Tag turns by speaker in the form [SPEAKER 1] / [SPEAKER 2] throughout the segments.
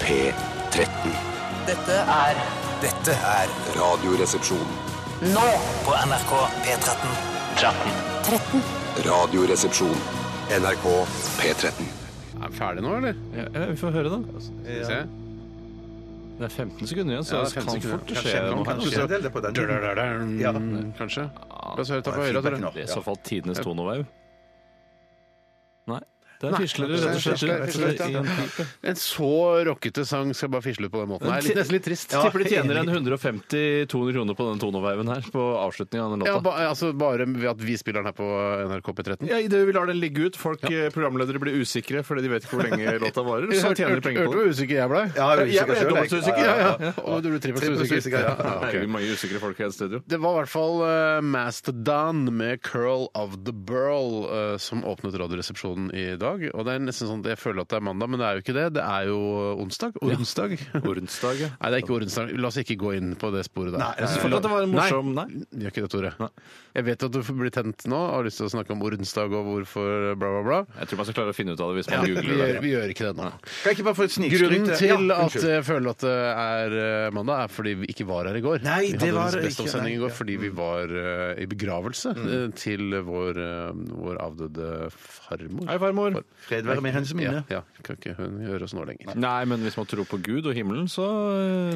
[SPEAKER 1] P13.
[SPEAKER 2] Dette er
[SPEAKER 3] Dette er
[SPEAKER 1] Radioresepsjon.
[SPEAKER 2] nå
[SPEAKER 3] på NRK P13.
[SPEAKER 1] Radioresepsjon. NRK P13.
[SPEAKER 4] Er vi ferdig nå, eller?
[SPEAKER 5] Ja, ja, vi får høre, da.
[SPEAKER 4] Skal vi se.
[SPEAKER 5] Det er 15 sekunder igjen, så
[SPEAKER 4] Ja,
[SPEAKER 5] det kan
[SPEAKER 4] 15 sekunder.
[SPEAKER 5] fort skje
[SPEAKER 4] Kanskje-
[SPEAKER 5] noe.
[SPEAKER 4] kanskje-
[SPEAKER 5] her.
[SPEAKER 6] Skjedde det på den tiden?
[SPEAKER 4] Dødødødøm,
[SPEAKER 6] Ja.
[SPEAKER 4] Kanskje. La oss høre ta på høyre,
[SPEAKER 6] Feedback
[SPEAKER 4] Tore.
[SPEAKER 6] nå.
[SPEAKER 5] Det er i så fall tidenes
[SPEAKER 4] Ja.
[SPEAKER 5] tonovau. Nei, der
[SPEAKER 4] Nei,
[SPEAKER 5] fisler det rett og slett
[SPEAKER 4] fisler-
[SPEAKER 5] rett og
[SPEAKER 4] fisler-
[SPEAKER 5] slett i en pipe.
[SPEAKER 4] En så rockete sang skal bare fisle ut på den måten. Det er litt, nesten litt trist.
[SPEAKER 5] Tipper de tjener en 150-200 kroner på den tonovauven her på avslutningen av den
[SPEAKER 4] Ja,
[SPEAKER 5] låta.
[SPEAKER 4] ba, altså Bare ved at vi spiller den her på NRK P13.
[SPEAKER 5] Ja, Idet vi lar den ligge ut, folk, eh, programledere blir usikre fordi de vet ikke hvor lenge låta varer, så tjener de penger på det.
[SPEAKER 4] Hørte du hvor usikker jeg ble?
[SPEAKER 6] Ja, jeg er
[SPEAKER 5] Jeg ble
[SPEAKER 6] usikker selv,
[SPEAKER 5] dobbelt så usikker,
[SPEAKER 6] Ja, ja, ja.
[SPEAKER 4] ja. Og du ble trippelt
[SPEAKER 6] Trippelt
[SPEAKER 4] så
[SPEAKER 6] så
[SPEAKER 4] usikker.
[SPEAKER 6] usikker, ja.
[SPEAKER 4] Ja,
[SPEAKER 5] Det er
[SPEAKER 4] ok.
[SPEAKER 5] veldig mange usikre folk her i studio.
[SPEAKER 4] Det var i hvert fall eh, Mastodon med 'Curl of the Burl' eh, som åpnet Radioresepsjonen i dag. Og det er nesten sånn at Jeg føler at det er mandag, men det er jo ikke det. Det er jo onsdag. Onsdag.
[SPEAKER 5] Ornsdag, ja.
[SPEAKER 4] Nei, det er ikke onsdag. La oss ikke gå inn på det sporet der.
[SPEAKER 6] Nei,
[SPEAKER 5] Jeg synes at det var en morsom Nei.
[SPEAKER 4] Gjør ikke det, Tore. Jeg vet at du blir tent nå og har lyst til å snakke om ordensdag og hvorfor bla, bla, bla.
[SPEAKER 5] Jeg tror man skal klare å finne ut av det hvis man
[SPEAKER 4] Vi
[SPEAKER 5] googler det.
[SPEAKER 4] gjør, vi gjør ikke det nå.
[SPEAKER 6] Kan jeg ikke bare få et snikskryt?
[SPEAKER 4] Grunnen
[SPEAKER 6] Ja,
[SPEAKER 4] til at
[SPEAKER 6] unnskyld.
[SPEAKER 4] jeg føler at det er eh, mandag, er fordi vi ikke var her i går.
[SPEAKER 6] Nei, det
[SPEAKER 4] vi
[SPEAKER 6] var
[SPEAKER 4] hadde en
[SPEAKER 6] det ikke,
[SPEAKER 4] bestoppsending i
[SPEAKER 6] nei,
[SPEAKER 4] går
[SPEAKER 6] ja.
[SPEAKER 4] fordi vi var eh, i begravelse eh, til vår, eh, vår avdøde farmor.
[SPEAKER 5] Hei, farmor.
[SPEAKER 6] Fred være med hennes minne.
[SPEAKER 4] Ja, ja, kan ikke hun høre oss nå lenger.
[SPEAKER 5] Nei, men hvis man tror på Gud og himmelen, så,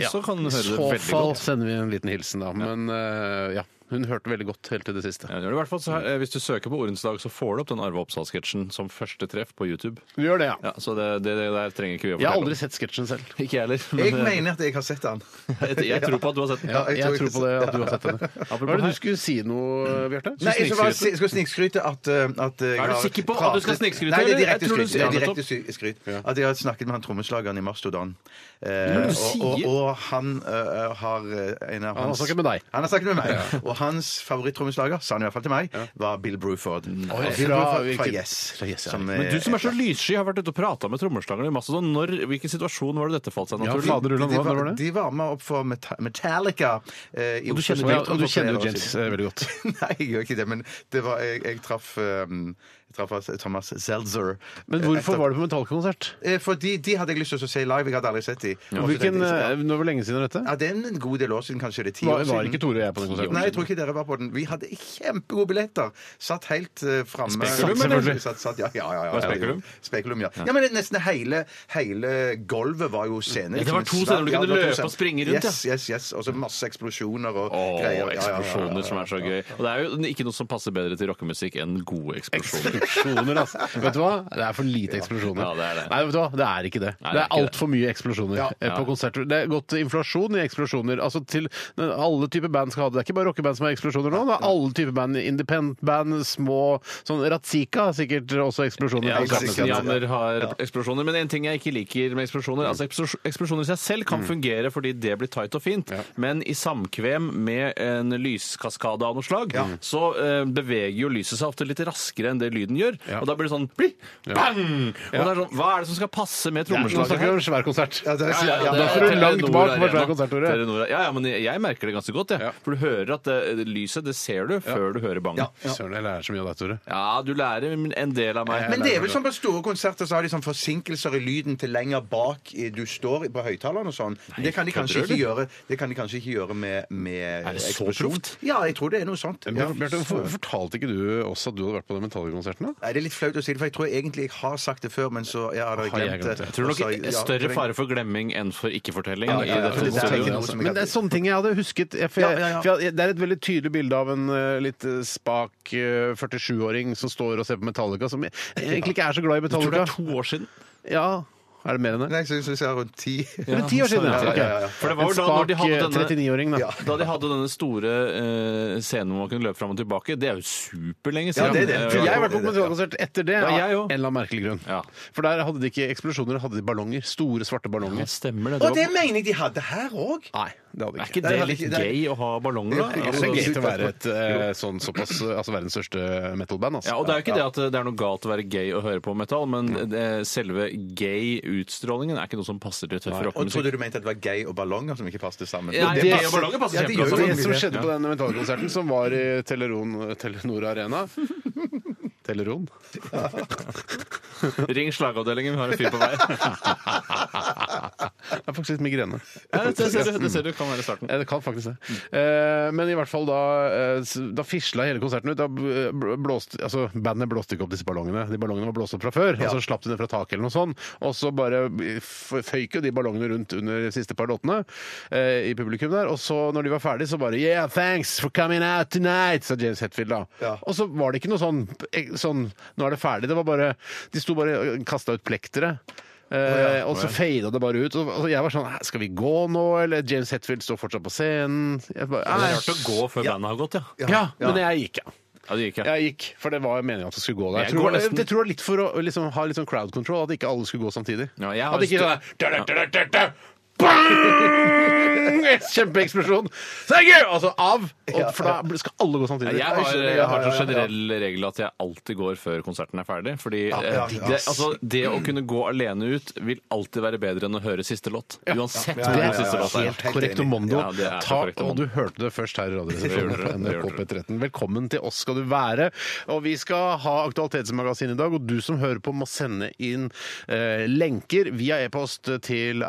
[SPEAKER 5] eh, så kan
[SPEAKER 4] I
[SPEAKER 5] den høre det
[SPEAKER 4] så
[SPEAKER 5] veldig
[SPEAKER 4] fall
[SPEAKER 5] godt.
[SPEAKER 4] sender vi en liten hilsen, da. Men eh, ja, hun hørte veldig godt helt til det siste.
[SPEAKER 5] Ja, det gjør det i hvert fall, så her, eh, hvis du søker på Ordens dag, så får du opp den Arve Oppsal-sketsjen som første treff på YouTube.
[SPEAKER 4] Vi gjør det, ja.
[SPEAKER 5] Ja, så det, det, det der trenger ikke vi å
[SPEAKER 4] Jeg har
[SPEAKER 5] fortelle
[SPEAKER 4] aldri sett sketsjen selv.
[SPEAKER 5] om. Ikke jeg heller.
[SPEAKER 6] Jeg
[SPEAKER 5] men, eh,
[SPEAKER 6] mener at jeg har sett han.
[SPEAKER 5] jeg, jeg tror på at du har sett den.
[SPEAKER 6] Ja, jeg
[SPEAKER 4] Jeg
[SPEAKER 6] tror
[SPEAKER 4] tror
[SPEAKER 6] ikke
[SPEAKER 4] på det at du har sett henne. Hva er det du skulle si noe, Bjarte?
[SPEAKER 6] Nei, jeg skal bare si- skal snikskryte at, uh, at jeg
[SPEAKER 5] Er du
[SPEAKER 6] har
[SPEAKER 5] sikker på at
[SPEAKER 6] pratet-
[SPEAKER 5] du skal snikskryte,
[SPEAKER 6] Nei, det er
[SPEAKER 5] eller?
[SPEAKER 6] direkte
[SPEAKER 5] Jeg tror du
[SPEAKER 6] skryt. Det er
[SPEAKER 5] sier-
[SPEAKER 6] direkte sy- skryt. At jeg har snakket med han trommeslageren i Mastodon. Eh,
[SPEAKER 5] Men
[SPEAKER 6] og,
[SPEAKER 5] du
[SPEAKER 6] og,
[SPEAKER 5] sier-
[SPEAKER 6] og han eh, har eh, en av
[SPEAKER 4] har
[SPEAKER 6] hans
[SPEAKER 4] snakket med deg.
[SPEAKER 6] Han har snakket med meg. Og hans favorittrommeslager, sa han i hvert fall til meg, var Bill Bruford.
[SPEAKER 4] Oi,
[SPEAKER 6] Eh,
[SPEAKER 4] fra
[SPEAKER 6] Bill Bruford fra
[SPEAKER 4] hvilket-
[SPEAKER 6] Yes.
[SPEAKER 4] fra Yes, ja.
[SPEAKER 6] som,
[SPEAKER 5] Men du
[SPEAKER 6] eh,
[SPEAKER 5] som er så lyssky, har vært ute og prata med trommeslagerne i masse. Så når, hvilken situasjon var det dette falt seg
[SPEAKER 4] Ja,
[SPEAKER 5] naturlig?
[SPEAKER 4] fader, Ulland,
[SPEAKER 6] de,
[SPEAKER 4] hva
[SPEAKER 6] var-
[SPEAKER 4] var det?
[SPEAKER 6] de var med opp for Meta- Metallica. eh, i Oslo
[SPEAKER 4] Og du kjenner,
[SPEAKER 6] Spektrum
[SPEAKER 4] og du
[SPEAKER 6] for
[SPEAKER 4] kjenner
[SPEAKER 6] flere
[SPEAKER 4] jo
[SPEAKER 6] år
[SPEAKER 4] Jens
[SPEAKER 6] siden.
[SPEAKER 4] eh, veldig godt.
[SPEAKER 6] Nei, jeg gjør ikke det, men det var, jeg, jeg traff um, jeg traff altså Thomas Seltzer. eh,
[SPEAKER 4] Men hvorfor var du på Metallkonsert?
[SPEAKER 6] Fordi de hadde jeg lyst til å se live. Jeg hadde aldri sett de. Og så
[SPEAKER 4] Hvilken,
[SPEAKER 6] tenkte jeg,
[SPEAKER 4] eh, nå hvor lenge siden er dette?
[SPEAKER 6] ja, Det er en god del år siden, kanskje det er ti år
[SPEAKER 4] Var,
[SPEAKER 6] siden.
[SPEAKER 4] var ikke Tore og jeg på den konserten?
[SPEAKER 6] Nei, jeg tror ikke dere var på den. Vi hadde kjempegode billetter. Satt helt uh, framme.
[SPEAKER 5] Spekulum,
[SPEAKER 6] Satt-
[SPEAKER 5] eller?
[SPEAKER 6] Satt, satt, ja, ja, ja, ja,
[SPEAKER 5] Var det
[SPEAKER 6] ja,
[SPEAKER 5] Spekulum?
[SPEAKER 6] Spekulum, ja. ja, men nesten hele, hele gulvet var jo scene. liksom
[SPEAKER 5] Ja, det var to
[SPEAKER 6] Som en
[SPEAKER 5] scener
[SPEAKER 6] svær-
[SPEAKER 5] du
[SPEAKER 6] det var
[SPEAKER 5] kunne
[SPEAKER 6] to
[SPEAKER 5] løpe
[SPEAKER 6] scener.
[SPEAKER 5] og springe rundt,
[SPEAKER 6] Yes, yes, yes. Og så masse eksplosjoner og
[SPEAKER 5] Å,
[SPEAKER 6] greier. Ja, ja, ja, ja, ja.
[SPEAKER 5] eksplosjoner som er så gøy. Og det er jo ikke noe som passer bedre til rockemusikk enn gode eksplosjoner.
[SPEAKER 4] Eksplosjoner, altså. Vet du hva? Det er for lite eksplosjoner.
[SPEAKER 5] Ja, det er det.
[SPEAKER 4] Nei, vet du hva? Det er ikke det.
[SPEAKER 5] Nei,
[SPEAKER 4] det
[SPEAKER 5] det er
[SPEAKER 4] er
[SPEAKER 5] ikke
[SPEAKER 4] altfor mye eksplosjoner
[SPEAKER 6] Ja.
[SPEAKER 4] eh, på konserter. Det er gått inflasjon i eksplosjoner. Altså til Alle typer band skal ha det. Det er ikke bare rockeband som har eksplosjoner nå. Det er alle typer band. Independent band, små Sånn Ratzika har sikkert også eksplosjoner.
[SPEAKER 5] Ja,
[SPEAKER 6] Helt
[SPEAKER 4] Sånn.
[SPEAKER 6] sikkert.
[SPEAKER 5] Karpensen-Jammer har eksplosjoner. Men en ting jeg ikke liker med eksplosjoner altså eksplos- Eksplosjoner i seg selv
[SPEAKER 4] Mm.
[SPEAKER 5] kan fungere fordi det blir tight og fint, men i samkvem med en lyskaskade av noe slag, så eh, beveger jo lyset seg ofte litt raskere enn det lyden gjør.
[SPEAKER 4] Ja.
[SPEAKER 5] Og da blir det sånn pli, bang! Og det er sånn, hva er det som skal passe med
[SPEAKER 4] Nå
[SPEAKER 5] trommeslaget
[SPEAKER 4] snakker vi om svær konsert.
[SPEAKER 6] Ja, det er- ja,
[SPEAKER 4] Da
[SPEAKER 5] det
[SPEAKER 4] står du
[SPEAKER 5] er
[SPEAKER 4] langt
[SPEAKER 5] Telenor
[SPEAKER 4] bak på
[SPEAKER 5] Arena.
[SPEAKER 4] svær konsert, Tore.
[SPEAKER 5] Telenor- Ja, ja, men jeg- jeg merker det ganske godt, jeg.
[SPEAKER 4] Ja.
[SPEAKER 5] For du hører at det, lyset, det ser du før du hører bangen. Ja.
[SPEAKER 4] Søren, jeg lærer så mye av deg, Tore.
[SPEAKER 5] du lærer en del av meg.
[SPEAKER 6] Men det er vel sånn på store konserter så har de sånn forsinkelser i lyden til lenger bak i- du står i- på høyttaleren og sånn. Men det kan de kanskje
[SPEAKER 5] kødder du,
[SPEAKER 6] ikke gjøre Det kan de kanskje ikke gjøre med, med
[SPEAKER 5] Er det så
[SPEAKER 6] eksplosjon.
[SPEAKER 5] proft?
[SPEAKER 6] Ja, jeg tror det er noe sånt.
[SPEAKER 4] Men
[SPEAKER 6] Ja.
[SPEAKER 4] Bjarte, hvorfor fortalte ikke du oss at du hadde vært på den Metallica-konserten? da?
[SPEAKER 6] Nei, det er litt flaut å si det, for jeg tror egentlig jeg har sagt det før, men så ja, har jeg
[SPEAKER 4] Har jeg
[SPEAKER 6] glemt
[SPEAKER 4] glemt
[SPEAKER 6] det.
[SPEAKER 4] det?
[SPEAKER 5] Jeg tror
[SPEAKER 6] Og så har
[SPEAKER 5] nok
[SPEAKER 6] jeg- Altså, ja,
[SPEAKER 5] større
[SPEAKER 6] for-
[SPEAKER 5] fare for glemming enn for ikke-fortelling.
[SPEAKER 6] Ja, ja, ja,
[SPEAKER 5] i
[SPEAKER 6] for
[SPEAKER 5] dette
[SPEAKER 6] det der er
[SPEAKER 5] scenarioet.
[SPEAKER 6] ikke noe som jeg
[SPEAKER 4] Men det er sånne ting jeg hadde husket. Jeg, for
[SPEAKER 6] Ja,
[SPEAKER 4] jeg,
[SPEAKER 6] ja, ja.
[SPEAKER 4] for jeg, det er et veldig tydelig bilde av en eh, litt eh, spak eh, 47-åring som står og ser på Metallica, som jeg- jeg egentlig ikke er så glad i
[SPEAKER 5] Jeg tror det
[SPEAKER 4] Metallica.
[SPEAKER 5] er to år siden.
[SPEAKER 4] Ja, er det mer enn det?
[SPEAKER 6] Nei, jeg syns vi ser rundt ti.
[SPEAKER 4] Det er ti år siden,
[SPEAKER 6] Ja,
[SPEAKER 4] ja.
[SPEAKER 6] ja, ja, ja.
[SPEAKER 4] Ok.
[SPEAKER 5] For det var
[SPEAKER 4] En
[SPEAKER 5] jo da når
[SPEAKER 4] spak
[SPEAKER 5] de hadde
[SPEAKER 4] eh,
[SPEAKER 5] denne
[SPEAKER 4] 39-åring, da.
[SPEAKER 6] Ja.
[SPEAKER 5] da de hadde denne store eh, scenen hvor man kunne løpe fram og tilbake, det er jo superlenge
[SPEAKER 6] Ja,
[SPEAKER 5] siden.
[SPEAKER 6] det er det.
[SPEAKER 5] Eh,
[SPEAKER 4] For jeg har
[SPEAKER 6] Ja,
[SPEAKER 4] vært på
[SPEAKER 6] det-
[SPEAKER 4] Metallica-konsert etter det,
[SPEAKER 5] Ja,
[SPEAKER 4] av
[SPEAKER 5] jeg
[SPEAKER 4] en
[SPEAKER 5] også.
[SPEAKER 4] eller annen merkelig grunn.
[SPEAKER 5] Ja.
[SPEAKER 4] For der hadde de ikke eksplosjoner, hadde de ballonger. Store, svarte ballonger.
[SPEAKER 5] det stemmer det.
[SPEAKER 6] Og
[SPEAKER 5] Det
[SPEAKER 6] det
[SPEAKER 5] var-
[SPEAKER 6] mener jeg de hadde her òg.
[SPEAKER 4] Nei, det hadde de
[SPEAKER 5] Er
[SPEAKER 4] ikke.
[SPEAKER 5] ikke
[SPEAKER 6] Det er
[SPEAKER 5] det
[SPEAKER 6] litt-
[SPEAKER 5] litt
[SPEAKER 6] det er-
[SPEAKER 5] gøy å ha ballonger, da?
[SPEAKER 6] Det er
[SPEAKER 4] Det
[SPEAKER 5] Altså,
[SPEAKER 4] er gøy
[SPEAKER 6] sykt,
[SPEAKER 4] til å være et eh, sånn såpass Altså verdens største metal-band, altså.
[SPEAKER 5] ja, og Det er jo ikke det at det er noe galt å være gay og høre på metall, men det, selve gay-utstrålingen er ikke noe som passer til tøff
[SPEAKER 6] Og
[SPEAKER 5] rockemusikk.
[SPEAKER 6] trodde du mente at det var gay og ballonger som ikke passet sammen?
[SPEAKER 5] Nei,
[SPEAKER 6] Jo,
[SPEAKER 5] gay og
[SPEAKER 6] passer-
[SPEAKER 5] ballonger passer
[SPEAKER 6] ja, det
[SPEAKER 5] kjempebra
[SPEAKER 6] gjør
[SPEAKER 5] sammen.
[SPEAKER 6] jo
[SPEAKER 4] Det
[SPEAKER 6] det.
[SPEAKER 4] som skjedde på den metallkonserten som var i Teleron, Telenor Arena Teleron?
[SPEAKER 5] Ring slagavdelingen, vi har en fyr på vei.
[SPEAKER 4] Jeg har faktisk litt migrene.
[SPEAKER 5] Ja, det, det, det, det ser du kan være starten.
[SPEAKER 4] Ja, det kan faktisk det. Eh, men i hvert fall da, eh, s- da fisla hele konserten ut. Da bl- bl- blåste, altså, bandet blåste ikke opp disse ballongene. De ballongene var blåst opp fra før, og så slapp de ned fra taket eller noe sånt. Og så bare f- føyk jo de ballongene rundt under de siste par låtene eh, i publikum der. Og så når de var ferdig, så bare Yeah, thanks for coming out tonight, sa James Hetfield da.
[SPEAKER 6] Ja.
[SPEAKER 4] Og så var det ikke noe sånn, eh, sånn Nå er det ferdig. Det var bare De sto bare og kasta ut plektere. Eh, og så fada det bare ut. Og og jeg var sånn "Hæ, Skal vi gå nå, eller? James Hetfield står fortsatt på scenen. Jeg bare,
[SPEAKER 5] Det er
[SPEAKER 4] "Æsj."
[SPEAKER 5] rart å gå før bandet har gått, ja.
[SPEAKER 4] ja, men jeg gikk, ja.
[SPEAKER 5] Ja, det gikk, ja.
[SPEAKER 4] Jeg gikk, For det var meningen at det skulle gå der.
[SPEAKER 5] Jeg
[SPEAKER 4] Jeg tror,
[SPEAKER 5] går
[SPEAKER 4] det var-
[SPEAKER 5] nesten-
[SPEAKER 4] det tror jeg var litt for å liksom, ha litt sånn crowd control, at ikke alle skulle gå samtidig.
[SPEAKER 5] Ja, jeg har
[SPEAKER 4] at ikke sånn
[SPEAKER 5] lyst
[SPEAKER 4] der, da, da, da, da, da, bang! Kjempeeksplosjon! Thank you! Altså av! Og, for da skal alle gå samtidig.
[SPEAKER 5] Jeg har, jeg har som generell regel at jeg alltid går før konserten er ferdig. Fordi
[SPEAKER 6] ja,
[SPEAKER 5] eh,
[SPEAKER 6] ja.
[SPEAKER 5] Det, altså, det å kunne gå alene ut vil alltid være bedre enn å høre siste låt. Uansett
[SPEAKER 4] Det
[SPEAKER 5] hvor
[SPEAKER 4] er
[SPEAKER 5] den siste låt er.
[SPEAKER 4] helt korrekt
[SPEAKER 6] enig.
[SPEAKER 4] Mondo.
[SPEAKER 5] Ja, det er
[SPEAKER 4] Ta,
[SPEAKER 5] korrekt,
[SPEAKER 4] og
[SPEAKER 5] Mondo.
[SPEAKER 4] du hørte det først her i Radioresepsjonen
[SPEAKER 5] Det
[SPEAKER 4] på
[SPEAKER 5] gjør dere, det
[SPEAKER 4] NRK
[SPEAKER 5] gjør dere.
[SPEAKER 4] P13. Velkommen til oss skal du være. Og vi skal ha Aktualitetsmagasinet i dag, og du som hører på må sende inn eh, lenker via e-post til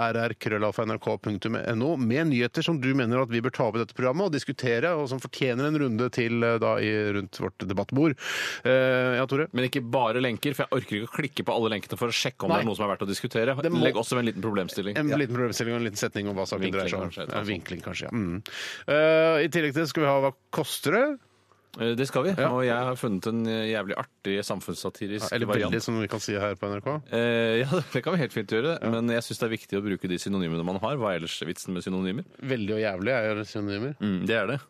[SPEAKER 4] rrkrøllalfa.nrk.no med nyheter som du mener at vi bør ta opp i dette programmet og diskutere, og som fortjener en runde til eh, da i, rundt vårt debattbord. Eh, ja, Tore?
[SPEAKER 5] Men ikke bare lenker, for jeg orker ikke å klikke på alle lenkene for å sjekke om
[SPEAKER 4] Nei.
[SPEAKER 5] det er noe som er verdt å diskutere.
[SPEAKER 4] Det må-
[SPEAKER 5] Legg også med en liten problemstilling.
[SPEAKER 4] En liten problemstilling og en liten setning om hva saken
[SPEAKER 5] Vinkling,
[SPEAKER 4] dreier seg om.
[SPEAKER 5] kanskje, et eller
[SPEAKER 4] Ja,
[SPEAKER 5] annet sånt.
[SPEAKER 4] vinkling, kanskje. Ja. Mm. Eh, I tillegg til det skal vi ha Hva koster det?
[SPEAKER 5] Eh, Det skal vi. Og jeg har funnet en eh, jævlig artig samfunnssatirisk
[SPEAKER 4] Eller
[SPEAKER 5] variant.
[SPEAKER 4] veldig, som vi kan si her på NRK.
[SPEAKER 5] Eh, ja, det kan vi helt fint gjøre. Men jeg syns det er viktig å bruke de synonymene man har. Hva er ellers vitsen med synonymer?
[SPEAKER 4] Veldig og jævlig er jo synonymer.
[SPEAKER 5] Mm, det er det.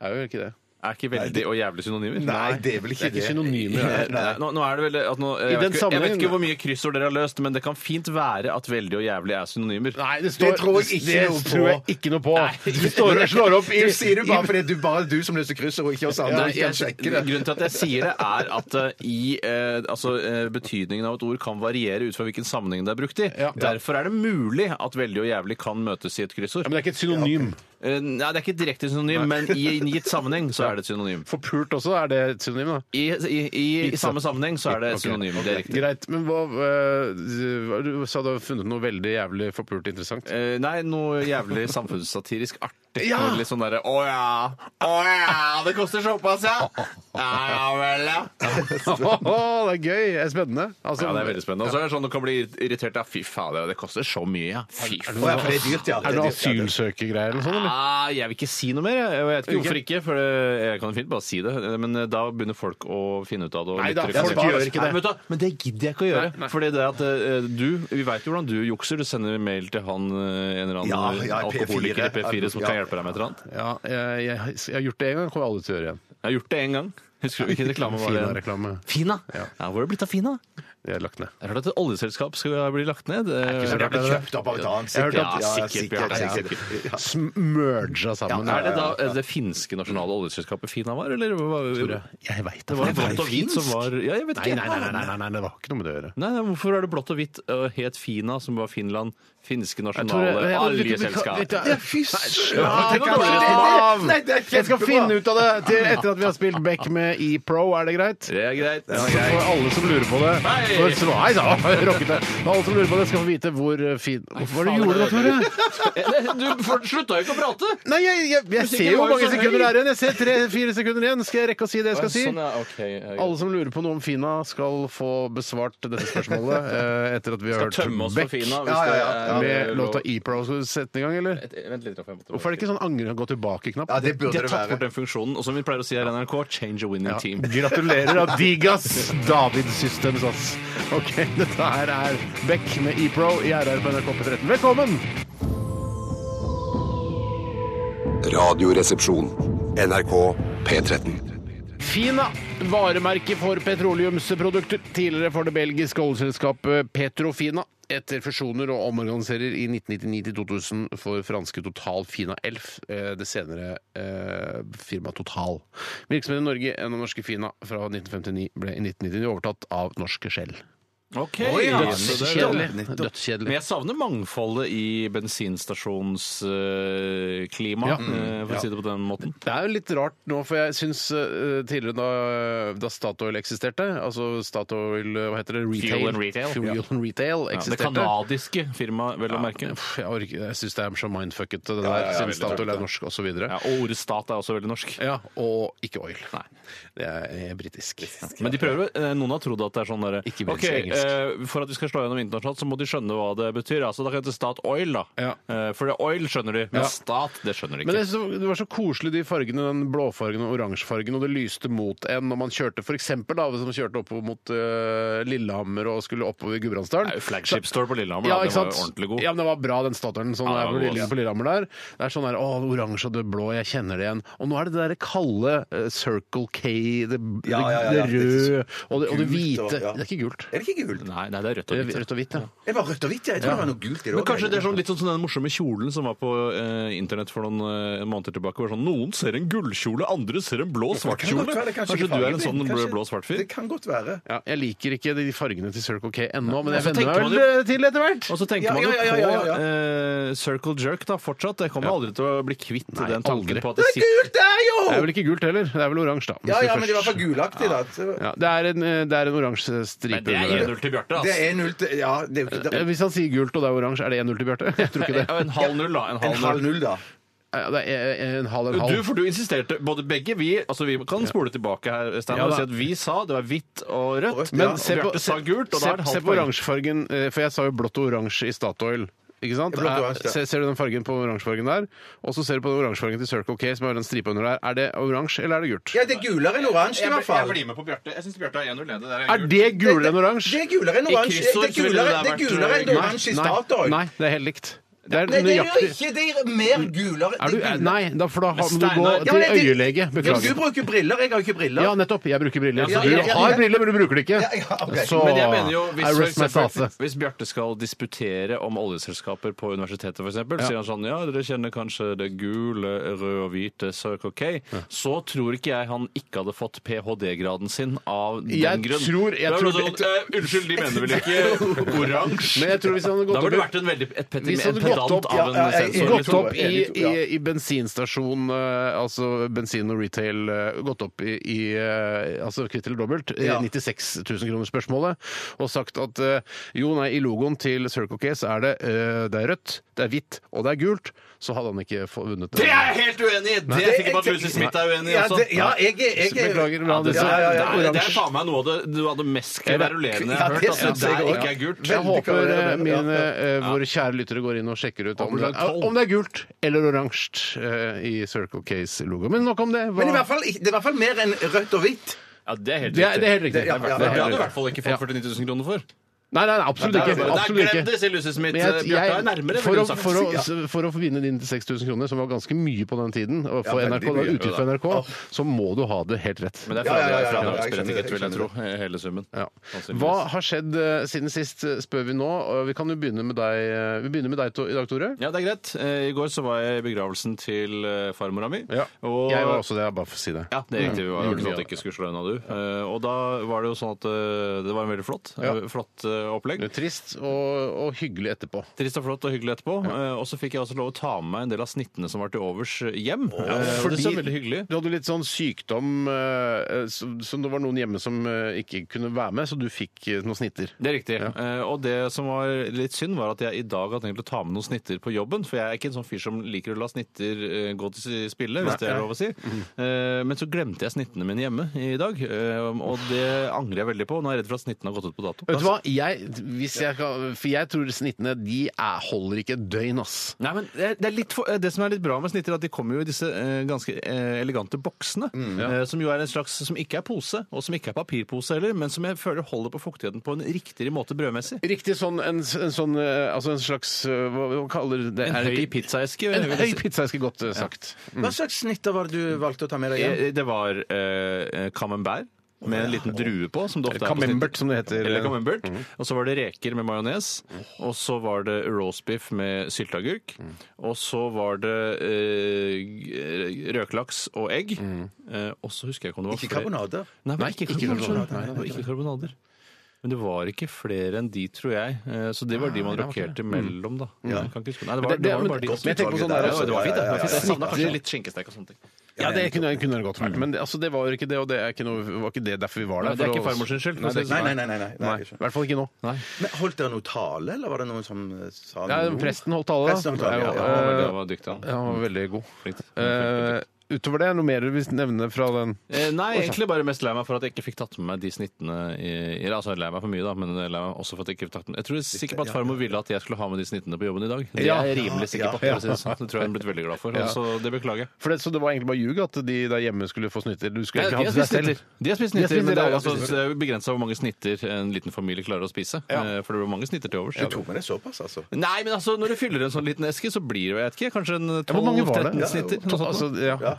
[SPEAKER 4] Er jo ikke det.
[SPEAKER 5] Er ikke veldig og jævlig synonymer?
[SPEAKER 6] Nei, det er vel ikke
[SPEAKER 4] Det er ikke
[SPEAKER 6] det.
[SPEAKER 4] synonymer. er det.
[SPEAKER 5] Nei, Nå, nå er det vel eh, at nå,
[SPEAKER 4] I
[SPEAKER 5] jeg,
[SPEAKER 4] den
[SPEAKER 5] vet ikke, jeg vet
[SPEAKER 4] sammenhengen-
[SPEAKER 5] ikke hvor mye kryssord dere har løst, men det kan fint være at veldig og jævlig er synonymer.
[SPEAKER 4] Nei, det,
[SPEAKER 6] Det tror jeg ikke
[SPEAKER 4] det
[SPEAKER 6] noe på.
[SPEAKER 4] tror jeg ikke noe på. Du står og slår opp i
[SPEAKER 6] Du sier det bare fordi du, bare du som løser kryssord, og ikke oss andre.
[SPEAKER 5] Nei,
[SPEAKER 6] vi kan
[SPEAKER 5] jeg,
[SPEAKER 6] sjekke det.
[SPEAKER 5] grunnen til at jeg sier det, er at eh, i, eh, altså, eh, betydningen av et ord kan variere ut fra hvilken sammenheng det er brukt i.
[SPEAKER 4] Ja.
[SPEAKER 5] Derfor er det mulig at veldig og jævlig kan møtes i et
[SPEAKER 4] Ja,
[SPEAKER 5] kryssord.
[SPEAKER 4] men det er ikke et synonym.
[SPEAKER 5] Eh, Nei, det er ikke direkte synonym, men i en gitt sammenheng så er det et synonym.
[SPEAKER 4] For pult også er det et synonym, da.
[SPEAKER 5] I, i, i, i samme sammenheng så er det
[SPEAKER 4] Ok.
[SPEAKER 5] et synonym. Det er riktig.
[SPEAKER 4] Greit. Men hva eh, Du sa du hadde funnet noe veldig jævlig for pult interessant.
[SPEAKER 5] Eh, nei, noe jævlig samfunnssatirisk artig.
[SPEAKER 4] Ja!
[SPEAKER 5] Noe Litt sånn derre Å ja, å ja, det koster såpass, ja! Ja, ja vel, ja.
[SPEAKER 4] det er gøy! Det er spennende. Altså,
[SPEAKER 5] Ja, det er veldig spennende. Og så er det sånn du kan bli irritert. Ja, fy fader, det koster så mye, ja. Fy faen.
[SPEAKER 6] Å, ja, for det er dyrt, ja.
[SPEAKER 4] Er det
[SPEAKER 6] Det er
[SPEAKER 4] noe
[SPEAKER 6] dyrt, ja, det-
[SPEAKER 4] asylsøkergreier eller noe sånt, eller?
[SPEAKER 5] Ah, jeg vil ikke si noe mer. Jeg, og jeg vet ikke
[SPEAKER 4] Ikke?
[SPEAKER 5] hvorfor ikke, for det- jeg kan fint bare si det. Men eh, da begynner folk å finne ut av det. og
[SPEAKER 4] Nei da,
[SPEAKER 5] lyttere kan
[SPEAKER 4] folk
[SPEAKER 5] si-
[SPEAKER 4] gjør ikke det.
[SPEAKER 5] Nei, men, vet du hva, men det gidder jeg ikke å gjøre. Fordi det at eh, du, Vi veit jo hvordan du jukser. Du sender mail til han eh, en eller annen
[SPEAKER 6] Ja, ja,
[SPEAKER 5] alkoholiker i P4 som kan
[SPEAKER 6] Ja.
[SPEAKER 5] hjelpe deg med et eller annet.
[SPEAKER 4] Ja, jeg, jeg, jeg har gjort det én gang, kommer jeg aldri til å gjøre igjen.
[SPEAKER 5] Jeg har gjort det én gang. Husker du hvilken reklame var det?
[SPEAKER 4] Fina reklame.
[SPEAKER 5] Fina? Ja. Hvor er det blitt av Fina?
[SPEAKER 4] Det er lagt ned.
[SPEAKER 5] Jeg hørte at et oljeselskap skal bli lagt ned. Er
[SPEAKER 4] ikke så
[SPEAKER 6] Det
[SPEAKER 4] rart,
[SPEAKER 6] ble kjøpt opp av et annet,
[SPEAKER 4] Jeg hørte
[SPEAKER 6] sikkert.
[SPEAKER 4] at-
[SPEAKER 6] Ja,
[SPEAKER 5] sikkert,
[SPEAKER 6] sikkert,
[SPEAKER 5] ja,
[SPEAKER 6] sikkert. Ja.
[SPEAKER 4] Merga sammen.
[SPEAKER 5] Er det da eh, det finske nasjonale oljeselskapet Fina var, eller? hva-
[SPEAKER 4] Jeg veit
[SPEAKER 5] Det var blått og hvit som var Ja, jeg vet
[SPEAKER 4] Nei,
[SPEAKER 5] ikke.
[SPEAKER 4] nei, nei, nei, nei, nei, nei, det var ikke noe med det å gjøre.
[SPEAKER 5] Nei, nei, Hvorfor er det blått og hvitt og het Fina, som var Finland, finske
[SPEAKER 4] Jeg
[SPEAKER 5] nasjonale
[SPEAKER 4] tror-
[SPEAKER 5] oljeselskap?
[SPEAKER 4] Vet du-
[SPEAKER 6] Ja, Fy
[SPEAKER 4] Ja,
[SPEAKER 6] søren!
[SPEAKER 4] det
[SPEAKER 6] det
[SPEAKER 4] kan
[SPEAKER 6] kan-
[SPEAKER 4] være
[SPEAKER 6] det-
[SPEAKER 4] det.
[SPEAKER 6] det- nei, det er
[SPEAKER 4] Jeg skal
[SPEAKER 6] kjempebra.
[SPEAKER 4] finne ut av det til, etter at vi har spilt Beck med E-Pro, er det greit?
[SPEAKER 5] Det er greit.
[SPEAKER 4] For alle som lurer på det
[SPEAKER 5] Hei!
[SPEAKER 4] for svar- Hei, sa jeg, rocket det. For Alle som lurer på det, skal få vite hvor eh, fin Hva var det du gjorde da, Tore?
[SPEAKER 5] Du for- slutta jo ikke å prate!
[SPEAKER 4] Nei, jeg, jeg, jeg ser jo
[SPEAKER 5] var
[SPEAKER 4] hvor
[SPEAKER 5] jo
[SPEAKER 4] mange sekunder
[SPEAKER 5] så
[SPEAKER 4] det
[SPEAKER 5] høy.
[SPEAKER 4] er igjen. Jeg ser tre-fire sekunder igjen. Skal jeg rekke å si det jeg skal si?
[SPEAKER 5] Sånn, ja, ok, ja, greit.
[SPEAKER 4] Alle som lurer på noe om Fina, skal få besvart dette spørsmålet eh, etter at vi har
[SPEAKER 5] skal
[SPEAKER 4] hørt
[SPEAKER 5] tømme oss for
[SPEAKER 4] Beck
[SPEAKER 5] Fina. hvis
[SPEAKER 6] Ja, ja, ja.
[SPEAKER 5] det er-
[SPEAKER 4] med låta E-Pro. Skal du sette den i gang, eller?
[SPEAKER 5] Et- Vent litt, Raff, jeg måtte bare-
[SPEAKER 4] Hvorfor er det ikke sånn angre og gå tilbake-knapp?
[SPEAKER 6] Ja, det
[SPEAKER 5] De
[SPEAKER 6] burde
[SPEAKER 5] har
[SPEAKER 6] det
[SPEAKER 5] tatt bort
[SPEAKER 6] være.
[SPEAKER 5] den funksjonen. Og som vi pleier å si her i NRK, change a winning
[SPEAKER 4] Ja.
[SPEAKER 5] team.
[SPEAKER 4] Gratulerer av Digas David Systems, ass. Ok, dette her er Beck med E-Pro i RR på NRK på 13. Velkommen!
[SPEAKER 1] Radioresepsjon. NRK P13.
[SPEAKER 4] Fina, varemerke for petroleumsprodukter. Tidligere for det belgiske oljeselskapet Petrofina. Etter fusjoner og omorganiserer i 1999-2000 for franske Total Fina Elf, eh, det senere eh, firmaet Total. Virksomheten i Norge gjennom norske Fina fra 1959 ble i 1999 overtatt av norske Shell.
[SPEAKER 5] Ok,
[SPEAKER 6] Oi, ja.
[SPEAKER 5] så det-
[SPEAKER 4] Dødskjedelig.
[SPEAKER 6] nettopp.
[SPEAKER 5] Men
[SPEAKER 4] Dødskjedelig.
[SPEAKER 5] jeg savner mangfoldet i bensinstasjonsklimaet,
[SPEAKER 4] Ja.
[SPEAKER 5] eh, for å si det på den måten.
[SPEAKER 4] Det er jo litt rart nå, for jeg syns eh, tidligere da, da Statoil eksisterte, altså Statoil eh, Hva heter det?
[SPEAKER 5] Fuel and Retail.
[SPEAKER 4] Fuel and Retail
[SPEAKER 5] Ja, det
[SPEAKER 4] eksisterte.
[SPEAKER 5] kanadiske firmaet, vel å merke.
[SPEAKER 4] Pff, Jeg, orker- jeg syns det er så mindfucket, det
[SPEAKER 5] ja,
[SPEAKER 4] der,
[SPEAKER 5] ja,
[SPEAKER 4] siden
[SPEAKER 5] veldig
[SPEAKER 4] Statoil
[SPEAKER 5] tøft,
[SPEAKER 4] er norsk osv.
[SPEAKER 5] Ja, og ordet stat er også veldig norsk.
[SPEAKER 4] Ja, og ikke oil.
[SPEAKER 5] Nei.
[SPEAKER 4] Det er, er britisk.
[SPEAKER 5] Men de prøver, eh, noen har trodd at det er sånn derre
[SPEAKER 4] Ikke
[SPEAKER 5] Ok,
[SPEAKER 4] minst engelsk.
[SPEAKER 5] eh, For at vi skal slå gjennom internasjonalt, så må de skjønne hva det betyr. Altså, Da kan det hete Stat Oil, da.
[SPEAKER 4] Ja.
[SPEAKER 5] Eh, For det oil skjønner de, men
[SPEAKER 4] Ja.
[SPEAKER 5] stat det skjønner de
[SPEAKER 4] Men
[SPEAKER 5] ikke.
[SPEAKER 4] jeg synes det var så koselig, de fargene, den blåfargen og oransjefargen, og det lyste mot en når man kjørte for eksempel, da, hvis man kjørte opp mot eh, Lillehammer og skulle oppover
[SPEAKER 5] Det er
[SPEAKER 4] Gudbrandsdalen.
[SPEAKER 5] jo Flagship Store på Lillehammer,
[SPEAKER 4] Ja,
[SPEAKER 5] da.
[SPEAKER 4] ikke
[SPEAKER 5] Den var
[SPEAKER 4] sant?
[SPEAKER 5] jo ordentlig god.
[SPEAKER 4] Ja, men det var bra, den Statoilen sånn der
[SPEAKER 5] Ja,
[SPEAKER 4] på,
[SPEAKER 5] den var god,
[SPEAKER 4] Lille-
[SPEAKER 5] ass.
[SPEAKER 4] på Lillehammer der. Det er sånn der, å, det oransje og det blå, jeg kjenner det igjen. Og nå er det det der kalde eh, Circle K, det, det,
[SPEAKER 6] Ja, ja, ja, ja.
[SPEAKER 4] det røde og det, og det
[SPEAKER 6] Gult og-
[SPEAKER 4] hvite.
[SPEAKER 6] ja.
[SPEAKER 4] Det er ikke gult.
[SPEAKER 6] Er det ikke gult?
[SPEAKER 5] Nei, nei, det er rødt
[SPEAKER 4] Det
[SPEAKER 5] og
[SPEAKER 4] er
[SPEAKER 5] hvitt.
[SPEAKER 4] Rødt og hvitt, ja.
[SPEAKER 6] Det var rødt og hvitt, jeg. Jeg tror det var noe gult i det
[SPEAKER 5] Men
[SPEAKER 6] også,
[SPEAKER 5] kanskje det er
[SPEAKER 6] egentlig.
[SPEAKER 5] sånn, litt sånn som den morsomme kjolen som var på eh, internett for noen eh, måneder tilbake. Hvor sånn, Noen ser en gullkjole, andre ser en blå svart
[SPEAKER 6] Det kan godt
[SPEAKER 5] kjole.
[SPEAKER 6] være, det er
[SPEAKER 5] Kanskje du
[SPEAKER 6] ikke
[SPEAKER 5] er en sånn
[SPEAKER 6] fargeblind. Kanskje-
[SPEAKER 5] blå svart fyr?
[SPEAKER 6] Det kan godt være.
[SPEAKER 4] Ja, jeg liker ikke de fargene til Circle K ennå, men jeg
[SPEAKER 5] så
[SPEAKER 4] venner
[SPEAKER 5] tenker
[SPEAKER 4] meg
[SPEAKER 5] man
[SPEAKER 4] vel
[SPEAKER 5] jo-
[SPEAKER 4] eh, til etter hvert.
[SPEAKER 5] Og så tenker
[SPEAKER 6] Ja,
[SPEAKER 5] man jo
[SPEAKER 6] ja, ja, ja, ja, ja.
[SPEAKER 5] på eh, Circle Jerk da, fortsatt. Jeg kommer aldri til å bli kvitt den tanken
[SPEAKER 4] aldri.
[SPEAKER 5] på at det sitter
[SPEAKER 6] Gult er jo!
[SPEAKER 4] Det er vel ikke gult heller. Det er vel oransje, da.
[SPEAKER 6] Ja,
[SPEAKER 4] Hvis
[SPEAKER 6] ja,
[SPEAKER 4] vi
[SPEAKER 6] men det var
[SPEAKER 4] først-
[SPEAKER 6] for gulaktig, da. Så-
[SPEAKER 4] ja, det er en, eh, det er en oransje stripe
[SPEAKER 5] Men det er
[SPEAKER 4] under der.
[SPEAKER 5] 1-0 til Bjarte,
[SPEAKER 6] Det
[SPEAKER 5] altså.
[SPEAKER 6] er null til Ja, det er jo ikke
[SPEAKER 4] Eh,
[SPEAKER 6] det-
[SPEAKER 4] Hvis han sier gult og det er oransje, er det 1-0 til Bjarte? Jeg tror ikke det.
[SPEAKER 5] Ja, En halv null, da. En
[SPEAKER 6] En halv
[SPEAKER 5] halv null.
[SPEAKER 6] null, da.
[SPEAKER 4] Ja, det er en- en halv, en halv.
[SPEAKER 5] Du, for du insisterte. Både begge vi altså Vi kan spole tilbake her, Steinar,
[SPEAKER 4] Ja,
[SPEAKER 5] og
[SPEAKER 4] da.
[SPEAKER 5] si at vi sa det var hvitt og rødt.
[SPEAKER 6] Men
[SPEAKER 5] og
[SPEAKER 4] se på-
[SPEAKER 5] Bjarte sa gult, og da er det
[SPEAKER 4] Se, se
[SPEAKER 5] halvt
[SPEAKER 4] på
[SPEAKER 5] poeng.
[SPEAKER 4] oransjefargen, eh, for jeg sa jo blått og oransje i Statoil. Ikke sant?
[SPEAKER 6] Ja, blått og oransje,
[SPEAKER 4] Eh,
[SPEAKER 6] ja.
[SPEAKER 4] ser, ser du den fargen på oransjefargen der? Og så ser du på den oransjefargen til Circle K, som har den stripa under der. Er det oransje, eller er det gult?
[SPEAKER 6] Ja, det er gulere enn oransje, i hvert fall.
[SPEAKER 5] med på Bjarte. Jeg syns Bjarte har 1-0 nede.
[SPEAKER 4] Er det gulere enn
[SPEAKER 6] Det
[SPEAKER 4] oransje?
[SPEAKER 6] er gulere enn
[SPEAKER 5] I
[SPEAKER 6] oransje.
[SPEAKER 5] kryssord
[SPEAKER 6] Det er
[SPEAKER 5] så ville
[SPEAKER 6] gulere,
[SPEAKER 5] det
[SPEAKER 6] det er
[SPEAKER 5] vært,
[SPEAKER 6] gulere enn
[SPEAKER 5] eh,
[SPEAKER 6] oransje i
[SPEAKER 4] nei,
[SPEAKER 6] Statoil.
[SPEAKER 4] nei, det er helt likt. Det er
[SPEAKER 6] Nei, det er jo
[SPEAKER 4] nøyaktig
[SPEAKER 6] ikke! Det er mer gulere.
[SPEAKER 4] er du,
[SPEAKER 6] det er
[SPEAKER 4] er-
[SPEAKER 6] gulere.
[SPEAKER 4] Nei, da, for da har- må du
[SPEAKER 5] Steinar-
[SPEAKER 4] gå
[SPEAKER 6] Ja, men jeg-
[SPEAKER 4] til øyelege.
[SPEAKER 6] Ja, du
[SPEAKER 4] Beklager.
[SPEAKER 6] bruker briller, jeg har jo ikke briller.
[SPEAKER 4] Ja, nettopp. Jeg bruker briller. Så
[SPEAKER 5] Ja, ja,
[SPEAKER 4] du
[SPEAKER 5] ja, ja.
[SPEAKER 4] har briller, men du bruker det ikke.
[SPEAKER 6] Ja, ja, ok.
[SPEAKER 4] Så
[SPEAKER 5] Men jeg mener jo,
[SPEAKER 4] I
[SPEAKER 5] hvis, for
[SPEAKER 4] rest my eh.
[SPEAKER 5] eksempel,
[SPEAKER 4] sase.
[SPEAKER 5] hvis Bjarte skal disputere om oljeselskaper på universitetet, f.eks., eksempel, sier han sånn Ja, dere kjenner kanskje det gule, røde og hvite Circle K. Så tror ikke jeg han ikke hadde fått ph.d.-graden sin av den
[SPEAKER 4] Jeg
[SPEAKER 5] grunn.
[SPEAKER 4] tror- jeg
[SPEAKER 5] Da er
[SPEAKER 4] tror-
[SPEAKER 5] det sånn, eh, unnskyld, de mener vel ikke oransje?
[SPEAKER 4] Men jeg tror hvis han hadde gått
[SPEAKER 5] Da burde det
[SPEAKER 4] opp i-
[SPEAKER 5] vært en veldig et pet-
[SPEAKER 4] Hvis han
[SPEAKER 5] en
[SPEAKER 4] hadde gått
[SPEAKER 5] pedant
[SPEAKER 4] opp-
[SPEAKER 5] av en
[SPEAKER 6] ja, ja, jeg-
[SPEAKER 5] sensor.
[SPEAKER 6] jeg-
[SPEAKER 4] Gått
[SPEAKER 5] liksom.
[SPEAKER 4] opp i,
[SPEAKER 6] Enig to,
[SPEAKER 4] i,
[SPEAKER 6] ja.
[SPEAKER 4] i bensinstasjon, eh, altså bensin og retail, eh, gått opp i, i eh, altså kvitt eller dobbelt, eh,
[SPEAKER 6] Ja.
[SPEAKER 4] 96 000 kroner spørsmålet, og sagt at eh, jo, nei, i logoen til Circle K så er det, eh, det er rødt, det er hvitt og det er gult, så hadde han ikke få- vunnet
[SPEAKER 5] Det er jeg helt uenig i! Det er jeg sikker på at Lucy Smith er uenig i
[SPEAKER 6] Ja,
[SPEAKER 5] også.
[SPEAKER 6] det- ja, jeg er jeg er-
[SPEAKER 4] Beklager, men
[SPEAKER 5] Ja,
[SPEAKER 4] han
[SPEAKER 5] det,
[SPEAKER 6] Ja, ja, ja,
[SPEAKER 5] det er- sånn. det er
[SPEAKER 4] oransje.
[SPEAKER 5] faen meg noe av det, noe av det mest kverulerende jeg
[SPEAKER 6] Ja,
[SPEAKER 5] har hørt.
[SPEAKER 6] det
[SPEAKER 5] Altså,
[SPEAKER 6] synes
[SPEAKER 5] det
[SPEAKER 6] jeg
[SPEAKER 5] er
[SPEAKER 6] også.
[SPEAKER 5] ikke er gult.
[SPEAKER 4] Jeg
[SPEAKER 6] Veldig
[SPEAKER 4] håper eh,
[SPEAKER 6] klarere, ja.
[SPEAKER 4] mine, eh, våre kjære lyttere går inn og sjekker ut om det,
[SPEAKER 5] Opplag tolv.
[SPEAKER 4] om det er gult eller oransje eh, i Circle K's logo. Men nok om det. Hva-
[SPEAKER 6] Men i hvert fall, ikke- det er i hvert fall mer enn rødt og hvitt.
[SPEAKER 5] Ja, det er helt
[SPEAKER 4] Det er, det er
[SPEAKER 5] riktig.
[SPEAKER 4] helt riktig.
[SPEAKER 6] Det- ja, ja, ja.
[SPEAKER 5] Det
[SPEAKER 4] helt
[SPEAKER 5] hadde du i
[SPEAKER 4] riktig.
[SPEAKER 5] hvert fall ikke fått 49 000 kroner for.
[SPEAKER 4] Nei, nei, nei, absolutt
[SPEAKER 5] Nei,
[SPEAKER 4] ikke.
[SPEAKER 5] nei,
[SPEAKER 4] Absolutt
[SPEAKER 5] Glem det,
[SPEAKER 4] ikke.
[SPEAKER 5] sier Lucy Smith.
[SPEAKER 4] Men jeg,
[SPEAKER 5] Bjarte er
[SPEAKER 4] jeg,
[SPEAKER 5] nærmere.
[SPEAKER 4] for,
[SPEAKER 5] ville
[SPEAKER 4] å,
[SPEAKER 5] hun sagt.
[SPEAKER 4] for,
[SPEAKER 5] Ja.
[SPEAKER 4] å, for å vinne dine 6000 kroner, som var ganske mye på den tiden, og for
[SPEAKER 6] Ja,
[SPEAKER 4] NRK,
[SPEAKER 6] veldig
[SPEAKER 4] det var
[SPEAKER 6] mye,
[SPEAKER 4] utgift for NRK, så må du ha det helt rett.
[SPEAKER 5] Men det
[SPEAKER 6] Ja,
[SPEAKER 5] er
[SPEAKER 6] ja, ja, ja, ja, jeg
[SPEAKER 5] fradragsberettiget, vil jeg
[SPEAKER 6] skjønner
[SPEAKER 5] tro. Hele summen.
[SPEAKER 4] Ja.
[SPEAKER 5] Sannsynligvis.
[SPEAKER 4] Hva har skjedd eh, siden sist, eh, spør vi nå. Og Vi kan jo begynne med deg, eh, vi begynner med deg to- i dag, Tore.
[SPEAKER 5] Ja, det er greit. Eh, I går så var jeg i begravelsen til eh, farmora mi. og-
[SPEAKER 4] Jeg var også det, jeg bare for å si det.
[SPEAKER 5] Ja, det er riktig. Vi var
[SPEAKER 4] Mm.
[SPEAKER 5] jo sånn at jeg ikke skulle slå unna du. Eh, Og da var det jo sånn at eh, det var en veldig flott,
[SPEAKER 4] Ja.
[SPEAKER 5] eh, flott eh, opplegg.
[SPEAKER 4] Det er Trist og, og hyggelig etterpå.
[SPEAKER 5] Trist og flott og hyggelig etterpå. Eh, Og så fikk jeg også lov å ta med meg en del av snittene som var til overs eh, hjem. Eh, og det så veldig hyggelig.
[SPEAKER 4] Du hadde litt sånn sykdom eh, som, som det var noen hjemme som eh, ikke kunne være med, så du fikk eh, noen snitter.
[SPEAKER 5] Det er riktig. Eh, og det som var litt synd, var at jeg i dag har tenkt å ta med noen snitter på jobben. For jeg er ikke en sånn fyr som liker å la snitter eh, gå til si- spille, hvis det er lov å si. Eh, men så glemte jeg snittene mine hjemme i dag, eh, og det angrer jeg veldig på. Nå er jeg redd for at snittene har gått ut på dato.
[SPEAKER 4] Vet du hva? Jeg, hvis jeg kan, for jeg tror snittene de er, holder ikke et døgn, ass.
[SPEAKER 5] Nei, men det, er- det, er litt for, eh, det som er litt bra med snitter, er at de kommer jo i disse eh, ganske eh, elegante boksene.
[SPEAKER 4] Mm,
[SPEAKER 5] eh, som jo er en slags som ikke er pose, og som ikke er papirpose heller, men som jeg føler holder på fuktigheten på en riktigere måte brødmessig.
[SPEAKER 4] Riktig sånn en, en sånn eh, Altså en slags eh, Hva, hva kaller det?
[SPEAKER 5] En
[SPEAKER 4] er det
[SPEAKER 5] høy
[SPEAKER 4] ikke-
[SPEAKER 5] pizzaeske.
[SPEAKER 4] En
[SPEAKER 5] vil jeg
[SPEAKER 4] høy
[SPEAKER 5] si.
[SPEAKER 4] pizza, jeg skulle godt eh, sagt.
[SPEAKER 6] Hva slags snitter var det du valgte å ta med deg hjem?
[SPEAKER 5] Eh, Det var eh, camembert med en liten drue på, som det ofte er på snitter.
[SPEAKER 4] Camembert, som det heter. Mm.
[SPEAKER 5] Eller camembert. Og så var det reker med majones. Og så var det roastbiff med sylteagurk.
[SPEAKER 4] Mm.
[SPEAKER 5] Og så var det eh, røkelaks og egg.
[SPEAKER 4] Mm.
[SPEAKER 5] Eh, og så husker jeg ikke om det var
[SPEAKER 6] Ikke
[SPEAKER 5] flere-
[SPEAKER 6] karbonader.
[SPEAKER 5] Nei, men ikke
[SPEAKER 4] ikke
[SPEAKER 5] karbonader.
[SPEAKER 4] karbonader.
[SPEAKER 5] Nei, det var ikke karbonader. Men det var ikke flere enn de, tror jeg. Eh, Så det var de man
[SPEAKER 4] det var ikke
[SPEAKER 5] rokerte mellom, da. Jeg kan ikke huske. Nei, det
[SPEAKER 4] Mm. Men
[SPEAKER 5] var,
[SPEAKER 4] det-
[SPEAKER 5] det var
[SPEAKER 4] men
[SPEAKER 5] bare de.
[SPEAKER 4] godt Men jeg tenker på utvalg sånn der der også. også.
[SPEAKER 5] Det var fint, det. det, var fint. Jeg savna
[SPEAKER 4] Ja, ja, ja.
[SPEAKER 5] kanskje litt skinkestek og sånne ting.
[SPEAKER 4] Ja, det kunne, kunne det godt vært. Men det- altså, det var jo ikke det, og det er ikke noe, var ikke det derfor vi var der.
[SPEAKER 5] Nei, det er
[SPEAKER 4] for
[SPEAKER 5] ikke
[SPEAKER 4] å-
[SPEAKER 5] farmors skyld, for
[SPEAKER 4] Nei,
[SPEAKER 5] å si
[SPEAKER 4] det
[SPEAKER 5] det
[SPEAKER 4] er
[SPEAKER 6] Nei,
[SPEAKER 4] ikke-
[SPEAKER 6] nei, nei. nei, nei,
[SPEAKER 4] Nei,
[SPEAKER 6] ikke
[SPEAKER 4] I
[SPEAKER 6] sånn.
[SPEAKER 4] hvert fall ikke nå.
[SPEAKER 6] Men Holdt dere noe tale, eller var det noen som eh, sa
[SPEAKER 4] Ja,
[SPEAKER 6] noe?
[SPEAKER 4] presten holdt tale, da.
[SPEAKER 6] Presten holdt tale,
[SPEAKER 4] Ja,
[SPEAKER 6] ja,
[SPEAKER 5] Ja,
[SPEAKER 6] ja.
[SPEAKER 5] han var- han var dyktig, han.
[SPEAKER 4] Ja, han var veldig god.
[SPEAKER 5] Flink.
[SPEAKER 4] Eh, utover det, er det noe mer du vil nevne fra den?
[SPEAKER 5] Eh, Nei, egentlig bare mest lei meg for at jeg ikke fikk tatt med meg de snittene i, i- Altså lei meg for mye, da, men lei meg også for at jeg ikke fikk tatt med Jeg tror jeg er sikker på at farmor ville at jeg skulle ha med de snittene på jobben i dag. Det
[SPEAKER 4] Ja.
[SPEAKER 5] er jeg rimelig sikker på.
[SPEAKER 4] Ja.
[SPEAKER 5] for å si Det sånn. Det tror jeg hun er blitt veldig glad for.
[SPEAKER 4] Ja.
[SPEAKER 5] Så det beklager jeg.
[SPEAKER 4] For det, så det var egentlig bare ljug at de der hjemme skulle få snytter? Du skulle egentlig ha
[SPEAKER 5] Nei, de har
[SPEAKER 4] til deg
[SPEAKER 5] spist
[SPEAKER 4] selv?
[SPEAKER 5] snitter, de har spist
[SPEAKER 4] De har spist
[SPEAKER 5] snitter men det
[SPEAKER 4] snitter,
[SPEAKER 5] er
[SPEAKER 4] ja,
[SPEAKER 5] altså
[SPEAKER 4] de har spist
[SPEAKER 5] begrensa hvor mange snitter en liten familie klarer å spise.
[SPEAKER 4] Ja.
[SPEAKER 5] Eh, For det blir mange snitter til overs.
[SPEAKER 6] Du tok med deg såpass, altså?
[SPEAKER 5] Nei, men altså, når du fyller en sånn liten eske, så blir det jo, jeg vet ikke, kanskje en
[SPEAKER 4] Ja, hvor mange var det?
[SPEAKER 5] 12-13 snitter. noe sånt.
[SPEAKER 4] Altså, ja.
[SPEAKER 6] Ja.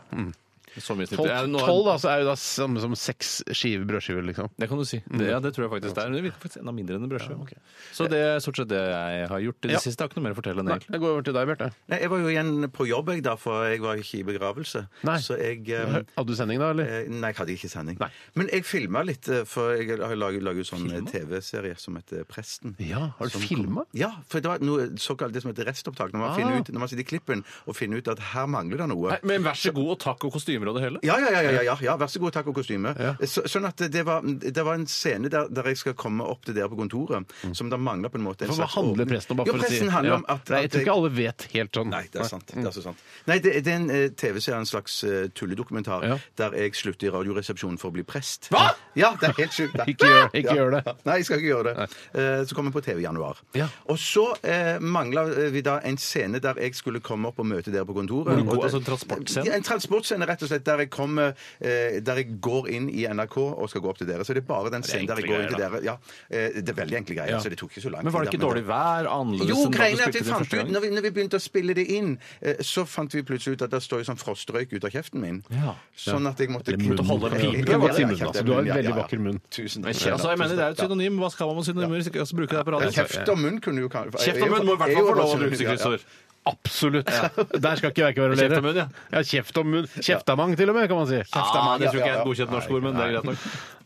[SPEAKER 5] Så mye snitter. Jeg- nå har-
[SPEAKER 4] Tolv altså, er jo da samme som seks skiver brødskiver, liksom.
[SPEAKER 5] Det kan du si. Det, Mm. ja, det tror jeg faktisk det er. Men det virker faktisk enda mindre enn en brødskive. Så det er stort sett det jeg har gjort i det
[SPEAKER 4] Ja.
[SPEAKER 5] siste. Jeg har ikke noe mer å fortelle enn
[SPEAKER 4] Nei,
[SPEAKER 5] det, egentlig.
[SPEAKER 4] jeg går over til deg, Bjarte.
[SPEAKER 6] Nei, jeg var jo igjen på jobb, jeg, da, for jeg var ikke i begravelse.
[SPEAKER 4] Nei.
[SPEAKER 6] Så jeg eh,
[SPEAKER 4] Hadde du sending da, eller?
[SPEAKER 6] Eh, Nei, jeg hadde ikke sending. Men jeg filma litt, eh, for jeg har laget, laget sånn eh, TV-serie som heter Presten.
[SPEAKER 4] Ja, har du
[SPEAKER 6] Som
[SPEAKER 4] filmet?
[SPEAKER 6] kom- Ja, for det var noe såkalt det som heter restopptak. Når man,
[SPEAKER 4] Ah.
[SPEAKER 6] finner ut, når man sitter i klippen og finner ut at her mangler det noe.
[SPEAKER 5] Men vær så god og takk og kostymer og det hele.
[SPEAKER 6] Ja, ja, ja, ja, ja, ja, vær så god, takk og kostyme. Så, sånn at det var, det var en scene der, der jeg skal komme opp til dere på kontoret, som da mangler på en måte en
[SPEAKER 4] Mm. For Hva
[SPEAKER 6] slags
[SPEAKER 4] handler
[SPEAKER 6] åpning.
[SPEAKER 4] presten om? Bare
[SPEAKER 6] jo,
[SPEAKER 4] for å si-
[SPEAKER 6] presten handler
[SPEAKER 4] Ja.
[SPEAKER 6] om at,
[SPEAKER 4] Nei, Jeg
[SPEAKER 6] at
[SPEAKER 4] tror
[SPEAKER 6] jeg-
[SPEAKER 4] ikke alle vet helt sånn.
[SPEAKER 6] Nei, det er sant. Det er så sant. Nei, det, det er en eh, TV-serie, en slags eh, tulledokumentar,
[SPEAKER 4] Ja.
[SPEAKER 6] der jeg slutter i Radioresepsjonen for å bli prest. Hva?! Ja, det er helt sjukt. det.
[SPEAKER 4] Ikke gjør- ikke
[SPEAKER 6] Ja.
[SPEAKER 4] gjør det.
[SPEAKER 6] Nei, jeg skal ikke gjøre det. Eh, så kommer jeg på TV i januar.
[SPEAKER 4] Ja.
[SPEAKER 6] Og så eh, mangla vi da en scene der jeg skulle komme opp og møte dere på kontoret.
[SPEAKER 5] Hvor du går-
[SPEAKER 6] Og det-
[SPEAKER 5] altså en transportscene?
[SPEAKER 6] Ja, En transportscene, rett og slett, der jeg, kommer, eh, der jeg går inn i NRK og skal gå opp til dere. Så det er bare den scenen der jeg
[SPEAKER 5] enkle
[SPEAKER 6] går inn til
[SPEAKER 5] greier,
[SPEAKER 6] dere. Ja, eh, det er veldig enkle greier, så det tok ikke så lang tid.
[SPEAKER 5] Men var det
[SPEAKER 6] da,
[SPEAKER 5] ikke dårlig vær? Annerledes
[SPEAKER 6] jo,
[SPEAKER 5] enn da du
[SPEAKER 6] greien er at vi
[SPEAKER 5] spilte den
[SPEAKER 6] fant
[SPEAKER 5] første
[SPEAKER 6] ut,
[SPEAKER 5] gangen?
[SPEAKER 6] når vi, når vi begynte å spille det inn, eh, så fant vi plutselig ut at det står jo sånn frostrøyk ut av kjeften min.
[SPEAKER 5] Ja.
[SPEAKER 6] Sånn at jeg måtte
[SPEAKER 4] Eller munnen.
[SPEAKER 5] Måtte holde
[SPEAKER 4] Ja,
[SPEAKER 5] pipen.
[SPEAKER 4] det var
[SPEAKER 5] Ja,
[SPEAKER 4] til
[SPEAKER 5] ja,
[SPEAKER 4] munnen,
[SPEAKER 5] ja,
[SPEAKER 4] altså. Du har en
[SPEAKER 6] ja, ja,
[SPEAKER 4] veldig
[SPEAKER 6] ja.
[SPEAKER 4] vakker munn.
[SPEAKER 6] Tusen
[SPEAKER 5] Men kje- Altså, jeg mener, Det er jo et synonym. Hva skal man med synonymer? Skal jeg også bruke det på
[SPEAKER 6] Ja.
[SPEAKER 5] radio?
[SPEAKER 6] Kjeft og munn kunne jo kanskje
[SPEAKER 5] Kjeft og munn må i hvert fall få lov å bruke
[SPEAKER 6] Ja, ja.
[SPEAKER 5] kryssord.
[SPEAKER 4] Absolutt. Der skal ikke verken være
[SPEAKER 5] Kjeft og munn, ja.
[SPEAKER 4] ja. Kjeft og munn. Kjeftamang, til og med, kan man si.
[SPEAKER 5] Ah, det tror ikke jeg er et
[SPEAKER 6] ja.
[SPEAKER 5] godkjent norsk ord, men det er greit nok.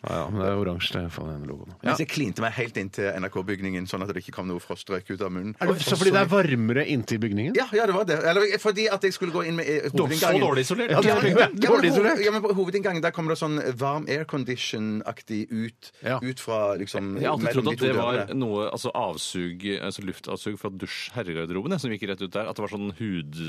[SPEAKER 4] Ja, ja, men det er oransje, det er faen den logoen. Ja.
[SPEAKER 6] Mens jeg klinte meg helt inn til NRK-bygningen, sånn at det ikke kom noe frostrøyk ut av munnen.
[SPEAKER 4] Er det, så fordi det er varmere inntil bygningen?
[SPEAKER 6] Ja, ja, det var det. Eller fordi at jeg skulle gå inn med eh, hovedinngangen.
[SPEAKER 5] Så dårlig isolert.
[SPEAKER 6] Ja, men-
[SPEAKER 4] Ja,
[SPEAKER 6] ja, men
[SPEAKER 4] dårlig
[SPEAKER 6] hoved-
[SPEAKER 4] isolert.
[SPEAKER 6] Ja, men på hovedinngangen der kommer det sånn varm aircondition-aktig ut,
[SPEAKER 4] Ja.
[SPEAKER 6] ut fra liksom
[SPEAKER 5] Jeg har alltid
[SPEAKER 6] mellom
[SPEAKER 5] trodd
[SPEAKER 6] de
[SPEAKER 5] at
[SPEAKER 6] to
[SPEAKER 5] det var
[SPEAKER 6] dørene.
[SPEAKER 5] noe altså avsug, altså luftavsug fra dusj-herregarderoben jeg, som gikk rett ut der. At det var sånn hud...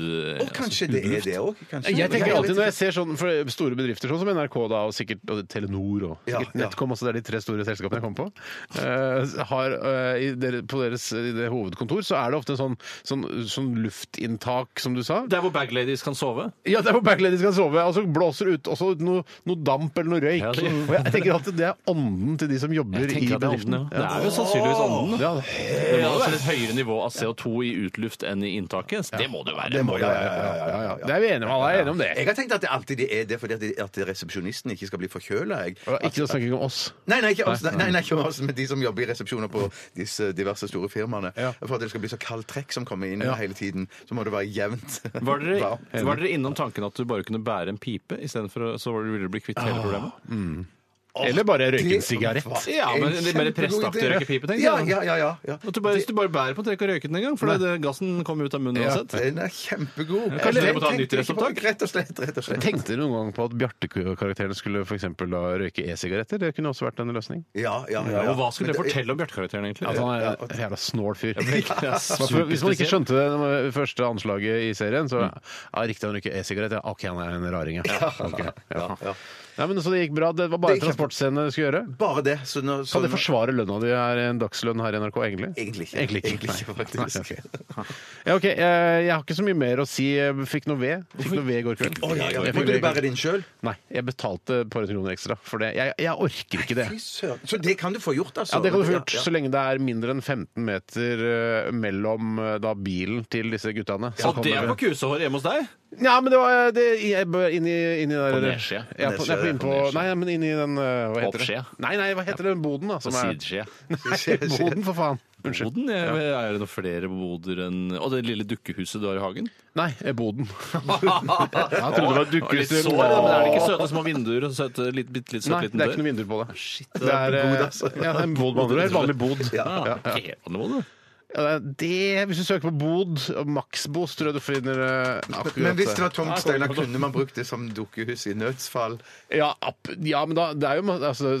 [SPEAKER 6] Å, kanskje det er det òg?
[SPEAKER 4] Jeg tenker alltid når jeg ser sånn for store bedrifter sånn som NRK da, og sikkert og Telenor og
[SPEAKER 6] Ja,
[SPEAKER 4] sikkert
[SPEAKER 6] ja.
[SPEAKER 4] Netcom også, det er de tre store selskapene jeg kommer på, eh, har, eh, i dere, på deres i det hovedkontor så er det ofte en sånn, sånn, sånn luftinntak, som du sa.
[SPEAKER 5] Der hvor bagladies kan sove.
[SPEAKER 4] Ja, det er hvor backladies kan sove, og så blåser det ut også ut noe, noe damp eller noe røyk.
[SPEAKER 5] Ja, det-
[SPEAKER 4] og jeg tenker alltid det er ånden til de som jobber i
[SPEAKER 5] tenker at det er
[SPEAKER 4] bedriften.
[SPEAKER 5] ånden, ja. Det er jo sannsynligvis ånden.
[SPEAKER 4] Ja,
[SPEAKER 5] Det må jo være et høyere nivå av CO2 i utluft enn i inntaket. Det må det jo være.
[SPEAKER 6] ja, ja, ja, ja, ja,
[SPEAKER 4] ja,
[SPEAKER 6] ja.
[SPEAKER 4] ja. Det er vi enige om, alle er enige om det.
[SPEAKER 6] Jeg har tenkt at det alltid er det fordi at, at resepsjonisten ikke skal bli forkjøla. jeg.
[SPEAKER 4] Og Ikke å snakke om oss.
[SPEAKER 6] Nei, nei, ikke oss, nei, nei, nei, ikke oss, men de som jobber i resepsjoner på disse diverse store firmaene.
[SPEAKER 4] Ja.
[SPEAKER 6] For at det skal bli så kaldt trekk som kommer inn
[SPEAKER 4] Ja.
[SPEAKER 6] hele tiden, så må det være jevnt.
[SPEAKER 5] Var dere,
[SPEAKER 6] Varmt.
[SPEAKER 5] var dere innom tanken at du bare kunne bære en pipe, i stedet for å- så var det- ville du bli kvitt hele problemet?
[SPEAKER 4] Eller bare røyke en
[SPEAKER 6] det-
[SPEAKER 4] sigarett.
[SPEAKER 5] Ja, men litt mer
[SPEAKER 6] Kjempegod
[SPEAKER 5] prestaktig
[SPEAKER 6] idé.
[SPEAKER 5] røykepipe, tenker
[SPEAKER 6] Ja,
[SPEAKER 5] jeg.
[SPEAKER 6] ja, ja, ja, ja.
[SPEAKER 5] At du bare, hvis du bare bærer på den, ikke røyke den engang, for det, gassen kommer ut av munnen uansett.
[SPEAKER 6] Den er kjempegod.
[SPEAKER 5] kanskje dere må ta
[SPEAKER 6] Jeg
[SPEAKER 5] nytt
[SPEAKER 6] tenkte ikke på-
[SPEAKER 5] restopptak?
[SPEAKER 6] Rett og slett. rett og slett.
[SPEAKER 4] Tenkte dere noen gang på at Bjarte-karakterene skulle for eksempel da røyke e-sigaretter? Det kunne også vært en løsning.
[SPEAKER 6] Ja, ja, ja,
[SPEAKER 5] Ja,
[SPEAKER 6] ja.
[SPEAKER 5] og hva skulle
[SPEAKER 6] Men
[SPEAKER 5] det
[SPEAKER 6] det-
[SPEAKER 5] fortelle om Bjarte-karakteren, egentlig?
[SPEAKER 4] At han er en jævla snål fyr.
[SPEAKER 5] Ja,
[SPEAKER 4] For Hvis man ikke
[SPEAKER 5] superspesiell.
[SPEAKER 4] skjønte det med første anslaget i serien, så
[SPEAKER 6] Mm.
[SPEAKER 4] ja, riktig han røyker e-sigarett. Ja, OK, han er en raring, ja. Ok, ja. Nei, men Så det gikk bra. Det var bare
[SPEAKER 6] Det gikk kjempe-
[SPEAKER 4] transportscene du skulle gjøre?
[SPEAKER 6] Bare det. Så nå, så
[SPEAKER 4] Kan det
[SPEAKER 6] nå-
[SPEAKER 4] forsvare lønna di er en dagslønn her i NRK, egentlig?
[SPEAKER 6] Egentlig ikke.
[SPEAKER 4] Egentlig ikke,
[SPEAKER 6] Egentlig ikke,
[SPEAKER 4] Nei.
[SPEAKER 6] faktisk.
[SPEAKER 4] Nei, ok. Ja, ok, eh, Jeg har ikke så mye mer å si. Jeg fikk noe ved. Fikk noe ved i går kveld.
[SPEAKER 6] Å, ja, ja.
[SPEAKER 4] Jeg
[SPEAKER 6] Må
[SPEAKER 4] fikk
[SPEAKER 6] du
[SPEAKER 4] ved i går.
[SPEAKER 6] bære din sjøl?
[SPEAKER 4] Nei, jeg betalte et par hundre kroner ekstra for det. Jeg, jeg orker ikke det.
[SPEAKER 6] Så det kan du få gjort, altså?
[SPEAKER 4] Ja, Det kan du få gjort
[SPEAKER 6] Ja, ja.
[SPEAKER 4] så lenge det er mindre enn 15 meter eh, mellom eh, da bilen til disse guttene. Så
[SPEAKER 5] Og
[SPEAKER 4] kan
[SPEAKER 5] det er
[SPEAKER 4] dere-
[SPEAKER 5] på kusehåret hjemme hos deg?
[SPEAKER 4] Ja, men det var eh, det, jeg bør inn i, inn i der,
[SPEAKER 5] På nedskje.
[SPEAKER 4] Ja, på, nei, på, inn på,
[SPEAKER 5] Nedskje.
[SPEAKER 4] nei, men inn i den eh, Hva heter
[SPEAKER 5] Oppskje.
[SPEAKER 4] det? Nei, nei, hva heter den boden, da?
[SPEAKER 5] På
[SPEAKER 4] som er-
[SPEAKER 5] sideskje.
[SPEAKER 4] Nei, boden, for faen. Unnskyld.
[SPEAKER 5] Boden? Jeg, Er det noen flere boder enn Og det lille dukkehuset du har i hagen?
[SPEAKER 4] Nei, eh, boden. Jeg trodde det var
[SPEAKER 5] Og litt
[SPEAKER 4] dukkehus.
[SPEAKER 5] sår, da, men er det ikke søte små vinduer og søte, litt, bitte litt søte
[SPEAKER 4] Nei, det
[SPEAKER 5] liten
[SPEAKER 4] er ikke
[SPEAKER 5] dør?
[SPEAKER 4] noe vinduer på det.
[SPEAKER 5] Shit,
[SPEAKER 4] Ah, Det er, eh, ja, det er en bod, med andre ord. Helt vanlig bod.
[SPEAKER 5] Ja, ikke Ah, helt vanlig bod, det.
[SPEAKER 4] Ja, det, er- hvis du søker på bod, og Maxbo, så tror jeg du finner eh, akkurat
[SPEAKER 6] Men hvis det
[SPEAKER 4] det.
[SPEAKER 6] var tomt, Steinar, kunne man brukt det som dukkehus i nødsfall?
[SPEAKER 4] Ja, app, ja, men da, det er jo ma- altså,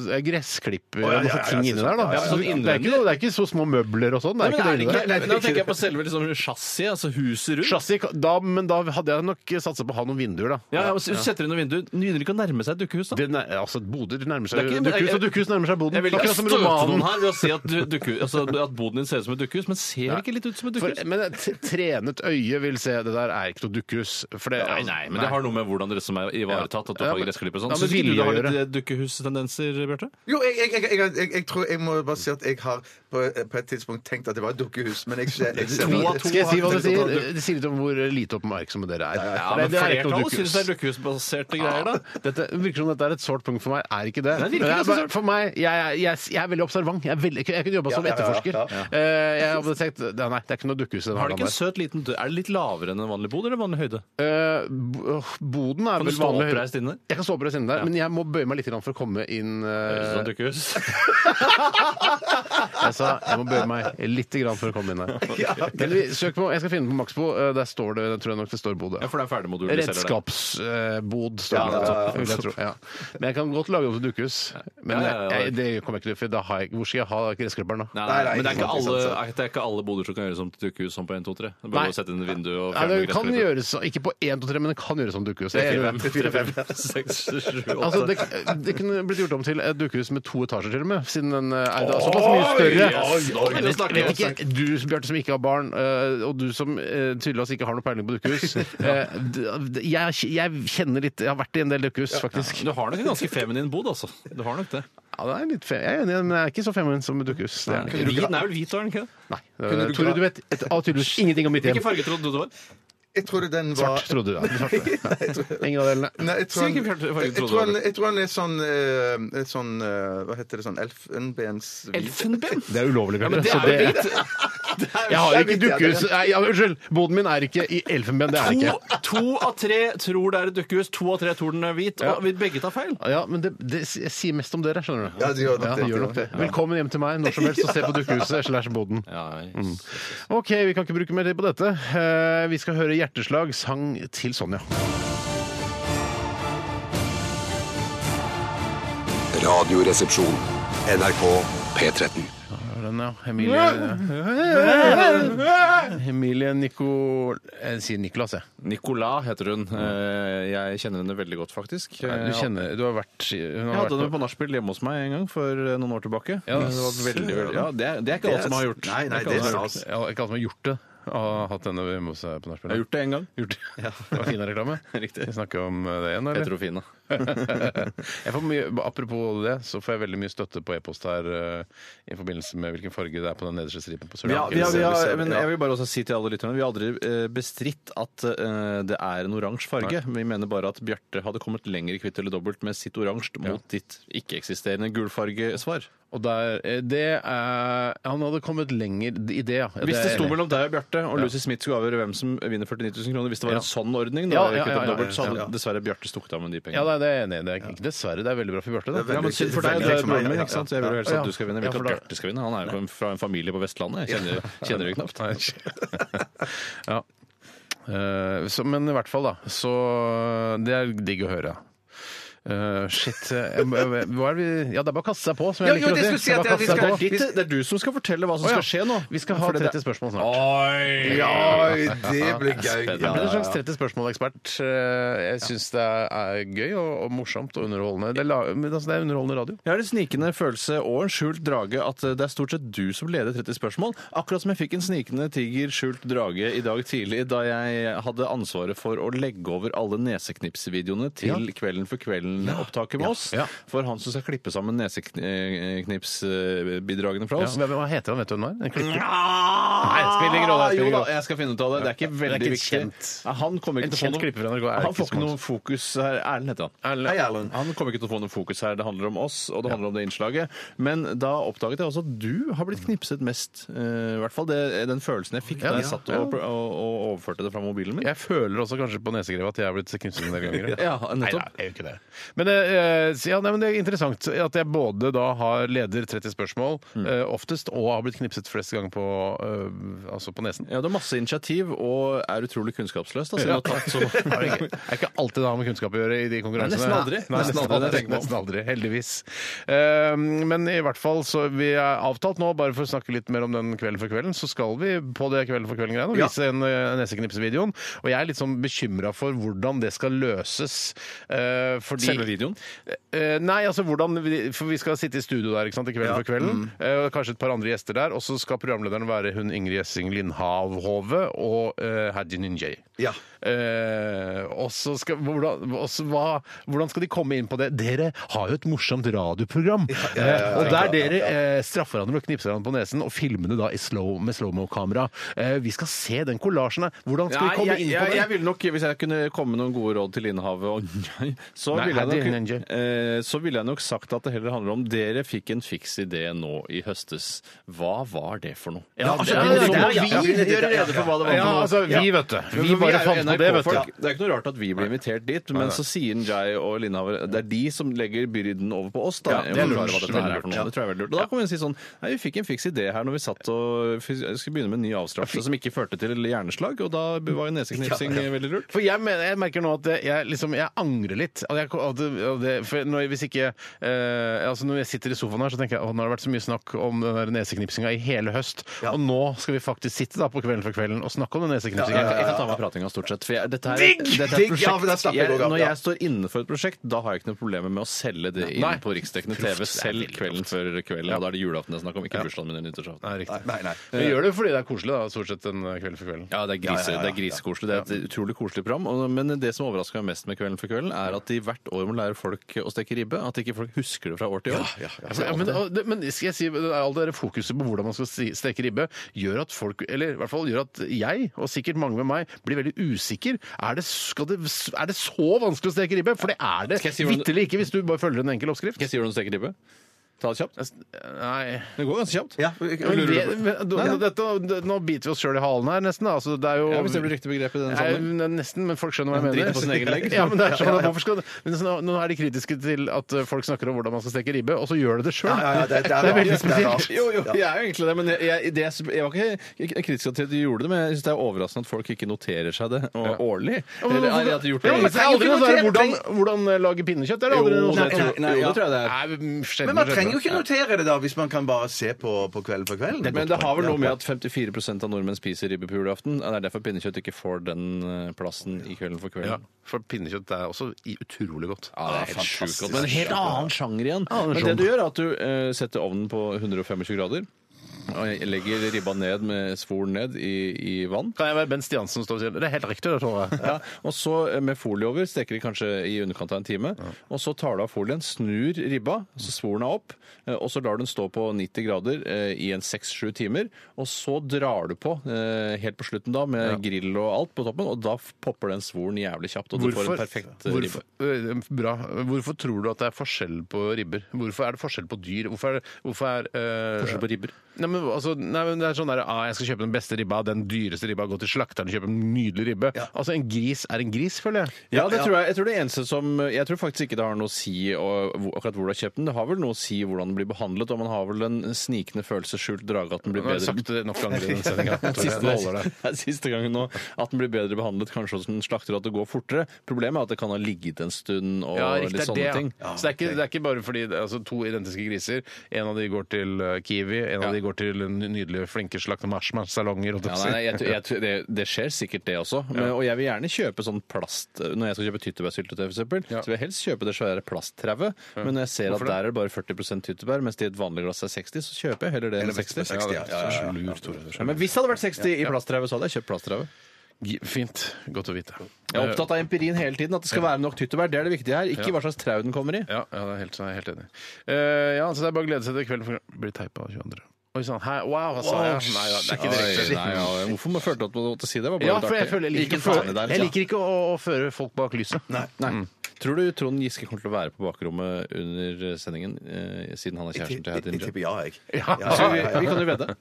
[SPEAKER 6] Å,
[SPEAKER 4] gressklipper
[SPEAKER 6] ja,
[SPEAKER 4] og masse
[SPEAKER 6] ja, ja,
[SPEAKER 4] ting
[SPEAKER 6] ja,
[SPEAKER 4] inni der, da.
[SPEAKER 5] ja, ja, sånn
[SPEAKER 4] det, er ikke noe, det er ikke så små møbler og sånn. Det er ikke
[SPEAKER 5] Nei, men er
[SPEAKER 4] det
[SPEAKER 5] det
[SPEAKER 4] inni
[SPEAKER 5] ikke,
[SPEAKER 4] der.
[SPEAKER 5] men da tenker jeg på selve liksom, chassiset, altså huset rundt.
[SPEAKER 4] Chassis, kan- da, men da hadde jeg nok satsa på å ha noen vinduer, da.
[SPEAKER 5] Ja, ja, og så setter du inn noen vinduer. Du begynner ikke å nærme seg et dukkehus, da.
[SPEAKER 4] Det, nei, altså, boder nærmer seg
[SPEAKER 5] Det er ikke-
[SPEAKER 4] Dukkehus og dukkehus nærmer seg boden.
[SPEAKER 5] Jeg vil ikke
[SPEAKER 4] Akkurat som
[SPEAKER 5] støte
[SPEAKER 4] romanen.
[SPEAKER 5] noen her ved å si at, du, dukke, altså, at boden din ser ut som et dukkehus, men ser det ikke litt ut som et
[SPEAKER 4] For,
[SPEAKER 5] dukkehus?
[SPEAKER 4] men et t- trenet øye vil se det der er ikke noe dukkehus. For det, altså,
[SPEAKER 5] Nei, nei, men det har noe med hvordan dere som er ivaretatt, at du
[SPEAKER 4] Ja,
[SPEAKER 5] har
[SPEAKER 4] men-
[SPEAKER 5] gressklipper og sånn.
[SPEAKER 4] Ja, men
[SPEAKER 5] Syns ikke du
[SPEAKER 4] vilje
[SPEAKER 5] det har
[SPEAKER 4] å
[SPEAKER 5] litt dukkehustendenser, Bjarte?
[SPEAKER 6] Jo, jeg, jeg, jeg, jeg, jeg, jeg tror jeg må bare si at jeg har på, eh, på et tidspunkt tenkt at det var et dukkehus, men jeg ser, jeg ser
[SPEAKER 5] To av to
[SPEAKER 4] Skal jeg si hva det sier? Det sier litt om hvor lite oppmerksomme dere er.
[SPEAKER 5] Ja,
[SPEAKER 4] For det-
[SPEAKER 5] men
[SPEAKER 4] det er ikke noe
[SPEAKER 5] flertallet syns
[SPEAKER 4] dukkehus.
[SPEAKER 5] det er dukkehusbaserte greier, da.
[SPEAKER 4] Dette virker som dette er et sårt punkt for meg. Er ikke det?
[SPEAKER 5] Nei, det virker
[SPEAKER 4] Men jeg,
[SPEAKER 5] ikke så
[SPEAKER 4] bare-
[SPEAKER 5] sårt.
[SPEAKER 4] for meg, jeg, er- jeg, er- jeg er veldig observant. Jeg, er veldig, jeg kunne jobba som
[SPEAKER 6] Ja, ja, ja,
[SPEAKER 4] etterforsker.
[SPEAKER 6] ja,
[SPEAKER 4] Eh, Jeg hadde tenkt nei, nei, det er ikke noe dukkehus i den
[SPEAKER 5] Har
[SPEAKER 4] her
[SPEAKER 5] det ikke
[SPEAKER 4] der.
[SPEAKER 5] en søt liten dør? Er det litt lavere enn en vanlig bod, eller vanlig høyde?
[SPEAKER 4] Eh, bo- Boden er
[SPEAKER 5] Kan du
[SPEAKER 4] vel
[SPEAKER 5] stå
[SPEAKER 4] vanlig høyde.
[SPEAKER 5] oppreist inne?
[SPEAKER 4] Jeg kan stå oppreist inne der, men jeg må bøye meg litt grann for å komme inn.
[SPEAKER 5] Høres ut
[SPEAKER 4] eh,
[SPEAKER 5] som et dukkehus.
[SPEAKER 4] Jeg sa jeg må bøye meg litt grann for å komme inn her. Men vi, søk på, jeg skal finne på Maxbo. Eh, Der står det, tror jeg nok det står bodet.
[SPEAKER 5] Ja, for det er ferdigmodulet de selger der.
[SPEAKER 4] Redskapsbod står det.
[SPEAKER 5] Ja,
[SPEAKER 4] altså,
[SPEAKER 5] ja, ja, ja.
[SPEAKER 4] vil jeg tro. Ja. Men jeg kan godt lage det til dukkehus. Men
[SPEAKER 5] Ja, ja, ja, ja.
[SPEAKER 4] Jeg, det kommer jeg ikke til, for da har jeg, hvor skal jeg ha gressklipperen da?
[SPEAKER 5] Nei, nei,
[SPEAKER 6] Nei, nei,
[SPEAKER 5] men det er
[SPEAKER 6] ikke
[SPEAKER 5] ikke
[SPEAKER 6] sant, ikke
[SPEAKER 5] alle,
[SPEAKER 6] sant,
[SPEAKER 5] det er ikke alle boder som kan gjøres om til dukkehus sånn på 1, 2, 3. Du
[SPEAKER 4] Nei.
[SPEAKER 5] bør jo sette inn vindu og
[SPEAKER 4] Ja, det
[SPEAKER 5] fjerne
[SPEAKER 4] kan
[SPEAKER 5] gressklipper.
[SPEAKER 4] gjøres ikke på 1, 2, 3, men det kan gjøres som dukkehus. Jeg er enig i det.
[SPEAKER 5] 4-5, 6, 7, 8
[SPEAKER 4] Altså, det, det kunne blitt gjort om til et dukkehus med to etasjer, til og med. Siden den eh, er da såpass mye større.
[SPEAKER 5] yes, nå begynner vi å
[SPEAKER 4] Vet-
[SPEAKER 5] snakke,
[SPEAKER 4] vet ikke, du Bjarte som ikke har barn, eh, og du som eh, tydeligvis ikke har noe peiling på dukkehus. eh, d- d- jeg, jeg kjenner litt Jeg har vært i en del dukkehus, faktisk.
[SPEAKER 5] Du har nok en ganske feminin bod, altså. Du har nok det.
[SPEAKER 4] Ja, det er litt fe jeg er enig, men jeg er ikke så feminin som dukkehus. Det er jeg ikke.
[SPEAKER 5] Hvit den er vel hvit, er den ikke det?
[SPEAKER 4] Nei. Eh, Tore, du vet et, av tydeligvis ingenting om mitt hjem.
[SPEAKER 5] Hvilken farge trodde du det var?
[SPEAKER 6] Jeg tror den var
[SPEAKER 4] Svart, trodde du. Ja. Svart, ja. Ingen av delene.
[SPEAKER 6] Nei, jeg tror
[SPEAKER 5] Si
[SPEAKER 6] han,
[SPEAKER 5] hvilken farge- farge
[SPEAKER 6] jeg,
[SPEAKER 5] trodde
[SPEAKER 6] tror
[SPEAKER 5] du
[SPEAKER 6] han, jeg tror han er sånn, eh, et sånn eh, Hva heter det sånn elfenbens...
[SPEAKER 5] Elfenben?
[SPEAKER 4] Det er ulovlig, Bjarte.
[SPEAKER 5] Det
[SPEAKER 4] så
[SPEAKER 5] er jo
[SPEAKER 4] det-
[SPEAKER 5] hvit! Det er
[SPEAKER 4] Jeg
[SPEAKER 5] jo
[SPEAKER 4] har ikke
[SPEAKER 6] Jeg vet det, jeg
[SPEAKER 4] dukkehus Nei, ja, Unnskyld! Boden min er ikke i elfenben. Det er det ikke.
[SPEAKER 5] To, to av tre tror det er et dukkehus, to av tre tror den er hvit, og vi begge tar feil.
[SPEAKER 4] Ja, men det, det s- jeg sier mest om dere, skjønner du.
[SPEAKER 6] Ja, det gjør nok det, det gjør nok det.
[SPEAKER 4] Velkommen hjem til meg når som helst og se på dukkehuset slash boden.
[SPEAKER 5] Mm.
[SPEAKER 4] Ok, vi kan ikke bruke mer tid på dette. Eh, Vi skal høre Hjerteslag sang til Sonja.
[SPEAKER 1] Radioresepsjon. NRK P13.
[SPEAKER 4] Hør den, ja. Emilie Emilie Nicol... Jeg Eh, sier Nicolas, jeg.
[SPEAKER 5] Nicolas heter hun. Eh, Jeg kjenner henne veldig godt, faktisk.
[SPEAKER 4] Du kjenner Du har vært hun
[SPEAKER 5] Jeg
[SPEAKER 4] har
[SPEAKER 5] hadde henne
[SPEAKER 4] vært
[SPEAKER 5] på nachspiel hjemme hos meg en gang for eh, noen år tilbake.
[SPEAKER 4] Ja,
[SPEAKER 5] det, var veldig, veldig, ja, det, er, det er ikke alle som har gjort.
[SPEAKER 6] Nei, nei,
[SPEAKER 5] er
[SPEAKER 6] det
[SPEAKER 5] ikke alle
[SPEAKER 6] er
[SPEAKER 5] som har gjort.
[SPEAKER 6] stas.
[SPEAKER 4] Jeg har ikke alle som har gjort det. Har hatt henne hjemme hos seg på
[SPEAKER 5] Jeg Altså, har
[SPEAKER 4] nachspiel.
[SPEAKER 5] gjort det en gang.
[SPEAKER 4] Gjort det. Det var fin reklame.
[SPEAKER 5] Riktig.
[SPEAKER 4] Vi snakker om eh, det igjen, eller?
[SPEAKER 5] Petrofina.
[SPEAKER 4] jeg får mye, apropos det, så får jeg veldig mye støtte på e-post her eh, i forbindelse med hvilken farge det er på den nederste stripen på
[SPEAKER 5] Ja,
[SPEAKER 4] Sørlandet.
[SPEAKER 5] vi har, vi har, men jeg vil bare også si til alle lytterne Vi har aldri eh, bestridt at eh, det er en oransje farge. Vi mener bare at Bjarte hadde kommet lenger i kvitt eller dobbelt med sitt oransje mot ditt ikke-eksisterende gulfargesvar.
[SPEAKER 4] Og der, eh, det er, Han hadde kommet lenger i det, ja.
[SPEAKER 5] Hvis
[SPEAKER 4] er
[SPEAKER 5] det sto
[SPEAKER 4] enig.
[SPEAKER 5] mellom deg og Bjarte, og Lucy Smith skulle avgjøre hvem som vinner 49 000 kroner, hvis det var en sånn ordning, da,
[SPEAKER 4] Ja, ja,
[SPEAKER 5] kvitt
[SPEAKER 4] ja,
[SPEAKER 5] eller
[SPEAKER 4] ja,
[SPEAKER 5] dobbelt, så
[SPEAKER 4] ja,
[SPEAKER 5] hadde
[SPEAKER 4] ja.
[SPEAKER 5] dessverre Bjarte stukket av med de
[SPEAKER 4] Ja,
[SPEAKER 5] pengene.
[SPEAKER 4] nei, det er jeg enig. i. Det er ikke, dessverre, det er veldig bra for Bjarte.
[SPEAKER 6] Det er
[SPEAKER 4] da.
[SPEAKER 5] Ja, men synd for deg,
[SPEAKER 6] Veldig
[SPEAKER 5] det er
[SPEAKER 6] for meg,
[SPEAKER 5] broren min,
[SPEAKER 6] ja.
[SPEAKER 5] ikke sant? Så jeg vil jo helst
[SPEAKER 4] Ja.
[SPEAKER 5] at du skal vinne. Jeg vil
[SPEAKER 4] Ja,
[SPEAKER 5] ikke
[SPEAKER 4] for da-
[SPEAKER 5] at Bjarte skal vinne. Han er jo fra en familie på Vestlandet. Jeg kjenner, kjenner det knapt.
[SPEAKER 4] Ja. Eh, så, men i hvert fall, da. Så det er digg å høre. Eh, shit eh, Hva er det vi Ja, det er bare å kaste seg på, som jeg
[SPEAKER 6] Ja, jo,
[SPEAKER 4] liker
[SPEAKER 6] det
[SPEAKER 4] å
[SPEAKER 6] skulle
[SPEAKER 4] si.
[SPEAKER 6] si at
[SPEAKER 4] Det er bare å
[SPEAKER 6] vi
[SPEAKER 4] kaste
[SPEAKER 6] skal-
[SPEAKER 4] seg på.
[SPEAKER 6] ditt-
[SPEAKER 5] det er du som skal fortelle hva som
[SPEAKER 4] Å, ja.
[SPEAKER 5] skal skje nå.
[SPEAKER 4] Vi skal ha
[SPEAKER 5] Fordi det-
[SPEAKER 4] 30 spørsmål snart.
[SPEAKER 5] Oi!
[SPEAKER 6] Oi, det blir gøy.
[SPEAKER 4] Jeg blir en slags 30 spørsmål-ekspert. eh, Jeg syns det er gøy og, og morsomt og underholdende. Det er, la, men altså, det er underholdende radio.
[SPEAKER 5] Jeg har en snikende følelse og en skjult drage at eh, det er stort sett du som leder 30 spørsmål. Akkurat som jeg fikk en snikende tiger skjult drage i dag tidlig da jeg hadde ansvaret for å legge over alle neseknipsvideoene til Kvelden for kvelden Michelin-opptaket med oss.
[SPEAKER 4] Ja.
[SPEAKER 5] For han som skal klippe sammen neseknipsbidragene fra oss.
[SPEAKER 4] Ja, hva heter han, vet du hvem det er? En klipper.
[SPEAKER 5] Nei,
[SPEAKER 4] det spiller ingen rolle, det spiller
[SPEAKER 5] Jo
[SPEAKER 4] ingen
[SPEAKER 5] da,
[SPEAKER 4] rolle.
[SPEAKER 5] jeg skal finne ut av det. Det er ikke
[SPEAKER 4] Det er
[SPEAKER 5] veldig
[SPEAKER 4] ikke
[SPEAKER 5] viktig.
[SPEAKER 4] kjent.
[SPEAKER 5] Nei, Han kommer
[SPEAKER 4] En
[SPEAKER 5] ikke til å
[SPEAKER 4] kjent
[SPEAKER 5] få
[SPEAKER 4] klipper fra Norge er
[SPEAKER 5] noe Han
[SPEAKER 4] ikke
[SPEAKER 5] får
[SPEAKER 4] så
[SPEAKER 5] ikke noe fokus her. Erlend heter han.
[SPEAKER 6] Mm-hmm. Hei, Erlend.
[SPEAKER 5] Han kommer ikke til å få noe fokus her. Det handler om oss, og det handler om det innslaget. Men da oppdaget jeg også at du har blitt knipset mest. eh, I hvert fall det, den følelsen jeg fikk
[SPEAKER 4] Ja,
[SPEAKER 5] da jeg
[SPEAKER 4] ja,
[SPEAKER 5] satt
[SPEAKER 4] ja.
[SPEAKER 5] og, og, og overførte det fra mobilen min.
[SPEAKER 4] Jeg føler også kanskje på nesegrevet at jeg er blitt knipset en del ganger.
[SPEAKER 5] Ja, nettopp.
[SPEAKER 4] Nei, nei, jeg gjør ikke det. Men, eh, så ja, nei, men det er interessant at jeg både da har leder 30 spørsmål eh, oftest, og har blitt knipset flest ganger på, eh, altså på nesen.
[SPEAKER 5] Ja, Du har masse initiativ og er utrolig kunnskapsløs. Da, siden
[SPEAKER 4] Ja.
[SPEAKER 5] du har tatt
[SPEAKER 4] Det er
[SPEAKER 5] så...
[SPEAKER 4] ikke- det er ikke alltid det har med kunnskap å gjøre i de konkurransene.
[SPEAKER 5] Nei, nesten aldri.
[SPEAKER 4] Nei, nesten,
[SPEAKER 5] Nesten
[SPEAKER 4] aldri,
[SPEAKER 5] aldri, det tenker jeg
[SPEAKER 4] nesten aldri, heldigvis. Eh, men i hvert fall, så vi er avtalt nå, bare for å snakke litt mer om den Kvelden for kvelden, så skal vi på det Kvelden for kvelden-greiene og
[SPEAKER 6] Ja.
[SPEAKER 4] vise en eh, neseknipsevideoen. Og jeg er litt sånn bekymra for hvordan det skal løses. eh, fordi
[SPEAKER 5] Selve videoen?
[SPEAKER 4] Eh, nei, altså hvordan vi, For vi skal sitte i studio der ikke sant, i Kvelden for kvelden. eh, og kanskje et par andre gjester der. Og så skal programlederen være hun Ingrid Gjessing Lindhavhove og uh, Haji Ninjay.
[SPEAKER 6] Ja.
[SPEAKER 4] Eh, og så skal hvordan, og så hva, hvordan skal de komme inn på det? Dere har jo et morsomt radioprogram. eh, og der dere eh, straffer hverandre med å knipse hverandre på nesen og filmer det da i slow, med slowmo-kamera. Eh, vi skal se den kollasjen her. Hvordan skal vi
[SPEAKER 5] Nei,
[SPEAKER 4] komme
[SPEAKER 5] jeg,
[SPEAKER 4] inn på
[SPEAKER 5] jeg,
[SPEAKER 4] det?
[SPEAKER 5] jeg ville nok, Hvis jeg kunne komme med noen gode råd til Innhavet og nei, så,
[SPEAKER 4] Nei,
[SPEAKER 5] ville jeg
[SPEAKER 4] Haddy,
[SPEAKER 5] nok, eh, så ville jeg nok sagt at det heller handler om dere fikk en fiks idé nå i høstes. Hva var det for noe? Ja,
[SPEAKER 4] altså,
[SPEAKER 5] det-
[SPEAKER 4] det- det-
[SPEAKER 5] så må
[SPEAKER 4] ja, ja.
[SPEAKER 5] vi gjøre rede for hva det var
[SPEAKER 4] Ja,
[SPEAKER 5] for noe.
[SPEAKER 4] altså, vi, vet du.
[SPEAKER 5] Men
[SPEAKER 4] Vi bare
[SPEAKER 5] er jo
[SPEAKER 4] fant på det, vet du.
[SPEAKER 5] NRK-folk. Det er ikke noe rart at vi blir invitert dit, men så sier Njay og Lindhaver det er de som legger byrden over på oss. Da,
[SPEAKER 4] Ja, det er
[SPEAKER 5] Og forklarer
[SPEAKER 4] lurt.
[SPEAKER 5] hva dette her
[SPEAKER 4] Veldig
[SPEAKER 5] er for
[SPEAKER 4] lurt.
[SPEAKER 5] noe. Det tror jeg er veldig lurt. Og da kommer vi og sier sånn Nei, vi fikk en fiks idé her når vi satt og f- skulle begynne med en ny avstraffelse som ikke førte til hjerneslag, og da var jo neseknipsing veldig lurt.
[SPEAKER 4] For jeg, mener, jeg merker nå at jeg, liksom, jeg angrer litt. At jeg, at det- at det, for når, jeg- hvis ikke, eh, altså når jeg sitter i sofaen her, så tenker jeg at nå har det vært så mye snakk om den der neseknipsinga i hele høst, og nå skal vi faktisk sitte da på Kvelden for kvelden og snakke om den neseknipsinga.
[SPEAKER 5] Jeg, jeg kan ta meg pratinga stort sett. For jeg, dette her,
[SPEAKER 4] Digg!
[SPEAKER 5] Dette er
[SPEAKER 6] Digg!
[SPEAKER 5] et prosjekt.
[SPEAKER 6] Ja, for der slapp jeg
[SPEAKER 5] jeg,
[SPEAKER 6] også av,
[SPEAKER 5] når
[SPEAKER 6] ja.
[SPEAKER 5] jeg står innenfor et prosjekt, da har jeg ikke noe problemer med å selge det inn
[SPEAKER 4] Nei.
[SPEAKER 5] på riksdekkende
[SPEAKER 4] Proft,
[SPEAKER 5] TV
[SPEAKER 4] det er
[SPEAKER 5] selv
[SPEAKER 4] veldig
[SPEAKER 5] kvelden før kvelden. Og da er det julaften jeg snakker om, ikke bursdagen min eller nyttårsaften.
[SPEAKER 4] Nei, riktig.
[SPEAKER 6] Nei, nei.
[SPEAKER 4] Vi gjør det fordi det er koselig, da, stort sett, den eh, Kvelden for kvelden.
[SPEAKER 5] Ja, det er,
[SPEAKER 6] Ja,
[SPEAKER 5] grise,
[SPEAKER 6] ja, ja, ja.
[SPEAKER 5] det er grisekoselig. Det er et utrolig koselig program. og- Men det som overrasker meg mest med Kvelden for kvelden, er at de hvert år må lære folk å steke ribbe. At ikke folk husker det fra år til år.
[SPEAKER 4] Ja, for- ja, men, og, det, men skal jeg si, det er all det der fokuset på hvordan man skal si- steke ribbe, gjør at folk, eller i hvert fall gjør at jeg, og sikkert mange med meg, blir veldig usikker. Er det, skal det, er det så vanskelig å steke ribbe? For det er det
[SPEAKER 5] Skal jeg si hvordan-
[SPEAKER 4] vitterlig ikke hvis du bare følger en enkel oppskrift.
[SPEAKER 5] Skal jeg si hvordan du steker ribbe? Ta det kjapt.
[SPEAKER 4] Nei
[SPEAKER 5] Det går ganske kjapt.
[SPEAKER 6] Ja.
[SPEAKER 4] men det, men, da- dette, det, Nå biter vi oss sjøl i halen her, nesten. da. Altså, det er jo,
[SPEAKER 5] Ja, hvis det blir riktig begrep i denne
[SPEAKER 4] Nei,
[SPEAKER 5] sammenheng.
[SPEAKER 4] men Nesten, men folk skjønner hva jeg
[SPEAKER 5] Driter
[SPEAKER 4] mener.
[SPEAKER 5] på sin egen legg.
[SPEAKER 4] ja, men det er sånn, at hvorfor skal, det- men så nå, nå er de kritiske til at eh, folk snakker om hvordan man skal steke ribbe, og så gjør de det sjøl.
[SPEAKER 6] ja, ja, det- det er
[SPEAKER 4] det er
[SPEAKER 6] rart.
[SPEAKER 4] veldig
[SPEAKER 6] Det er
[SPEAKER 4] spesielt.
[SPEAKER 6] rart.
[SPEAKER 5] Jo, jo, jeg er jo egentlig det, men jeg, jeg, det, jeg- jeg var ikke kritisk til at de gjorde det, men jeg synes det er overraskende at folk ikke noterer seg det og, årlig. Eller eller at de har gjort det.
[SPEAKER 4] Ja, men det er aldri noe sånn her, hvordan, hvordan eh, lage pinnekjøtt. Det er det aldri
[SPEAKER 5] Jo,
[SPEAKER 4] noe
[SPEAKER 5] det
[SPEAKER 4] sånt.
[SPEAKER 5] tror- jo, det tror jeg det er.
[SPEAKER 4] Nei, sjelden
[SPEAKER 6] Men man
[SPEAKER 4] skjer
[SPEAKER 6] trenger jo
[SPEAKER 4] det.
[SPEAKER 6] ikke notere det, da, hvis man kan bare se på, på Kvelden for kvelden.
[SPEAKER 5] Men det har vel noe med at 54 av nordmenn spiser ribbe på julaften. Det er derfor pinnekjøtt ikke får den eh, plassen i Kvelden for
[SPEAKER 4] Ja,
[SPEAKER 5] kvelden.
[SPEAKER 4] for pinnekjøtt er også i- utrolig godt.
[SPEAKER 5] Ja, det er helt sjukt godt. Men en helt annen sjanger igjen.
[SPEAKER 4] Annen
[SPEAKER 5] Men det
[SPEAKER 4] sjanger.
[SPEAKER 5] du gjør, er sånn. at du eh, setter ovnen på 125 grader. Og legger ribba ned med svoren ned i, i vann.
[SPEAKER 4] Kan jeg være Bent Stiansen som står og sier det er helt riktig, det, Tore?
[SPEAKER 5] Ja, og så eh, med folie over, steker de kanskje i underkant av en time. Og så tar du av folien, snur ribba, så svor den er opp, eh, og så lar du den stå på 90 grader eh, i en 6-7 timer. Og så drar du på eh, helt på slutten da, med grill og alt på toppen, og da f- popper den svoren jævlig kjapt, og du får en perfekt eh,
[SPEAKER 4] hvorfor,
[SPEAKER 5] ribbe.
[SPEAKER 4] øh, bra. hvorfor tror du at det er forskjell på ribber? Hvorfor er det forskjell på dyr? Hvorfor er det hvorfor er, øh,
[SPEAKER 5] Forskjell på ribber.
[SPEAKER 4] Nei, men, altså, nei, men det er sånn der, ah, Jeg skal kjøpe den beste ribba, den dyreste ribba, gå til slakteren og kjøpe en nydelig ribbe. Altså, En gris er en gris, føler jeg.
[SPEAKER 5] Ja, det tror jeg. Jeg tror det eneste som Jeg tror faktisk ikke det har noe å si og, hvor- akkurat hvor du har kjøpt den. Det har vel noe å si hvordan den blir behandlet, og man har vel en snikende følelse skjult drage at den blir
[SPEAKER 4] Nå har jeg
[SPEAKER 5] bedre
[SPEAKER 4] sagt det nok ganger i denne sendinga.
[SPEAKER 5] Siste, det er siste gangen nå at den blir bedre behandlet, kanskje hos en slakter, at det går fortere. Problemet er at det kan ha ligget en stund og
[SPEAKER 4] Ja, riktig,
[SPEAKER 5] litt
[SPEAKER 4] det er
[SPEAKER 5] sånne
[SPEAKER 4] det. ja.
[SPEAKER 5] ting.
[SPEAKER 4] Så det er, ikke, det er ikke bare fordi det- altså, to identiske griser, en av de går til eh, Kiwi, en av de går til en nydelig flinke slakt marshmallow-salonger. holdt jeg
[SPEAKER 5] Ja,
[SPEAKER 4] på å si.
[SPEAKER 5] nei, nei, jeg, tror- jeg, tror- det, det skjer sikkert det også, men, og jeg vil gjerne kjøpe sånn plast Når jeg skal kjøpe tyttebærsyltetøy, f.eks., eksempel så vil jeg helst kjøpe det svære plasttrauet, men når jeg ser
[SPEAKER 4] Hvorfor
[SPEAKER 5] at
[SPEAKER 4] det?
[SPEAKER 5] der er det bare 40 tyttebær, mens det i et vanlig glass er 60, så kjøper jeg heller det enn 60.
[SPEAKER 6] Ja,
[SPEAKER 5] Ja,
[SPEAKER 6] det er så lurt,
[SPEAKER 5] men hvis det hadde vært 60 i plasttrauet, så hadde jeg kjøpt plasttrauet.
[SPEAKER 4] Gi- Fint. Godt å vite.
[SPEAKER 5] Jeg er opptatt av empirien hele tiden. At det skal være nok tyttebær. Det er det viktige her. Ikke hva slags trau den kommer i.
[SPEAKER 4] Eh, Ja, ja det er helt, jeg er helt enig. Eh, ja, så det er bare å glede seg til kvelden for blir teipa 22. Oi sann. Hæ? Wow, hva sa jeg? Nei, ja, det er ikke direkte.
[SPEAKER 5] Oi, nei, ja, hvorfor må jeg følte at du måtte si det? Det var bare
[SPEAKER 4] Ja,
[SPEAKER 5] litt
[SPEAKER 4] for jeg,
[SPEAKER 5] artig.
[SPEAKER 4] føler, jeg, liker,
[SPEAKER 5] Ikke
[SPEAKER 4] ikke å
[SPEAKER 5] faen i
[SPEAKER 4] føre- jeg
[SPEAKER 5] det, altså.
[SPEAKER 4] liker Mm. ikke å, å føre folk bak lyset. Nei.
[SPEAKER 5] Nei. Tror du Trond Giske kommer til å være på bakrommet under sendingen, eh, siden han er kjæresten til Heidi
[SPEAKER 6] Jeg
[SPEAKER 5] Nja?
[SPEAKER 6] tipper ja, jeg.
[SPEAKER 4] Ja.
[SPEAKER 5] Så vi, vi kan jo vedde.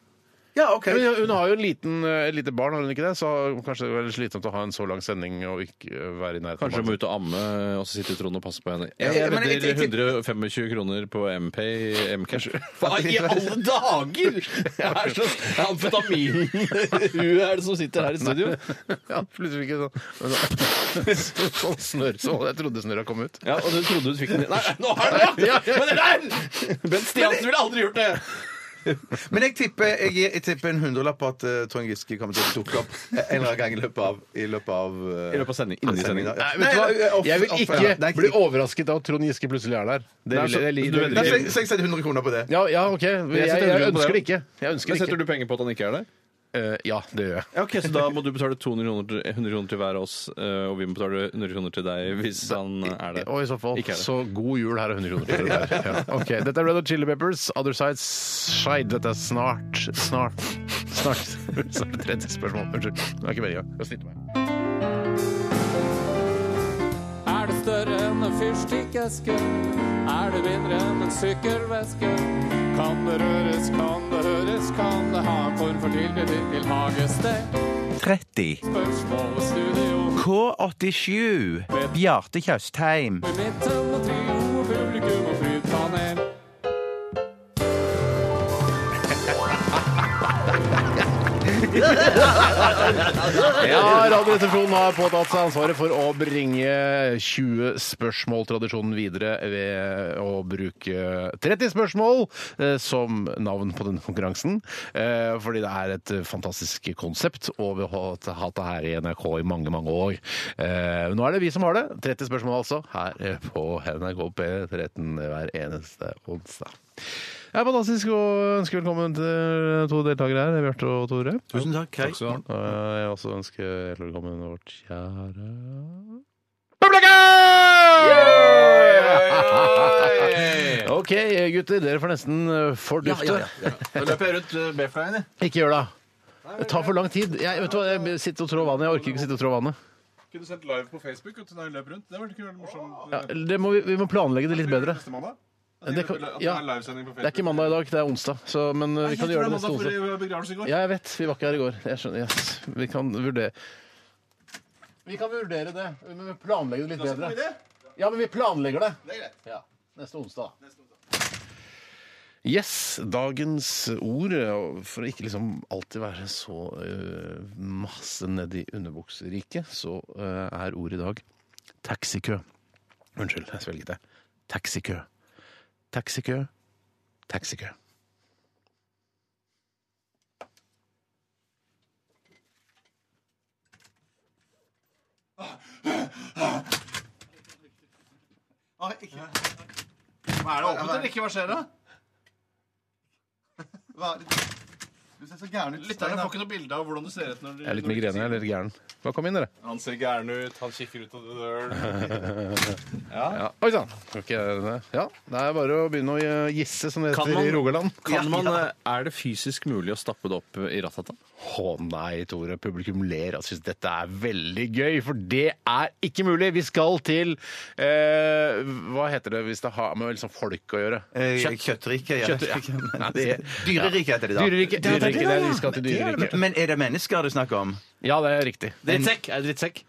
[SPEAKER 6] Ja, OK.
[SPEAKER 4] Men hun- hun har jo en liten, eh, et lite barn, har hun ikke det? Så kanskje det er veldig slitsomt å ha en så lang sending og ikke eh, være i nærheten. av
[SPEAKER 5] Kanskje
[SPEAKER 4] barnet.
[SPEAKER 5] må ut og amme, og så sitter Trond og passer på henne.
[SPEAKER 6] Ja, ja,
[SPEAKER 5] Jeg,
[SPEAKER 6] men jeg- jeg- jeg-
[SPEAKER 5] vedder 125 kroner på MP Mcash. Hva i alle dager?! Jeg er så amfetamin Hun er det som sitter her i studio.
[SPEAKER 4] Ja, plutselig ikke sånn Sånn snørr. Så jeg trodde snørra kom ut.
[SPEAKER 5] Ja, Og du trodde du fikk den Nei, nå har jeg den! ja! Men det der! Bent Stiansen ville aldri gjort det!
[SPEAKER 6] Men jeg tipper, jeg, gir- jeg tipper en hundrelapp på at eh, Trond Giske kommer til å dukke opp en eller annen gang i løpet av I løpet av, eh,
[SPEAKER 5] I løpet av sending- inni
[SPEAKER 6] av sendingen,
[SPEAKER 5] sendingen.
[SPEAKER 6] ja.
[SPEAKER 4] Nei, vet du
[SPEAKER 6] Nei, eh,
[SPEAKER 4] hva?
[SPEAKER 6] off-
[SPEAKER 4] Jeg vil
[SPEAKER 6] off- ja.
[SPEAKER 4] ikke
[SPEAKER 6] Nei,
[SPEAKER 4] bli overrasket av at Trond Giske plutselig er der. Det
[SPEAKER 5] Nei,
[SPEAKER 4] vil,
[SPEAKER 5] så-
[SPEAKER 4] jeg- jeg,
[SPEAKER 5] du
[SPEAKER 4] jeg,
[SPEAKER 6] Nei,
[SPEAKER 5] vedder
[SPEAKER 6] så
[SPEAKER 4] jeg,
[SPEAKER 5] ikke-
[SPEAKER 6] jeg så jeg setter 100 kroner på det.
[SPEAKER 4] ja, ja, OK. Jeg, jeg, ønsker det ikke. Jeg ønsker
[SPEAKER 5] Men
[SPEAKER 4] det
[SPEAKER 5] Setter
[SPEAKER 4] ikke.
[SPEAKER 5] du penger på at han ikke er der?
[SPEAKER 4] Eh, ja, det gjør jeg.
[SPEAKER 5] Ja, ok, Så da må du betale 200 kroner til, 100 kroner til hver av oss, eh, og vi må betale 100 kroner til deg hvis han er der.
[SPEAKER 4] Og i så fall,
[SPEAKER 5] Ikke er det.
[SPEAKER 4] så god jul. Her er 100 kroner. for det der. Ja. Ok, Dette er Red Hot Chili Peppers, Other Sides Shide. Dette er snart Snart. Snart. Så er det 30 spørsmål. Unnskyld. Det var ikke meninga. Jeg snittet meg.
[SPEAKER 7] Er det større enn en fyrstikkeske? Er det mindre enn en sykkelveske? Kan det røres, kan det høres, kan det ha en form for tilknytning til hagested?
[SPEAKER 3] 30.
[SPEAKER 7] Spørsmål og studio
[SPEAKER 3] K87. Bjarte Tjøstheim.
[SPEAKER 7] i midten og trio og publikum og flypanel.
[SPEAKER 4] Ja, Radioresepsjonen har påtatt seg ansvaret for å bringe 20 spørsmål-tradisjonen videre ved å bruke 30 spørsmål eh, som navn på denne konkurransen. Eh, fordi det er et fantastisk konsept, og vi har hatt det her i NRK i mange, mange år. Eh, nå er det vi som har det. 30 spørsmål altså, her eh, på NRK P13 hver eneste onsdag. Det er fantastisk å ønske velkommen til to deltakere her, Bjarte og Tore.
[SPEAKER 6] Tusen takk. Hei.
[SPEAKER 4] Og jeg vil også ønsker hjertelig velkommen vårt kjære Publikum! OK, gutter. Dere får nesten eh, fordufte.
[SPEAKER 5] Da løper jeg rundt
[SPEAKER 8] eh,
[SPEAKER 5] B-flyen, jeg.
[SPEAKER 4] Ikke gjør det. Det tar for lang tid. Jeg, vet du hva, jeg sitter og trår vannet. Jeg orker ikke sitte og trå vannet.
[SPEAKER 8] Kunne sendt live på Facebook uten å løpe rundt. Det var- det kunne vært morsomt.
[SPEAKER 4] Ja, det må, vi, vi må planlegge det litt bedre.
[SPEAKER 8] Neste mandag?
[SPEAKER 4] Det,
[SPEAKER 8] Det,
[SPEAKER 4] kan,
[SPEAKER 8] det
[SPEAKER 4] ja,
[SPEAKER 8] er livesending på
[SPEAKER 4] det er
[SPEAKER 8] Facebook.
[SPEAKER 4] ikke mandag i dag, det er onsdag. Så, men eh, vi kan gjøre det neste
[SPEAKER 8] mandag,
[SPEAKER 4] onsdag.
[SPEAKER 8] for begravelsen i går.
[SPEAKER 4] Ja, jeg vet. Vi var ikke her i går. Jeg skjønner. Yes. Vi kan vurdere Vi kan vurdere det, men vi planlegger det litt bedre. Ja, men vi planlegger det. Det er greit. Ja. Neste onsdag. Yes. Dagens ord, og for å ikke liksom alltid være så eh, masse nedi underbukseriket, så eh, er ordet i dag taxikø. Unnskyld, jeg svelget det. Taxikø. Taxikø. Taxikø.
[SPEAKER 8] Hva er det åpent eller ikke? Hva skjer da? Du ser så gæren ut. Lytterne får ikke noe bilde av hvordan du ser ut. når du...
[SPEAKER 4] Jeg er litt migrene, jeg er litt gæren. Bare kom inn, dere.
[SPEAKER 8] Han ser gæren ut, han kikker ut av døren.
[SPEAKER 4] Ja. Oi sann! Skal ikke jeg- nei. Ja, det er bare å begynne å gisse, som det
[SPEAKER 5] Kan
[SPEAKER 4] heter
[SPEAKER 5] man-
[SPEAKER 4] i Rogaland.
[SPEAKER 5] Kan man, eh, er det fysisk mulig å stappe det opp i rattata?
[SPEAKER 4] Å nei, Tore. Publikum ler og syns dette er veldig gøy, for det er ikke mulig. Vi skal til eh, Hva heter det hvis det har med liksom folk å gjøre?
[SPEAKER 6] Eh, Kjøttrike. ja.
[SPEAKER 4] Kjøtt- ja. Nei, det-
[SPEAKER 6] Dyrerike heter det da.
[SPEAKER 4] Dyreriket.
[SPEAKER 6] Det er det,
[SPEAKER 4] Dyreriket, det er vi skal til
[SPEAKER 6] Det er det,
[SPEAKER 4] dyreriket.
[SPEAKER 6] men er det mennesker det er snakk om?
[SPEAKER 4] Ja, det er riktig.
[SPEAKER 5] Drittsekk! Er det drittsekk?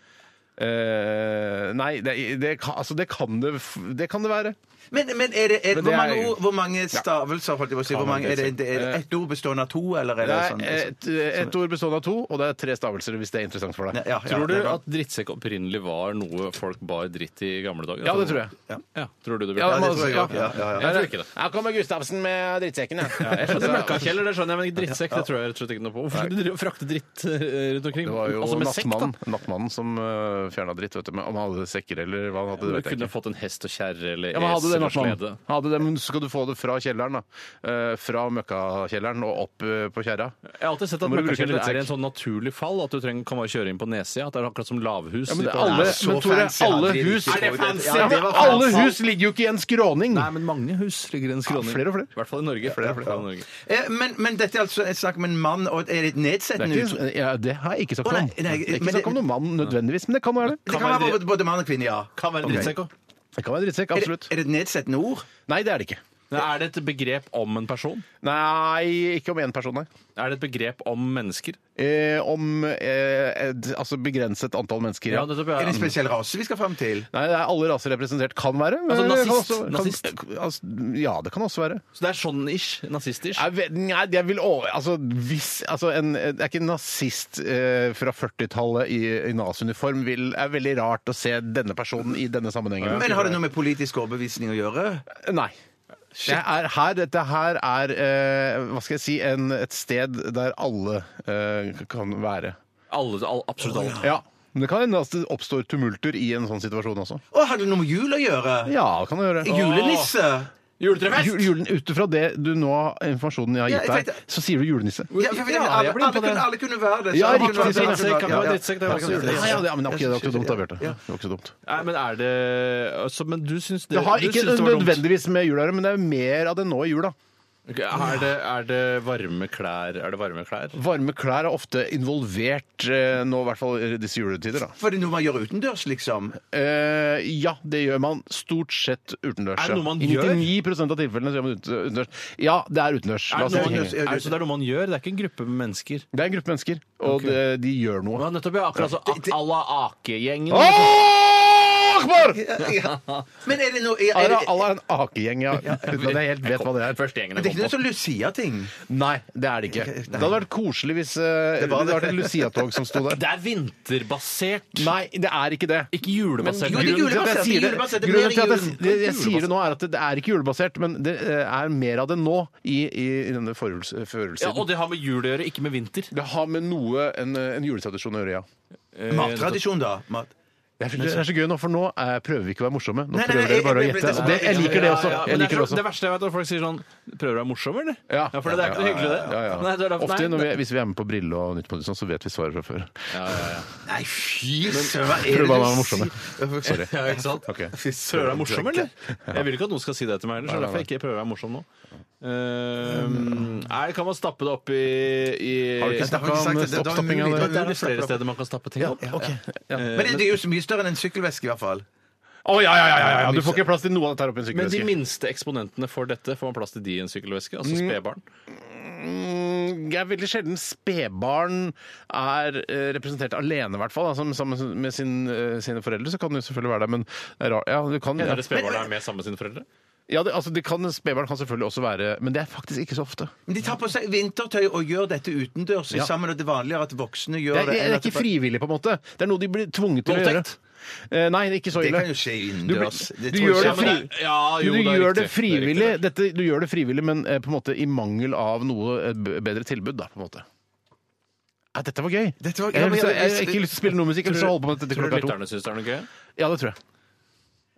[SPEAKER 4] Eh, nei, det, det, kan- altså, det kan det, f- det kan det være.
[SPEAKER 6] Men, men er det, er, hvor,
[SPEAKER 4] Men det er
[SPEAKER 6] mange
[SPEAKER 4] jo-
[SPEAKER 6] ord, hvor mange stavelser holdt jeg på å si? Hvor mange, er det, det er ett ord bestående av to, eller er
[SPEAKER 4] eh, Det
[SPEAKER 6] det
[SPEAKER 4] er
[SPEAKER 6] sånn?
[SPEAKER 4] et, et ord bestående av to, og det er tre stavelser, hvis det er interessant for deg.
[SPEAKER 6] Ja, ja,
[SPEAKER 5] Tror du
[SPEAKER 6] det er bra.
[SPEAKER 5] at drittsekk opprinnelig var noe folk bar dritt i gamle dager?
[SPEAKER 4] Ja, det tror jeg.
[SPEAKER 5] Ja, tror du det
[SPEAKER 4] Ja,
[SPEAKER 5] Bjarte?
[SPEAKER 4] men
[SPEAKER 6] det tror jeg
[SPEAKER 4] altså,
[SPEAKER 6] også. Ja, ja, ja.
[SPEAKER 5] Jeg tror ikke det.
[SPEAKER 4] Her kommer Gustavsen med drittsekken, ja.
[SPEAKER 5] Jeg skjønner møkkakjeller, det skjønner jeg, men ikke drittsekk det tror jeg rett og slett ikke noe på. Hvorfor skulle de drive og frakte dritt eh, rundt omkring?
[SPEAKER 4] Det var jo
[SPEAKER 5] altså med sekk, da.
[SPEAKER 4] nattmannen, nattmannen som eh, fjerna dritt, vet du. Men om han hadde sekker eller hva han hadde, det
[SPEAKER 5] Du
[SPEAKER 4] vet jeg
[SPEAKER 5] kunne
[SPEAKER 4] ikke.
[SPEAKER 5] fått en hest og kjerre eller
[SPEAKER 4] Ja, men hadde det,
[SPEAKER 5] esel og
[SPEAKER 4] Martmann.
[SPEAKER 5] slede.
[SPEAKER 4] Hadde det, men så skal du få det fra kjelleren, da. Eh, Fra møkkakjelleren og opp eh, på kjerra.
[SPEAKER 5] Jeg har alltid sett
[SPEAKER 4] Da
[SPEAKER 5] at
[SPEAKER 4] må du bruke
[SPEAKER 5] møkkakjeller
[SPEAKER 4] drittsekk.
[SPEAKER 5] er en sånn naturlig fall, at du trenger, kan bare kjøre inn på nedsida. At det er akkurat som lavhus.
[SPEAKER 4] Ja, men det
[SPEAKER 5] i
[SPEAKER 4] er alle,
[SPEAKER 5] Trondheim.
[SPEAKER 4] men Tore,
[SPEAKER 6] fancy,
[SPEAKER 4] alle
[SPEAKER 6] han driver
[SPEAKER 4] hus
[SPEAKER 6] ikke på det. Ja,
[SPEAKER 4] Ja,
[SPEAKER 6] det
[SPEAKER 4] men
[SPEAKER 6] var
[SPEAKER 4] alle
[SPEAKER 6] fancy.
[SPEAKER 4] hus ligger jo ikke i en skråning!
[SPEAKER 5] Nei, men mange hus ligger i en skråning.
[SPEAKER 4] Ja, flere og flere.
[SPEAKER 5] I hvert fall i Norge. Flere og flere i Norge.
[SPEAKER 6] Eh, Men, men dette er altså et snakk om en mann, og er det et
[SPEAKER 4] Det,
[SPEAKER 6] nedsettende
[SPEAKER 4] er
[SPEAKER 6] uttrykk?
[SPEAKER 4] ikke, ja, det har jeg ikke sagt
[SPEAKER 6] Å, nei,
[SPEAKER 4] om.
[SPEAKER 6] nei,
[SPEAKER 4] Det
[SPEAKER 6] men
[SPEAKER 4] er ikke snakk om
[SPEAKER 6] det-
[SPEAKER 4] noen mann nødvendigvis, men det kan være det.
[SPEAKER 6] Det kan
[SPEAKER 5] være
[SPEAKER 6] være både- både mann og kvinne, ja.
[SPEAKER 5] Kan være en
[SPEAKER 6] Ok.
[SPEAKER 5] drittsekk òg.
[SPEAKER 4] Det kan være drittsekk,
[SPEAKER 6] Er det,
[SPEAKER 4] absolutt.
[SPEAKER 6] er det et nedsettende ord?
[SPEAKER 4] Nei, det er det ikke.
[SPEAKER 5] Er det et begrep om en person?
[SPEAKER 4] Nei, ikke om én person, nei.
[SPEAKER 5] Er det et begrep om mennesker?
[SPEAKER 4] Eh, om eh, et, altså begrenset antall mennesker. Ja.
[SPEAKER 5] nettopp,
[SPEAKER 6] Er det en spesiell rase vi skal fram til?
[SPEAKER 4] Nei, det er alle raser representert. Kan være. men
[SPEAKER 5] Altså,
[SPEAKER 4] det kan
[SPEAKER 5] nazist.
[SPEAKER 4] også- kan-
[SPEAKER 5] Nazist.
[SPEAKER 4] altså, ja, det kan også være.
[SPEAKER 5] Så det er sånn ish? Nazistish?
[SPEAKER 4] Jeg vet, nei, jeg vil over... Altså, hvis altså en, Det er ikke en nazist eh, fra 40-tallet i, i Nazi-uniform. vil- Det er veldig rart å se denne personen i denne sammenhengen.
[SPEAKER 6] Men har det noe med politisk overbevisning å gjøre?
[SPEAKER 4] Nei. Det er her, dette her er eh, hva skal jeg si, en, et sted der alle eh, kan være.
[SPEAKER 5] Alle, all, absolutt alle.
[SPEAKER 4] Ja. Men det kan hende at det oppstår tumulter i en sånn situasjon også.
[SPEAKER 6] Å, har det noe med jul å gjøre?
[SPEAKER 4] Ja, det kan det gjøre.
[SPEAKER 6] Julenisse?
[SPEAKER 5] Juletrefest!
[SPEAKER 4] Ju- Julen, ut ifra det du nå informasjonen jeg
[SPEAKER 6] Ja, jeg
[SPEAKER 4] har gitt deg,
[SPEAKER 6] tenkte-
[SPEAKER 4] så sier du julenisse.
[SPEAKER 6] Ja, for- for-
[SPEAKER 5] Ja,
[SPEAKER 6] alle,
[SPEAKER 5] jeg blir inne på
[SPEAKER 6] alle, kunne,
[SPEAKER 5] det.
[SPEAKER 6] alle kunne være det. så
[SPEAKER 4] Ja,
[SPEAKER 6] alle
[SPEAKER 4] riktig,
[SPEAKER 6] kunne være
[SPEAKER 4] riktig,
[SPEAKER 6] det.
[SPEAKER 4] riktig.
[SPEAKER 5] Kan være drittsekk, det er også
[SPEAKER 6] Ja,
[SPEAKER 4] Ja,
[SPEAKER 5] julenisse.
[SPEAKER 4] ja, det, men det var ikke, det var ikke så dumt da, Bjarte.
[SPEAKER 6] Ja.
[SPEAKER 4] Det var ikke så dumt.
[SPEAKER 5] Nei, men er det altså, Men du syns det,
[SPEAKER 4] Det har
[SPEAKER 5] du
[SPEAKER 4] ikke
[SPEAKER 5] syns det var dumt.
[SPEAKER 4] nødvendigvis med jul å gjøre, men det er mer av det nå i jula.
[SPEAKER 5] Ok, er, det, er det varme klær? Er det varme klær?
[SPEAKER 4] Varme klær er ofte involvert eh, nå, i hvert fall i disse juletider. da.
[SPEAKER 6] For det er noe man gjør utendørs, liksom.
[SPEAKER 4] Eh, ja, det gjør man stort sett utendørs.
[SPEAKER 5] Er
[SPEAKER 4] ja.
[SPEAKER 5] det noe man
[SPEAKER 4] I
[SPEAKER 5] gjør?
[SPEAKER 4] 99 av tilfellene så gjør man ut- eh, utendørs. Ja, det er utendørs. La
[SPEAKER 5] Er
[SPEAKER 4] oss
[SPEAKER 5] det,
[SPEAKER 4] ikke
[SPEAKER 5] noe,
[SPEAKER 4] henge.
[SPEAKER 5] er det, så det er noe man gjør? Det er ikke en gruppe med mennesker?
[SPEAKER 4] det er en gruppe mennesker, og det, de gjør noe.
[SPEAKER 5] Ja, nettopp, ja. Akkurat så,
[SPEAKER 6] Det- det-
[SPEAKER 5] à la Ake-gjengen.
[SPEAKER 4] Åh, Akbar!
[SPEAKER 6] Ja. Men er det noe er, er,
[SPEAKER 4] Ara,
[SPEAKER 6] det-
[SPEAKER 4] alla er en akegjeng, ja. Uten at jeg helt vet hva det er.
[SPEAKER 5] Første gjengen
[SPEAKER 6] men det er
[SPEAKER 5] jeg
[SPEAKER 6] ikke noe
[SPEAKER 5] kom på.
[SPEAKER 6] sånn
[SPEAKER 5] Eh,
[SPEAKER 6] Lucia-ting?
[SPEAKER 4] Nei, det er det ikke.
[SPEAKER 6] Nei.
[SPEAKER 4] Det hadde vært koselig hvis eh, det
[SPEAKER 6] var
[SPEAKER 4] hadde vært et Lucia-tog som sto der.
[SPEAKER 5] Det er vinterbasert.
[SPEAKER 4] Nei, det er ikke det.
[SPEAKER 5] Ikke
[SPEAKER 6] Men-
[SPEAKER 5] julebasert.
[SPEAKER 6] Jo, det er
[SPEAKER 5] Grunnen-
[SPEAKER 4] Grunnen til at jeg sier det-
[SPEAKER 6] julebasert, det er
[SPEAKER 4] grunnen til at
[SPEAKER 6] mer
[SPEAKER 4] jeg, det, jeg sier det nå, er at det er ikke julebasert, men det eh, er mer av det nå i, i, i denne forhus-
[SPEAKER 5] Ja,
[SPEAKER 4] førjulstiden.
[SPEAKER 5] og det har med jul å gjøre, ikke med vinter.
[SPEAKER 4] Det har med noe en, en juletradisjon å gjøre, ja.
[SPEAKER 6] Mattradisjon, da? Mat.
[SPEAKER 4] Det er, det er så gøy nå, for nå eh, prøver vi ikke å være morsomme. Nå
[SPEAKER 6] Nei, nei,
[SPEAKER 4] prøver
[SPEAKER 6] nei,
[SPEAKER 4] dere bare å
[SPEAKER 6] jeg- jeg-
[SPEAKER 4] gjette. Og det, jeg liker det også.
[SPEAKER 5] Ja, ja, men
[SPEAKER 4] Jeg
[SPEAKER 5] det, er
[SPEAKER 4] liker det
[SPEAKER 5] så, det
[SPEAKER 4] også.
[SPEAKER 5] verste jeg vet, er at folk sier sånn Prøver du å være morsom, eller?
[SPEAKER 4] Ja.
[SPEAKER 5] for det er ikke noe hyggelig, det.
[SPEAKER 4] Ja, ja.
[SPEAKER 5] Nei, det er derfor-
[SPEAKER 4] Ofte
[SPEAKER 5] nei,
[SPEAKER 4] når vi,
[SPEAKER 5] det-
[SPEAKER 4] hvis vi er med på Brille og Nytt på Nytt, og sånn, så vet vi svaret fra før.
[SPEAKER 6] Nei, fy søren, hva er
[SPEAKER 4] Prøv
[SPEAKER 6] det
[SPEAKER 4] bare å være
[SPEAKER 6] du
[SPEAKER 4] morsomme.
[SPEAKER 6] sier?
[SPEAKER 4] Sorry.
[SPEAKER 5] Ja, ikke sant?
[SPEAKER 4] Ok.
[SPEAKER 5] Fy søren, er jeg morsom, eller? Jeg vil ikke at noen skal si det til meg heller, så derfor jeg ikke prøver å være morsom nå. Ehm, nei, kan man stappe det opp i, i
[SPEAKER 4] Mm. Har
[SPEAKER 6] det har
[SPEAKER 4] du ikke
[SPEAKER 6] vi
[SPEAKER 4] snakka
[SPEAKER 6] ikke sagt,
[SPEAKER 4] om
[SPEAKER 6] det- det er
[SPEAKER 4] stoppstoppinga?
[SPEAKER 6] umulig.
[SPEAKER 5] eh, Det er flere steder man kan stappe ting opp.
[SPEAKER 4] Ok.
[SPEAKER 6] Men det, det er jo så mye større enn en sykkelveske, i hvert fall.
[SPEAKER 4] Å ja, ja, ja, ja, ja! Du får ikke plass til noe av dette her oppi en
[SPEAKER 5] Men de
[SPEAKER 4] sykkelveske.
[SPEAKER 5] minste eksponentene for dette, får man plass til de i en sykkelveske? Altså spedbarn?
[SPEAKER 4] Mm, Jeg er veldig sjelden spedbarn er eh, representert alene, i hvert fall. Altså, sammen med sin, eh, sine foreldre så kan det jo selvfølgelig være det, men det er rart. Ja, du kan,
[SPEAKER 5] Hender
[SPEAKER 4] ja.
[SPEAKER 5] det spedbarn er med sammen med sine foreldre?
[SPEAKER 4] Ja, det, altså, det kan, spedbarn kan selvfølgelig også være Men det er faktisk ikke så ofte.
[SPEAKER 6] Men de tar på seg vintertøy og gjør dette utendørs
[SPEAKER 4] Ja.
[SPEAKER 6] sammen, og det vanlige er at voksne
[SPEAKER 4] Det
[SPEAKER 6] gjør
[SPEAKER 4] er,
[SPEAKER 6] det.
[SPEAKER 4] det
[SPEAKER 6] enn
[SPEAKER 4] er
[SPEAKER 6] at
[SPEAKER 4] ikke
[SPEAKER 6] det-
[SPEAKER 4] frivillig, på en måte. Det er noe de blir tvunget til
[SPEAKER 5] Voldtekt?
[SPEAKER 4] å gjøre. Eh, Nei, det er ikke så
[SPEAKER 6] Det
[SPEAKER 4] ille.
[SPEAKER 6] kan jo skje
[SPEAKER 4] Du, blir-
[SPEAKER 6] innendørs.
[SPEAKER 4] du,
[SPEAKER 6] tror jeg
[SPEAKER 4] gjør
[SPEAKER 6] ikke.
[SPEAKER 4] det fri,
[SPEAKER 5] men det er- ja, jo,
[SPEAKER 4] du
[SPEAKER 5] det er
[SPEAKER 4] gjør
[SPEAKER 5] riktig.
[SPEAKER 4] det
[SPEAKER 5] Det er
[SPEAKER 4] frivillig,
[SPEAKER 5] riktig,
[SPEAKER 4] Dette, du gjør det frivillig, men eh, på en måte i mangel av noe eh, b- bedre tilbud, da, på en måte. Ja, dette var gøy.
[SPEAKER 6] Dette var-
[SPEAKER 4] jeg, har lyst til-
[SPEAKER 6] ja, men-
[SPEAKER 4] jeg har ikke lyst til å spille noe musikk. Jeg har lyst til å holde på med dette
[SPEAKER 5] Tror du
[SPEAKER 4] klokka to.
[SPEAKER 5] lytterne syns det er noe gøy?
[SPEAKER 4] Ja, det tror jeg.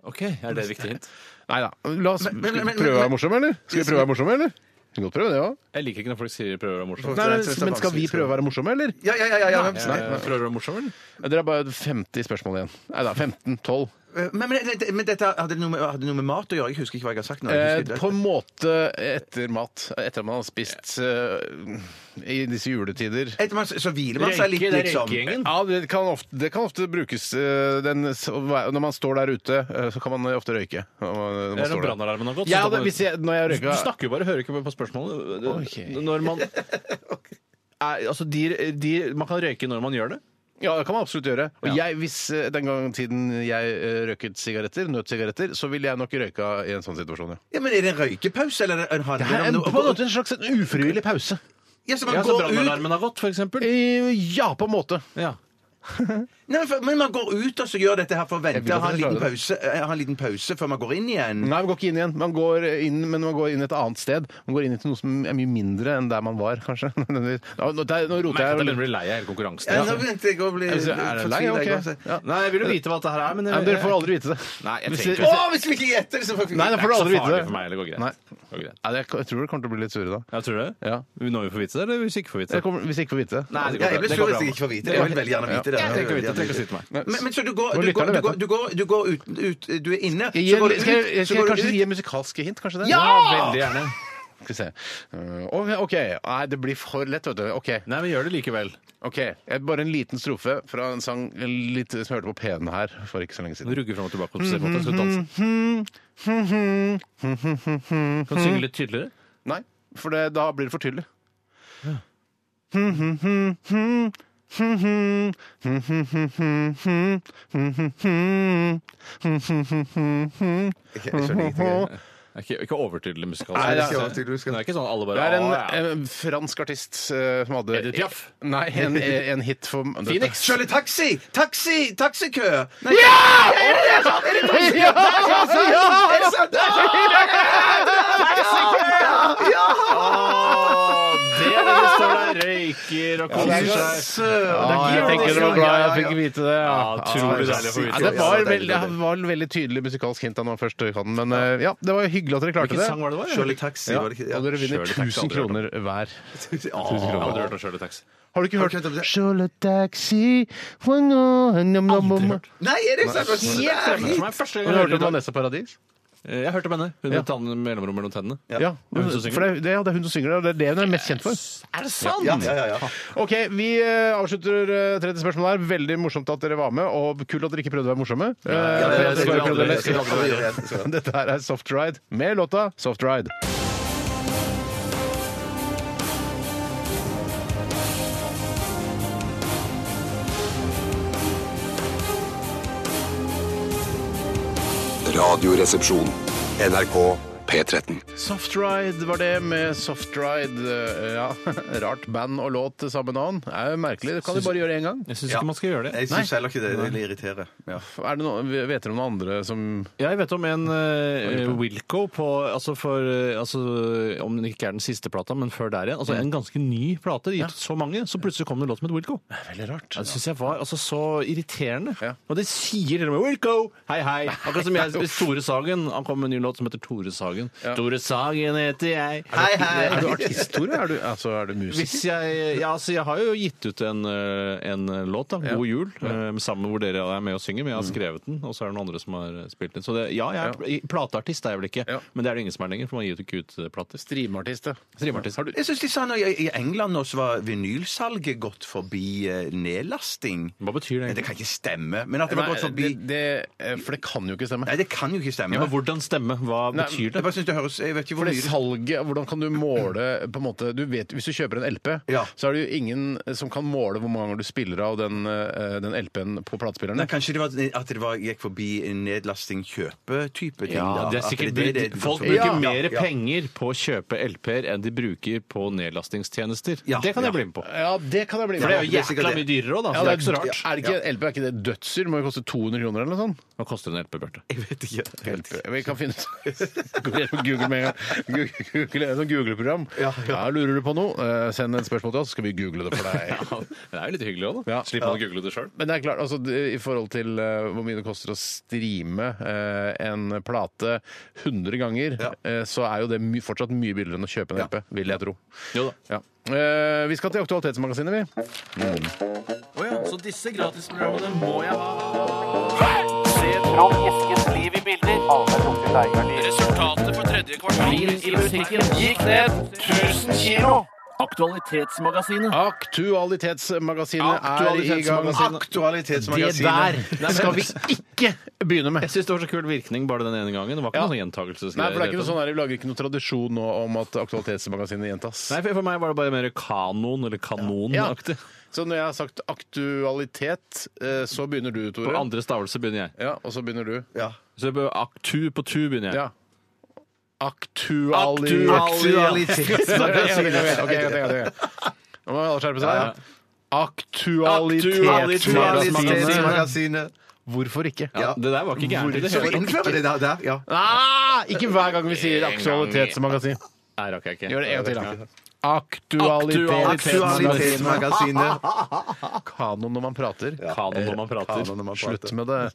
[SPEAKER 5] OK, er det et viktig hint?
[SPEAKER 4] Nei da. La oss
[SPEAKER 6] Men- men- men-
[SPEAKER 4] skal vi
[SPEAKER 6] men-
[SPEAKER 4] prøve å
[SPEAKER 6] men-
[SPEAKER 4] være morsomme, eller? Skal vi prøve å være morsomme, eller? Vi kan godt prøve det òg.
[SPEAKER 5] Jeg liker ikke når folk sier 'prøver å være morsom'.
[SPEAKER 6] Nei,
[SPEAKER 4] Men
[SPEAKER 6] jeg synes det er
[SPEAKER 4] skal vi
[SPEAKER 6] vanskelig.
[SPEAKER 4] prøve å være morsomme, eller?
[SPEAKER 6] Ja, ja, ja. ja, ja. men-
[SPEAKER 5] Eh, Prøver å være morsom, eller?
[SPEAKER 4] Dere har bare 50 spørsmål igjen. Nei da, 15-12.
[SPEAKER 6] Men, men, men dette hadde det, noe med, hadde det noe med mat å gjøre? Jeg husker ikke hva jeg har sagt nå. Jeg
[SPEAKER 4] Eh,
[SPEAKER 6] husker
[SPEAKER 4] på
[SPEAKER 6] ikke.
[SPEAKER 4] en måte etter mat. Etter at man har spist eh, i disse juletider.
[SPEAKER 6] Etter man, så hviler man seg litt,
[SPEAKER 5] Renke, det er
[SPEAKER 6] liksom.
[SPEAKER 5] renkegjengen.
[SPEAKER 4] Ja, det kan ofte, det kan ofte brukes. eh, Den, s- når man står der ute, eh, så kan man ofte røyke. Når man, når man
[SPEAKER 5] Eller
[SPEAKER 4] står
[SPEAKER 5] om
[SPEAKER 4] der.
[SPEAKER 5] brannalarmen har gått?
[SPEAKER 4] Ja,
[SPEAKER 5] så
[SPEAKER 4] det,
[SPEAKER 5] kan man-
[SPEAKER 4] hvis jeg, når jeg
[SPEAKER 5] Du
[SPEAKER 4] røyka
[SPEAKER 5] snakker jo bare, hører ikke på spørsmålet.
[SPEAKER 4] Ok.
[SPEAKER 5] Når man er, altså de, de, Man kan røyke når man gjør det.
[SPEAKER 4] Ja, det kan man absolutt gjøre. Og
[SPEAKER 5] Ja.
[SPEAKER 4] jeg, hvis eh, den gang tiden jeg eh, røyket sigaretter, nødsigaretter, så ville jeg nok røyka i en sånn situasjon, ja.
[SPEAKER 6] Ja, men er det en røykepause, eller er det- handler
[SPEAKER 4] Det er
[SPEAKER 6] det
[SPEAKER 4] en,
[SPEAKER 6] om
[SPEAKER 4] på en måte en slags en ufrivillig pause.
[SPEAKER 6] Ja, så man
[SPEAKER 5] Ja, så
[SPEAKER 6] går ut
[SPEAKER 5] brannalarmen har gått, f.eks.
[SPEAKER 4] Eh, Ja, på en måte.
[SPEAKER 5] Ja.
[SPEAKER 6] Nei, men for, men man går ut og så gjør dette her for å
[SPEAKER 4] Jeg
[SPEAKER 6] vente
[SPEAKER 4] vil at
[SPEAKER 6] og ha en
[SPEAKER 4] dere
[SPEAKER 6] liten
[SPEAKER 4] klarer
[SPEAKER 6] pause, eh, ha en liten pause før man går inn igjen.
[SPEAKER 4] Nei, man går ikke inn igjen. Man går inn, men man går inn et annet sted. Man går inn til noe som er mye mindre enn der man var, kanskje. Nå, nå, der, nå roter
[SPEAKER 5] Merker
[SPEAKER 4] jeg.
[SPEAKER 5] at jeg begynner å
[SPEAKER 4] vel-
[SPEAKER 5] bli lei av hele konkurransen.
[SPEAKER 6] Ja, nå begynte jeg å bli
[SPEAKER 4] Altså, Er det lei?
[SPEAKER 6] fortvilet,
[SPEAKER 4] Ok.
[SPEAKER 6] jeg også.
[SPEAKER 4] Ja.
[SPEAKER 5] Nei, jeg vil jo vite hva dette her er, men
[SPEAKER 4] Nei, men dere får aldri vite det.
[SPEAKER 5] Nei, jeg
[SPEAKER 4] Hvis
[SPEAKER 5] trenger
[SPEAKER 4] dere-
[SPEAKER 5] ikke-
[SPEAKER 6] Å, hvis vi ikke gjetter det, så får vi
[SPEAKER 4] Nei, da får du aldri vite det.
[SPEAKER 5] for meg, det går greit.
[SPEAKER 4] Nei.
[SPEAKER 5] Det går greit.
[SPEAKER 4] Nei, det- jeg tror dere kommer til å bli litt sure da.
[SPEAKER 5] Ja, tror du det?
[SPEAKER 4] Ja.
[SPEAKER 5] Når vi får vite det, eller hvis vi ikke får vite
[SPEAKER 4] Dere
[SPEAKER 5] det?
[SPEAKER 4] kommer, hvis dere ikke får vite det.
[SPEAKER 6] Ja,
[SPEAKER 5] Nei, det
[SPEAKER 6] jeg
[SPEAKER 5] går bra.
[SPEAKER 6] blir
[SPEAKER 5] Det
[SPEAKER 6] sur
[SPEAKER 5] går
[SPEAKER 6] hvis
[SPEAKER 5] bra.
[SPEAKER 6] jeg ikke får vite det. Jeg vil veldig gjerne vite det. Jeg vil
[SPEAKER 5] Jeg trenger ikke å vite det. Trenger
[SPEAKER 6] gjerne
[SPEAKER 5] ikke å si til meg.
[SPEAKER 6] vite det. Men, men så du går,
[SPEAKER 4] Og
[SPEAKER 6] du, går, du,
[SPEAKER 4] lytterne vet
[SPEAKER 6] går,
[SPEAKER 4] det.
[SPEAKER 6] du, går, du går ut, ut Du er inne,
[SPEAKER 4] Jeg
[SPEAKER 6] så
[SPEAKER 4] gir,
[SPEAKER 6] går du ut,
[SPEAKER 4] skal jeg, jeg,
[SPEAKER 6] så
[SPEAKER 4] skal jeg
[SPEAKER 6] går du ut.
[SPEAKER 4] kanskje gi musikalske hint? kanskje det?
[SPEAKER 5] Veldig gjerne.
[SPEAKER 4] Skal vi se. Uh, OK. ok. Nei, det blir for lett, vet du. OK.
[SPEAKER 5] Nei, men gjør det likevel.
[SPEAKER 4] ok. Jeg- Bare en liten strofe fra en sang litt, som jeg hørte på P-en her for ikke så lenge
[SPEAKER 5] Du
[SPEAKER 4] siden.
[SPEAKER 5] rugger fram og tilbake og ser på at skal danse.
[SPEAKER 4] Mm-hmm.
[SPEAKER 5] Kan du synge litt tydeligere?
[SPEAKER 4] Nei, for det, da blir det for tydelig.
[SPEAKER 6] Jeg skjønner ingenting.
[SPEAKER 5] Det er Ikke, ikke overtydelig musikalsk.
[SPEAKER 4] Nei, det er
[SPEAKER 6] ikke overtydelig musikalsk.
[SPEAKER 5] Det er ikke sånn alle
[SPEAKER 4] Det
[SPEAKER 5] bare
[SPEAKER 4] er en,
[SPEAKER 5] «Ah, ja».
[SPEAKER 4] en fransk artist eh, som hadde
[SPEAKER 5] Edith Piaf?
[SPEAKER 4] Nei, en, en hit for
[SPEAKER 5] Phoenix?
[SPEAKER 6] Kjører taxi! Taxi! Taxikø! Nei,
[SPEAKER 4] Ja!
[SPEAKER 6] er det sant?
[SPEAKER 5] Det er det det står der! Røyker og
[SPEAKER 4] Det er sånn.
[SPEAKER 5] koser
[SPEAKER 4] så
[SPEAKER 5] seg.
[SPEAKER 4] søt. jeg
[SPEAKER 6] gir Ah, det
[SPEAKER 4] tenker det var
[SPEAKER 6] seg.
[SPEAKER 4] bra
[SPEAKER 6] Ja,
[SPEAKER 4] jeg
[SPEAKER 6] ja,
[SPEAKER 4] fikk vite det.
[SPEAKER 5] Ja, utrolig
[SPEAKER 4] Ja,
[SPEAKER 5] deilig å få vite.
[SPEAKER 4] det var,
[SPEAKER 6] Ja, det er
[SPEAKER 4] veldig,
[SPEAKER 6] deilig, det er
[SPEAKER 4] det var veldig tydelig musikalsk hint da når først kan, men eh, ja, det var hyggelig at dere klarte
[SPEAKER 5] Hvilken
[SPEAKER 4] det.
[SPEAKER 5] sang var det var?
[SPEAKER 6] Kjører taxi,
[SPEAKER 4] Ja,
[SPEAKER 6] var det ikke? Ja.
[SPEAKER 4] og dere vinner
[SPEAKER 5] Kjøl i taxi,
[SPEAKER 4] 1000
[SPEAKER 5] aldri hørt om.
[SPEAKER 4] kroner hver.
[SPEAKER 5] Jeg har
[SPEAKER 4] kroner.
[SPEAKER 5] aldri hørt om Shirley Taxi.
[SPEAKER 4] Har
[SPEAKER 6] Har
[SPEAKER 4] du ikke hørt
[SPEAKER 6] du ikke hørt om det?
[SPEAKER 4] Kjøletaxi Aldri
[SPEAKER 5] hørt.
[SPEAKER 6] Nei, er det sant?
[SPEAKER 5] Fremmed for meg. Første gang
[SPEAKER 4] Har du hørt om
[SPEAKER 5] jeg hørte
[SPEAKER 4] Vanessa Paradis?
[SPEAKER 5] Eh, Jeg hørte om henne. Hun
[SPEAKER 4] Ja.
[SPEAKER 5] med tann- mellomrom mellom tennene.
[SPEAKER 4] Ja.
[SPEAKER 5] Det er hun som synger.
[SPEAKER 4] for det, det, ja, det er hun som synger det, og det er det hun er mest kjent for.
[SPEAKER 5] Er det sant?!
[SPEAKER 6] Ja, ja, ja, ja.
[SPEAKER 4] Ok, Vi eh, avslutter eh, tredje spørsmål her. Veldig morsomt at dere var med, og kult at dere ikke prøvde å være morsomme. Eh, for
[SPEAKER 5] ja,
[SPEAKER 4] at
[SPEAKER 5] ja, det
[SPEAKER 4] dere
[SPEAKER 5] skal vi
[SPEAKER 4] bare
[SPEAKER 5] aldri-
[SPEAKER 4] prøvde å
[SPEAKER 5] det skal
[SPEAKER 4] være-
[SPEAKER 5] vi
[SPEAKER 4] Dette her er Soft Ride med låta Soft Ride.
[SPEAKER 1] Radioresepsjon. NRK P13.
[SPEAKER 4] Soft Ride var det med Soft Ride. eh, Ja, rart band og låt til samme navn. Det er jo merkelig. Det kan de bare gjøre én gang.
[SPEAKER 5] Jeg syns ikke man skal gjøre det.
[SPEAKER 6] Jeg syns heller ikke det. Det irriterer. Ja.
[SPEAKER 4] Er det noe, vet dere om noen andre som
[SPEAKER 5] Jeg vet om en eh, Wilco på Altså for eh, altså, Om den ikke er den siste plata, men før der igjen. Altså En ganske ny plate. Det Gitt så mange. Så plutselig kom det en låt som het Wilco.
[SPEAKER 4] Det er veldig rart.
[SPEAKER 5] Ja, Det syns jeg var altså, så irriterende.
[SPEAKER 4] Ja.
[SPEAKER 5] Og det sier til og med Wilco! Hei, hei! Akkurat som jeg Tore Sagen. Han kom med en ny låt som heter Tore Sagen. Tore Sagen heter jeg.
[SPEAKER 6] Hei, hei!
[SPEAKER 4] Er du artist, Tore? Er du, altså, er du musiker?
[SPEAKER 5] Hvis jeg, ja, altså jeg har jo gitt ut en, eh, en låt, da, 'God jul', eh, sammen hvor dere er med og synger, men jeg har skrevet den, og så er det noen andre som har eh, spilt den. Så det, Mm. ja, jeg er pl- plateartist, er jeg vel ikke,
[SPEAKER 4] Ja.
[SPEAKER 5] men det er det ingen som er lenger, for man gir jo ikke ut eh, plater.
[SPEAKER 4] Streamartist, ja.
[SPEAKER 5] Streamartist. Har du
[SPEAKER 6] Jeg synes de sa nå, i I England nå så var vinylsalget gått forbi eh, nedlasting.
[SPEAKER 5] Hva betyr det
[SPEAKER 6] Nei, det
[SPEAKER 5] egentlig?
[SPEAKER 6] kan ikke stemme. Men at det var
[SPEAKER 4] Nei,
[SPEAKER 6] gått forbi
[SPEAKER 4] det, det, eh, for det kan jo ikke stemme.
[SPEAKER 6] Nei, det kan jo ikke stemme.
[SPEAKER 5] Ja, men hvordan stemme? Hva
[SPEAKER 4] Nei,
[SPEAKER 5] betyr
[SPEAKER 6] Jeg
[SPEAKER 5] det?
[SPEAKER 6] bare synes det høres Jeg vet ikke hvor
[SPEAKER 4] For det
[SPEAKER 6] mye
[SPEAKER 4] salget, Hvordan kan du måle på en måte, du vet, Hvis du kjøper en LP,
[SPEAKER 6] Ja.
[SPEAKER 4] så er det jo ingen som kan måle hvor mange ganger du spiller av den, eh, den LP-en på platespillerne.
[SPEAKER 6] Nei, Kanskje det var at det var, gikk forbi en nedlasting kjøpe-type ting.
[SPEAKER 5] Ja,
[SPEAKER 6] da.
[SPEAKER 5] det er
[SPEAKER 6] At
[SPEAKER 5] sikkert
[SPEAKER 6] det- det-
[SPEAKER 5] brukt- Folk
[SPEAKER 6] det-
[SPEAKER 5] bruker
[SPEAKER 6] Ja,
[SPEAKER 5] mer
[SPEAKER 6] ja.
[SPEAKER 5] penger på å kjøpe LP-er enn de bruker på nedlastingstjenester.
[SPEAKER 6] Ja,
[SPEAKER 5] Det kan jeg
[SPEAKER 6] ja.
[SPEAKER 5] bli med på.
[SPEAKER 4] Ja, det kan jeg bli
[SPEAKER 5] For det er jo
[SPEAKER 6] det er sikkert
[SPEAKER 5] jækla
[SPEAKER 6] det.
[SPEAKER 5] mye dyrere òg, da.
[SPEAKER 4] Ja,
[SPEAKER 5] Så det er ikke så rart.
[SPEAKER 4] Er det ikke, LP er ikke det dødsdyr? Må jo koste 200 kroner eller noe sånt?
[SPEAKER 5] Hva koster en LP, Bjarte?
[SPEAKER 6] Jeg vet ikke. Jeg vet ikke.
[SPEAKER 4] Vi kan finne ut Gå ned på Google med en gang. Google, Google, et sånt Google-program. Ja, lurer du på noe, eh, send en spørsmål til oss, så skal vi google det for deg.
[SPEAKER 5] Ja, det er jo litt hyggelig òg, da.
[SPEAKER 4] Ja.
[SPEAKER 5] Slipper man å google det sjøl.
[SPEAKER 4] Men det er klart, altså, det- i forhold til eh, hvor mye det koster å streame eh, en plate 100 ganger, eh, så er jo det my fortsatt mye billigere enn å kjøpe en LP, vil jeg tro.
[SPEAKER 5] Jo da.
[SPEAKER 4] Ja. Eh, vi skal til Aktualitetsmagasinet, vi.
[SPEAKER 5] Så disse gratisprogrammene må jeg ha. Resultatet på tredje kvartal i musikken gikk ned 1000 kilo. Aktualitetsmagasinet.
[SPEAKER 4] Aktualitetsmagasinet er i gang.
[SPEAKER 5] Aktualitetsmagasinet.
[SPEAKER 6] Aktualitetsmagasinet.
[SPEAKER 5] Nei, men-
[SPEAKER 4] Skal vi ikke begynne med?
[SPEAKER 5] Jeg syns det var så kul virkning bare den ene gangen. Det var ikke
[SPEAKER 4] Ja.
[SPEAKER 5] noen sånn gjentakelse.
[SPEAKER 4] Nei, for det er ikke noe sånn her, Vi lager ikke noe tradisjon nå om at Aktualitetsmagasinet gjentas.
[SPEAKER 5] Nei, for for meg var det bare mer kanon eller kanonaktig.
[SPEAKER 4] Så når jeg har sagt aktualitet, eh, så begynner du,
[SPEAKER 5] På
[SPEAKER 4] Tore.
[SPEAKER 5] andre stavelse begynner jeg.
[SPEAKER 4] Ja, og så begynner du.
[SPEAKER 6] Ja.
[SPEAKER 5] Så jeg bør- aktu på tu begynner jeg.
[SPEAKER 4] Ja. Aktuali...
[SPEAKER 5] Aktuali-
[SPEAKER 6] Aktualitet.
[SPEAKER 4] Ok, ok, ok, ok. Nå må alle skjerpe seg. Aktualitetsmagasinet. Hvorfor ikke?
[SPEAKER 5] Ja, det der var ikke gærent i det
[SPEAKER 6] Hvorfor
[SPEAKER 5] hele tatt.
[SPEAKER 6] innfører de det der? Ja.
[SPEAKER 4] Ah, ikke hver gang vi sier aktualitetsmagasin.
[SPEAKER 5] Nei, rakk jeg ikke.
[SPEAKER 4] Gjør det en til, da.
[SPEAKER 5] Aktualitetsmagasin.
[SPEAKER 4] Aktualitetsmagasin.
[SPEAKER 6] Aktualitetsmagasinet.
[SPEAKER 4] Kanon når man prater.
[SPEAKER 5] Kanon når man prater.
[SPEAKER 6] Kanon når man prater.
[SPEAKER 4] Slutt med det.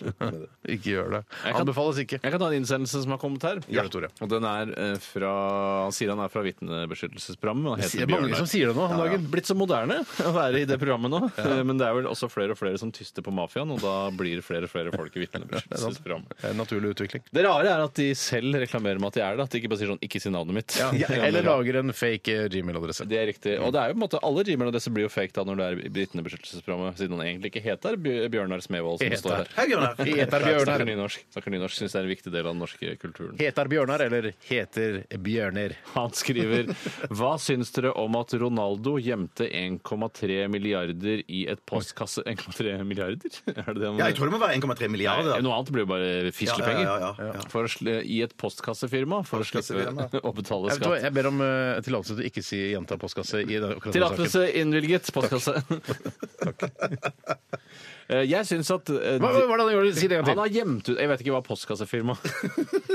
[SPEAKER 4] Ikke gjør det.
[SPEAKER 5] kan-
[SPEAKER 4] Anbefales ikke.
[SPEAKER 5] Jeg kan ta en innsendelse som har kommet her.
[SPEAKER 4] Gjør det, Tore.
[SPEAKER 5] Og den er eh, fra Han sier han er fra Vitnebeskyttelsesprogrammet. og Han
[SPEAKER 4] Det
[SPEAKER 5] heter
[SPEAKER 4] er mange
[SPEAKER 5] Bjørnar.
[SPEAKER 4] som sier det nå om dagen.
[SPEAKER 5] Blitt så moderne å være i det programmet nå. Eh, Men det er vel også flere og flere som tyster på mafiaen, og da blir det flere og flere folk i vitnebeskyttelsesprogrammet.
[SPEAKER 4] Det er en Eh, naturlig utvikling.
[SPEAKER 5] Det rare er at de selv reklamerer med at de er det. At de ikke bare sier sånn 'ikke si navnet mitt'.
[SPEAKER 4] Eller lager en fake eh, Gmail-adresse.
[SPEAKER 5] Det er riktig. Og det er jo på en måte alle rimene av disse blir jo fake da når det er i vitnebeskyttelsesprogrammet, siden han egentlig ikke heter Bj- Bjørnar Smevold, som
[SPEAKER 4] Heter.
[SPEAKER 5] det står her.
[SPEAKER 6] Hei, Bjørnar.
[SPEAKER 4] Heter
[SPEAKER 5] Snakker
[SPEAKER 4] Bjørnar.
[SPEAKER 5] nynorsk. Snakker nynorsk. Syns det er en viktig del av den norske kulturen.
[SPEAKER 4] Heter Bjørnar eller heter Bjørner?
[SPEAKER 5] Han skriver Hva syns dere om at Ronaldo gjemte 1,3 milliarder i et postkasse 1,3 milliarder? Er det det han
[SPEAKER 6] Ja, jeg tror det må være 1,3 milliarder.
[SPEAKER 5] Nei, Noe annet blir jo bare fislepenger.
[SPEAKER 6] Ja, ja, ja, ja.
[SPEAKER 5] For å sli- I et postkassefirma for å
[SPEAKER 6] Postkassefirma.
[SPEAKER 5] slippe å betale
[SPEAKER 4] Jeg, vet hva,
[SPEAKER 5] skatt.
[SPEAKER 4] jeg ber om eh, tillatelse til å ikke si gjenta postkasse i den akkurat denne saken.
[SPEAKER 5] Tillatelse innvilget. Postkasse. Eh, Jeg syns at eh,
[SPEAKER 4] Hva, hva, hva er det han gjorde? Si det en gang
[SPEAKER 5] Han
[SPEAKER 4] til.
[SPEAKER 5] har gjemt ut Jeg vet ikke hva postkassefirma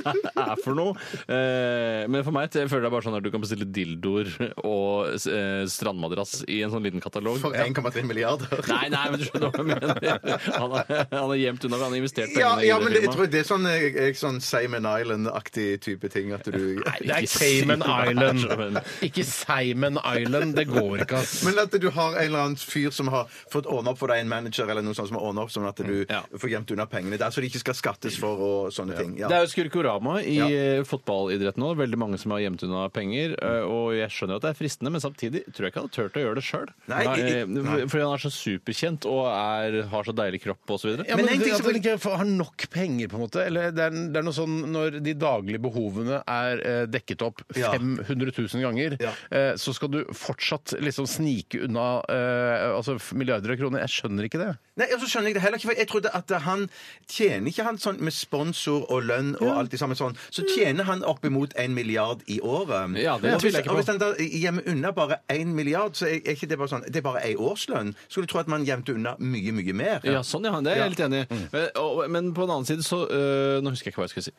[SPEAKER 5] er for noe. Eh, Men for meg jeg føler det er bare sånn at du kan bestille dildoer og eh, strandmadrass i en sånn liten katalog.
[SPEAKER 6] For 1,3 milliarder.
[SPEAKER 5] Nei, nei, men du skjønner hva jeg mener. Han har, han har gjemt unna, han har investert pengene
[SPEAKER 6] Ja, ja, men
[SPEAKER 5] i det
[SPEAKER 6] det, jeg tror
[SPEAKER 5] firmaet.
[SPEAKER 6] det er sånn, eh, eh, sånn Simon Island-aktig type ting. At du
[SPEAKER 4] Det er
[SPEAKER 5] Ikke
[SPEAKER 4] Cayman
[SPEAKER 5] si hva det er,
[SPEAKER 4] Island.
[SPEAKER 5] men-
[SPEAKER 4] Ikke Simon Island. Det går ikke, ass.
[SPEAKER 6] Men at du har en eller annen fyr som har fått ordna opp for deg, en manager eller noe sånt som har ordnet opp, sånn at du
[SPEAKER 5] Ja.
[SPEAKER 6] får gjemt unna pengene der, så de ikke skal skattes for og sånne ting. Ja.
[SPEAKER 5] Det er jo skurkorama i
[SPEAKER 6] Ja.
[SPEAKER 5] eh, fotballidretten nå. Veldig mange som har gjemt unna penger. eh, Og jeg skjønner at det er fristende, men samtidig tror jeg ikke han hadde turt å gjøre det sjøl.
[SPEAKER 6] Nei, i- i- nei.
[SPEAKER 5] eh, Fordi han er så superkjent og er, har så deilig kropp osv.
[SPEAKER 4] Ja,
[SPEAKER 6] Men
[SPEAKER 4] men
[SPEAKER 6] altså, en ting
[SPEAKER 4] at
[SPEAKER 6] som-
[SPEAKER 4] man ikke får- har nok penger, på en måte. Eller det er, det er noe sånn når de daglige behovene er eh, dekket opp
[SPEAKER 6] Ja.
[SPEAKER 4] 500 000 ganger,
[SPEAKER 6] Ja.
[SPEAKER 4] eh, så skal du fortsatt liksom snike unna eh, altså f- milliarder av kroner. Jeg skjønner ikke det.
[SPEAKER 6] Nei, og så skjønner jeg det heller ikke, for jeg trodde at han tjener ikke han sånn med sponsor og lønn og alt det samme sånn, så tjener han oppimot en milliard i året.
[SPEAKER 5] Ja, det
[SPEAKER 6] Og
[SPEAKER 5] tviler jeg
[SPEAKER 6] hvis-
[SPEAKER 5] ikke på.
[SPEAKER 6] Og hvis han da gjemmer unna bare en milliard, så er er ikke det bare sånn, det er bare ei årslønn. Skulle tro at man gjemte unna mye, mye mer.
[SPEAKER 5] Ja, sånn, ja. Det er jeg helt enig i.
[SPEAKER 6] Mm.
[SPEAKER 5] Men, og- men på den annen side så øh, Nå husker jeg ikke hva jeg skulle si.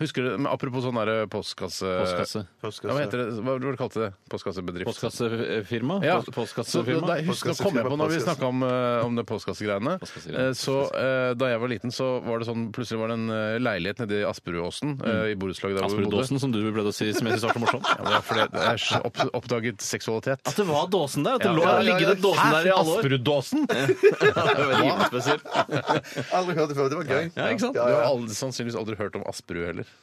[SPEAKER 4] Husker du, men Apropos sånn derre postkasse...
[SPEAKER 5] Postkasse.
[SPEAKER 6] Postkasse.
[SPEAKER 4] Ja, hva heter det? Hva var det du kalte det? Postkassebedrift?
[SPEAKER 5] Postkassefirma?
[SPEAKER 4] Ja.
[SPEAKER 5] Post- Postkassefirma?
[SPEAKER 4] Så, da, husk, nå kom jeg på når vi
[SPEAKER 6] Postkassefirma,
[SPEAKER 4] snakka om, eh, om det postkassegreiene.
[SPEAKER 5] Postkassegreiene.
[SPEAKER 4] Eh, så eh, da jeg var liten, så var det sånn plutselig var det en eh, leilighet nede i Asperudåsen eh, i borettslaget der hvor vi bodde.
[SPEAKER 5] Asperudåsen, som du pleide å si, som jeg syns var så morsomt.
[SPEAKER 4] Ja, men det er fordi jeg s- opp, oppdaget seksualitet.
[SPEAKER 5] At det var dåsen der? At det
[SPEAKER 4] Ja.
[SPEAKER 5] lå
[SPEAKER 4] Ja, ja, ja.
[SPEAKER 5] ligget en dåsen der i alle år?
[SPEAKER 4] Asperudåsen?
[SPEAKER 5] Det var rimelig spesielt.
[SPEAKER 6] Aldri hørt det før, det var gøy.
[SPEAKER 5] Ja, ikke sant?
[SPEAKER 4] Du har aldri, sannsynligvis aldri hørt om Asperud heller.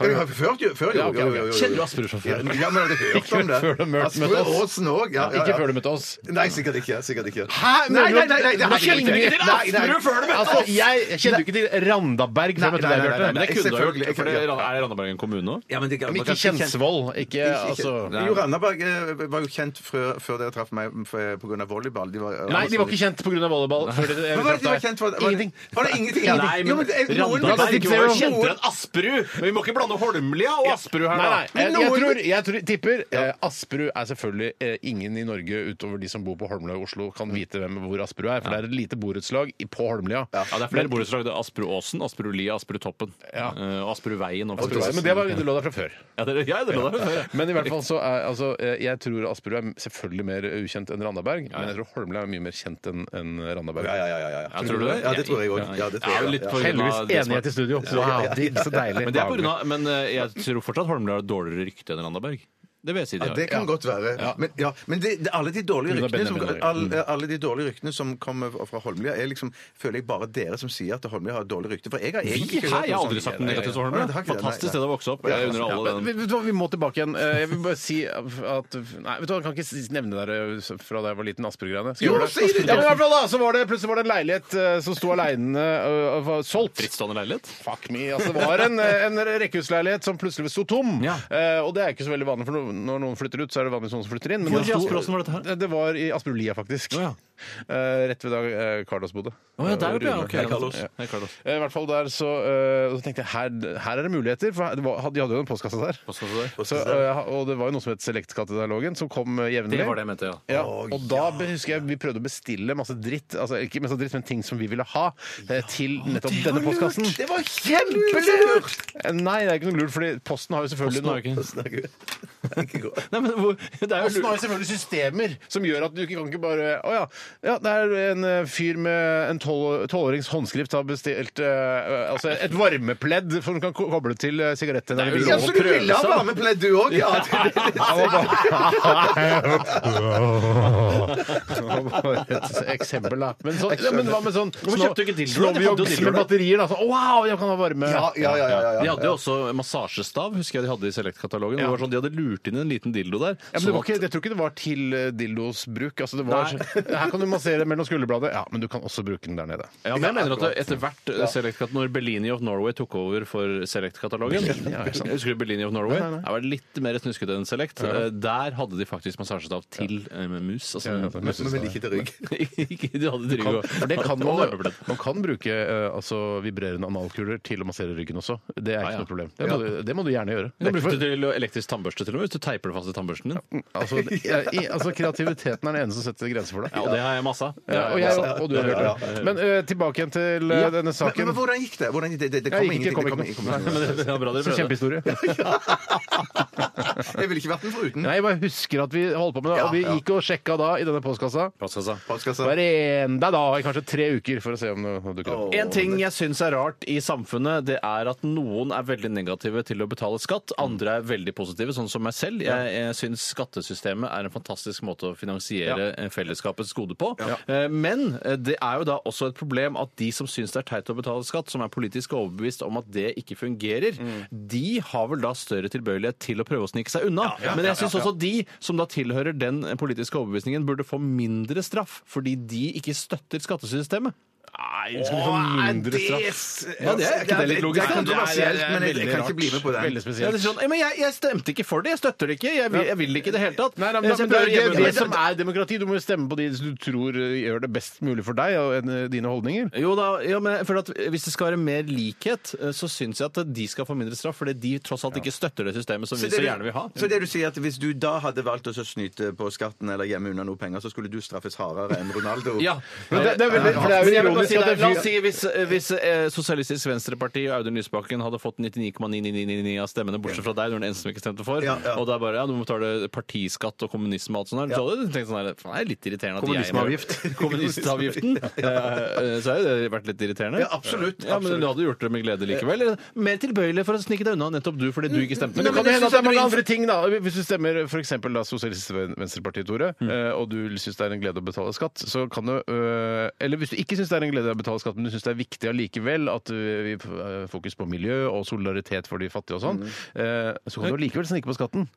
[SPEAKER 6] Jeg har hørt jo, før jo.
[SPEAKER 4] ok, ok.
[SPEAKER 6] jo, jo, jo, jo.
[SPEAKER 5] Kjenner du Asperud-sjåføren?
[SPEAKER 6] Ja, men har du hørt om det?
[SPEAKER 4] før det er mørkt med
[SPEAKER 6] Asbjørn
[SPEAKER 4] oss.
[SPEAKER 6] Aasen også, ja, ja, ja.
[SPEAKER 4] Ikke før du møtte oss.
[SPEAKER 6] Nei, sikkert ikke. Sikkert ikke.
[SPEAKER 4] Nei, nei, nei, nei,
[SPEAKER 6] det har jeg
[SPEAKER 4] kjenner
[SPEAKER 6] ikke.
[SPEAKER 4] ikke til
[SPEAKER 6] Nei, nei.
[SPEAKER 4] Altså, jeg jeg kjente jo ikke til Randaberg før jeg møtte
[SPEAKER 6] Nei,
[SPEAKER 4] deg,
[SPEAKER 6] nei, nei, nei,
[SPEAKER 4] Bjarte.
[SPEAKER 5] Men det
[SPEAKER 6] nei,
[SPEAKER 5] kunne du ha
[SPEAKER 6] selvfølgelig,
[SPEAKER 5] gjort. For det
[SPEAKER 6] selvfølgelig.
[SPEAKER 5] er Randaberg en kommune nå?
[SPEAKER 6] Ja, men det,
[SPEAKER 4] Men ikke Kjensvoll. Ikke altså
[SPEAKER 6] Jo, Randaberg eh, var jo kjent før, før dere traff meg mm, pga. volleyball. De var,
[SPEAKER 4] Nei, de var ikke kjent pga. volleyball. Før de,
[SPEAKER 6] Hva var det de var kjent for? Var det-
[SPEAKER 4] Ingenting.
[SPEAKER 6] Var det ingenting?
[SPEAKER 5] Nei,
[SPEAKER 6] ingenting? Jo,
[SPEAKER 5] men
[SPEAKER 6] det er- noen-
[SPEAKER 5] Randaberg
[SPEAKER 4] Zero.
[SPEAKER 5] var jo kjentere enn Asperud! Men vi må ikke blande Holmlia og Asperud her,
[SPEAKER 4] Nei,
[SPEAKER 5] da.
[SPEAKER 4] nei. Jeg, jeg, tror, jeg tror, tipper eh, Asperud er selvfølgelig eh, Ingen i Norge utover de som bor på Holmlia i Oslo, kan vite hvem hvor Asperud er, for det er et lite borettslag i- på Holmlia.
[SPEAKER 5] Ja, det er flere borettslag. Det er Asperudåsen, Asperudlia, Asperudtoppen.
[SPEAKER 4] Ja.
[SPEAKER 5] Eh, Og Asperudveien. og
[SPEAKER 4] Asperud, Men det, var, det lå der fra før.
[SPEAKER 5] Ja, det, ja, det lå der før. ja.
[SPEAKER 4] Men i hvert fall så er altså, eh, jeg tror Asperud er selvfølgelig mer ukjent enn Randaberg, men jeg tror Holmlia er mye mer kjent enn enn Randaberg.
[SPEAKER 6] Ja, ja, ja, ja, ja.
[SPEAKER 5] Ja, tror du det?
[SPEAKER 6] Ja, det tror jeg òg. Ja, det tror jeg,
[SPEAKER 5] Jeg er jo
[SPEAKER 6] ja.
[SPEAKER 5] litt på grunn av
[SPEAKER 4] Heldigvis
[SPEAKER 5] det som er-
[SPEAKER 4] enighet i studio. Wow, digg, så deilig.
[SPEAKER 5] Men, det er på grunn av, men eh, jeg tror fortsatt Holmlia har dårligere rykte enn Randaberg. Det vil jeg si de
[SPEAKER 6] Ja,
[SPEAKER 5] har.
[SPEAKER 6] det kan godt være. Men, ja, men det, det, alle, de dårlige
[SPEAKER 4] Hun er
[SPEAKER 6] ryktene som,
[SPEAKER 4] Benjamin
[SPEAKER 6] alle,
[SPEAKER 5] Mm.
[SPEAKER 6] alle de dårlige ryktene som kommer fra Holmlia, er liksom, føler jeg bare dere som sier at Holmlia har dårlig rykte. For jeg har egentlig
[SPEAKER 5] Vi
[SPEAKER 6] ikke
[SPEAKER 5] her, jeg har
[SPEAKER 6] noe
[SPEAKER 5] aldri
[SPEAKER 6] sånt.
[SPEAKER 5] sagt noe negativt om
[SPEAKER 6] Nei, det har
[SPEAKER 5] Holmlia.
[SPEAKER 6] ikke det, nei,
[SPEAKER 5] Fantastisk
[SPEAKER 6] nei.
[SPEAKER 5] sted å vokse opp. Jeg unner
[SPEAKER 4] Ja,
[SPEAKER 5] alle
[SPEAKER 4] men
[SPEAKER 5] den.
[SPEAKER 4] vet du hva, vi må tilbake igjen. Eh, Jeg vil bare si at Nei, vet du hva, jeg kan ikke si- nevne det der eh, fra da jeg var liten, Asperud-greiene. Skal jeg
[SPEAKER 6] Jo,
[SPEAKER 4] gjøre
[SPEAKER 6] si det!
[SPEAKER 4] Ja, men i hvert fall da, så var det plutselig var det en leilighet eh, som sto aleine og var solgt.
[SPEAKER 5] Frittstående leilighet.
[SPEAKER 4] Fuck me. Altså, det var en, en eh, rekkehusleilighet som plutselig sto tom.
[SPEAKER 5] Ja.
[SPEAKER 4] Eh, og det er ikke så veldig vanlig for noe. når noen flytter ut, så er det vanligvis noen som flytter inn. men
[SPEAKER 5] Hvor
[SPEAKER 4] det
[SPEAKER 5] i
[SPEAKER 4] sto-
[SPEAKER 5] Askeråsen var dette her?
[SPEAKER 4] Det, det var i Asperolia, faktisk.
[SPEAKER 5] Å, ja.
[SPEAKER 4] Eh, rett ved da eh, Carlos bodde.
[SPEAKER 5] Å ja,
[SPEAKER 4] Eh,
[SPEAKER 5] der oppe, ja.
[SPEAKER 4] Rune.
[SPEAKER 5] ok. Ja,
[SPEAKER 4] Ja.
[SPEAKER 5] det er Carlos.
[SPEAKER 4] Eh, I hvert fall der så, eh, så tenkte jeg her, her er det muligheter, for her- det var, de hadde jo en postkasse der.
[SPEAKER 5] Postkasse der.
[SPEAKER 4] Så, eh, og det var jo noe som het Selektkatalogen, som kom eh, jevnlig.
[SPEAKER 5] Det var det jeg mente, ja.
[SPEAKER 4] Ja, og da be- husker jeg vi prøvde å bestille masse dritt, altså ikke masse dritt, men ting som vi ville ha eh, til nettopp denne postkassen.
[SPEAKER 6] Det var kjempelurt!
[SPEAKER 4] Eh, Nei, det er ikke noe lurt, fordi posten har jo selvfølgelig
[SPEAKER 5] Posten har jo
[SPEAKER 6] Snakker
[SPEAKER 5] ikke-
[SPEAKER 6] vi. Det er ikke godt.
[SPEAKER 5] Nei, men hvor, det er jo
[SPEAKER 4] Posten har jo selvfølgelig systemer som gjør at du ikke kan ikke bare Å ja, ja, det er en eh, fyr med en tolv- tolvårings håndskrift har bestilt eh, altså et varmepledd som kan ko- koble til eh, sigarettene.
[SPEAKER 6] Ja, så du ville ha varmepledd, du òg? Ja, det-
[SPEAKER 4] Bare et eksempel, da. Men, sånn- ja, men hva med sånn
[SPEAKER 5] Hvorfor kjøpte du ikke dildo?
[SPEAKER 4] Slår
[SPEAKER 5] De
[SPEAKER 4] vi
[SPEAKER 5] hadde jo
[SPEAKER 4] og
[SPEAKER 5] dildoer.
[SPEAKER 4] med batterier, da. Så, wow, jeg kan ha varme.
[SPEAKER 6] ja, ja, ja, ja, ja.
[SPEAKER 5] De hadde jo også massasjestav, husker jeg de hadde i Select-katalogen. Det
[SPEAKER 4] Ja.
[SPEAKER 5] var Sånn, de hadde lurt inn en liten dildo der.
[SPEAKER 4] Ja, men det
[SPEAKER 5] sånn
[SPEAKER 4] var ikke,
[SPEAKER 5] at-
[SPEAKER 4] jeg tror ikke det var til eh, dildos bruk. Altså det var,
[SPEAKER 5] Nei.
[SPEAKER 4] her kan du massere mellom skulderbladet, ja, men du kan også bruke den der nede.
[SPEAKER 5] ja, men jeg mener at det- etter hvert eh, Select-kat- Når Bellini of Norway tok over for Select-katalogen
[SPEAKER 4] ja, ikke sant.
[SPEAKER 5] Husker du Bellini of Norway? Det var litt mer snuskete enn Select. Eh, Der hadde de faktisk massasjestav til eh, med mus. Altså,
[SPEAKER 6] Men vel ikke til rygg.
[SPEAKER 5] Ikke de hadde trygg og-
[SPEAKER 4] For det kan
[SPEAKER 5] og
[SPEAKER 4] man,
[SPEAKER 5] varmepledd.
[SPEAKER 4] man kan bruke eh, altså, vibrerende analkuler til å massere ryggen også. Det er ikke
[SPEAKER 5] ja.
[SPEAKER 4] noe problem. Det må, du, det må du gjerne gjøre.
[SPEAKER 5] Du kan bruke det til elektrisk tannbørste til og med, hvis du teiper det fast i tannbørsten din.
[SPEAKER 4] Altså, i- i- altså, kreativiteten er den ene som setter grenser for deg.
[SPEAKER 5] Ja, og det har jeg masse av.
[SPEAKER 4] Ja, og, jeg, og du har hørt det. Men eh, tilbake igjen til eh, denne
[SPEAKER 6] Men,
[SPEAKER 4] saken.
[SPEAKER 6] men hvordan gikk det? Hvordan gikk det? Det, det
[SPEAKER 4] Jeg
[SPEAKER 6] kom
[SPEAKER 4] gikk ikke,
[SPEAKER 6] ingenting.
[SPEAKER 4] kom
[SPEAKER 6] det kom
[SPEAKER 4] ikke.
[SPEAKER 6] ingen- kom
[SPEAKER 5] Men det, det er bra dere
[SPEAKER 4] Så
[SPEAKER 5] prøvde.
[SPEAKER 4] kjempehistorie.
[SPEAKER 6] ingen- Jeg ville ikke vært den foruten.
[SPEAKER 4] Nei, jeg bare husker at vi holdt på med det. Og vi
[SPEAKER 6] Ja, ja.
[SPEAKER 4] gikk og sjekka da i denne postkassa
[SPEAKER 5] Postkassa.
[SPEAKER 6] Postkassa.
[SPEAKER 4] hver enda dag i kanskje tre uker for å se om det dukker opp.
[SPEAKER 5] En ting jeg syns er rart i samfunnet, det er at noen er veldig negative til å betale skatt. Andre er veldig positive, sånn som meg selv. Jeg, jeg syns skattesystemet er en fantastisk måte å finansiere eh, fellesskapets gode på. Eh, Men eh, det er jo da også et problem at de som syns det er teit å betale skatt, som er politisk overbevist om at det ikke fungerer, de har vel da større tilbøyelighet til å prøve å snike seg unna. Men jeg syns også de som da tilhører den politiske overbevisningen, burde få mindre straff fordi de ikke støtter skattesystemet.
[SPEAKER 4] Nei, skal vi få sånn mindre straff?
[SPEAKER 5] Ja, det er ikke det litt
[SPEAKER 6] Det
[SPEAKER 5] logisk?
[SPEAKER 6] er kontroversielt,
[SPEAKER 4] det er
[SPEAKER 6] men jeg,
[SPEAKER 4] eh,
[SPEAKER 6] jeg
[SPEAKER 4] veldig
[SPEAKER 6] kan ikke
[SPEAKER 4] rart.
[SPEAKER 6] bli med på den.
[SPEAKER 4] Veldig
[SPEAKER 5] Ja, det
[SPEAKER 4] spesielt.
[SPEAKER 5] er sånn, «Ei, men jeg, jeg stemte ikke for det, jeg støtter det ikke. Jeg vil, jeg vil det ikke i det hele tatt.
[SPEAKER 4] Nei, nei, men, da-
[SPEAKER 5] Jeg
[SPEAKER 4] men
[SPEAKER 5] stemte
[SPEAKER 4] det er jo
[SPEAKER 5] hjemme-
[SPEAKER 4] det, det som er demokrati. Du må jo stemme på de du tror eh, gjør det best mulig for deg og eh, dine holdninger.
[SPEAKER 5] jo da, ja, men jeg føler at Hvis det skal være mer likhet, eh, så syns jeg at de skal få mindre straff. Fordi de tross alt ikke støtter det systemet som vi så
[SPEAKER 6] du-
[SPEAKER 5] gjerne vil ha.
[SPEAKER 6] så det du sier at Hvis du da hadde valgt å så snyte på skatten eller gjemme unna noe penger, så skulle du straffes hardere enn Ronaldo?
[SPEAKER 5] Ja.
[SPEAKER 4] Men det, det er veldig, for det er jo
[SPEAKER 5] Men jeg vil bare
[SPEAKER 4] ironisk
[SPEAKER 5] si
[SPEAKER 4] at
[SPEAKER 5] det,
[SPEAKER 4] det
[SPEAKER 5] la
[SPEAKER 4] er
[SPEAKER 5] oss si hvis, eh, hvis eh, Sosialistisk Venstreparti og Audun Lysbakken hadde fått 99,999 av stemmene, bortsett fra deg, du er den eneste som ikke stemte for,
[SPEAKER 6] Ja, ja.
[SPEAKER 5] og da bare ja, du må betale partiskatt og kommunisme og alt sånt der, så hadde du tenkt sånn her faen, det er litt irriterende at jeg
[SPEAKER 4] Kommunismeavgift.
[SPEAKER 5] Kommunistavgiften. eh, eh, Så har jo det vært litt irriterende.
[SPEAKER 6] Ja, absolutt,
[SPEAKER 5] Ja, men du hadde gjort det med glede likevel. Eller Mer tilbøyelig for å snike deg unna nettopp du fordi du ikke stemte.
[SPEAKER 4] Men det kan jo
[SPEAKER 6] jeg
[SPEAKER 4] hende
[SPEAKER 6] synes
[SPEAKER 4] at det er
[SPEAKER 6] at
[SPEAKER 4] mange
[SPEAKER 6] du-
[SPEAKER 4] andre ting, da. Hvis du stemmer for eksempel, da Sosialistisk Ven- Venstreparti, Tore, eh, og du syns det er en glede å betale skatt, så kan du øh, Eller hvis du ikke syns det er en glede å betale skatt, men du syns det er viktig allikevel at øh, vi øh, fokus på miljø og solidaritet for de fattige og sånn, eh, så kan du allikevel snike på skatten.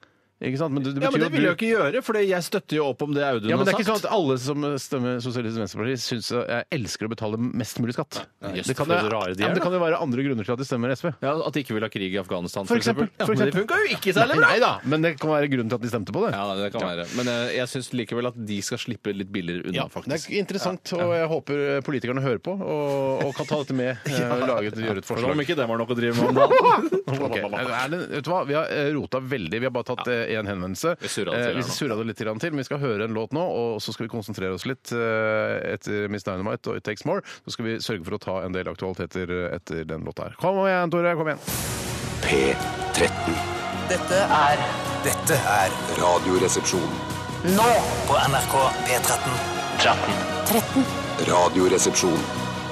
[SPEAKER 4] Ikke sant? Men det, det
[SPEAKER 5] Ja, men
[SPEAKER 4] betyr jo
[SPEAKER 5] det
[SPEAKER 4] at
[SPEAKER 5] vil jeg
[SPEAKER 4] du
[SPEAKER 5] jo ikke gjøre, for jeg støtter jo opp om det Audun
[SPEAKER 4] ja, men det
[SPEAKER 5] har
[SPEAKER 4] er ikke sånn
[SPEAKER 5] sagt.
[SPEAKER 4] at alle som stemmer Sosialistisk Venstreparti, syns eh, jeg elsker å betale mest mulig skatt.
[SPEAKER 5] Jøss,
[SPEAKER 4] Det kan,
[SPEAKER 5] for
[SPEAKER 4] jo,
[SPEAKER 5] så rare de
[SPEAKER 4] ja,
[SPEAKER 5] er,
[SPEAKER 4] men det
[SPEAKER 5] da.
[SPEAKER 4] kan jo være andre grunner til at de stemmer SV.
[SPEAKER 5] Ja, At de ikke vil ha krig i Afghanistan,
[SPEAKER 4] For eksempel.
[SPEAKER 5] Ja,
[SPEAKER 4] For
[SPEAKER 5] men det
[SPEAKER 4] eksempel.
[SPEAKER 5] funka jo ikke særlig bra!
[SPEAKER 4] Nei da, men det kan være grunnen til at de stemte på det.
[SPEAKER 5] Ja, det kan være. Men eh, jeg syns likevel at de skal slippe litt billigere unna,
[SPEAKER 4] Det
[SPEAKER 5] faktisk.
[SPEAKER 4] er interessant, og jeg håper politikerne hører på og, og kan ta dette med. eh, lage et, gjøre et
[SPEAKER 5] For om
[SPEAKER 4] forslag.
[SPEAKER 5] ikke dem har noe å drive med om dagen.
[SPEAKER 4] Ok, er det- Vet du hva? Vi har eh, rota veldig. Vi har bare tatt én henvendelse.
[SPEAKER 5] Vi surra det til
[SPEAKER 4] Eh,
[SPEAKER 5] her nå.
[SPEAKER 4] surra det litt grann til, men vi skal høre en låt nå, og så skal vi konsentrere oss litt eh, etter Miss Dynamite og It Takes More. Så skal vi sørge for å ta en del aktualiteter eh, etter den låta her. Kom igjen, Tore. Kom igjen.
[SPEAKER 1] P13.
[SPEAKER 2] Dette er
[SPEAKER 1] Dette er Radioresepsjon.
[SPEAKER 2] nå på NRK P13.
[SPEAKER 1] Radioresepsjon.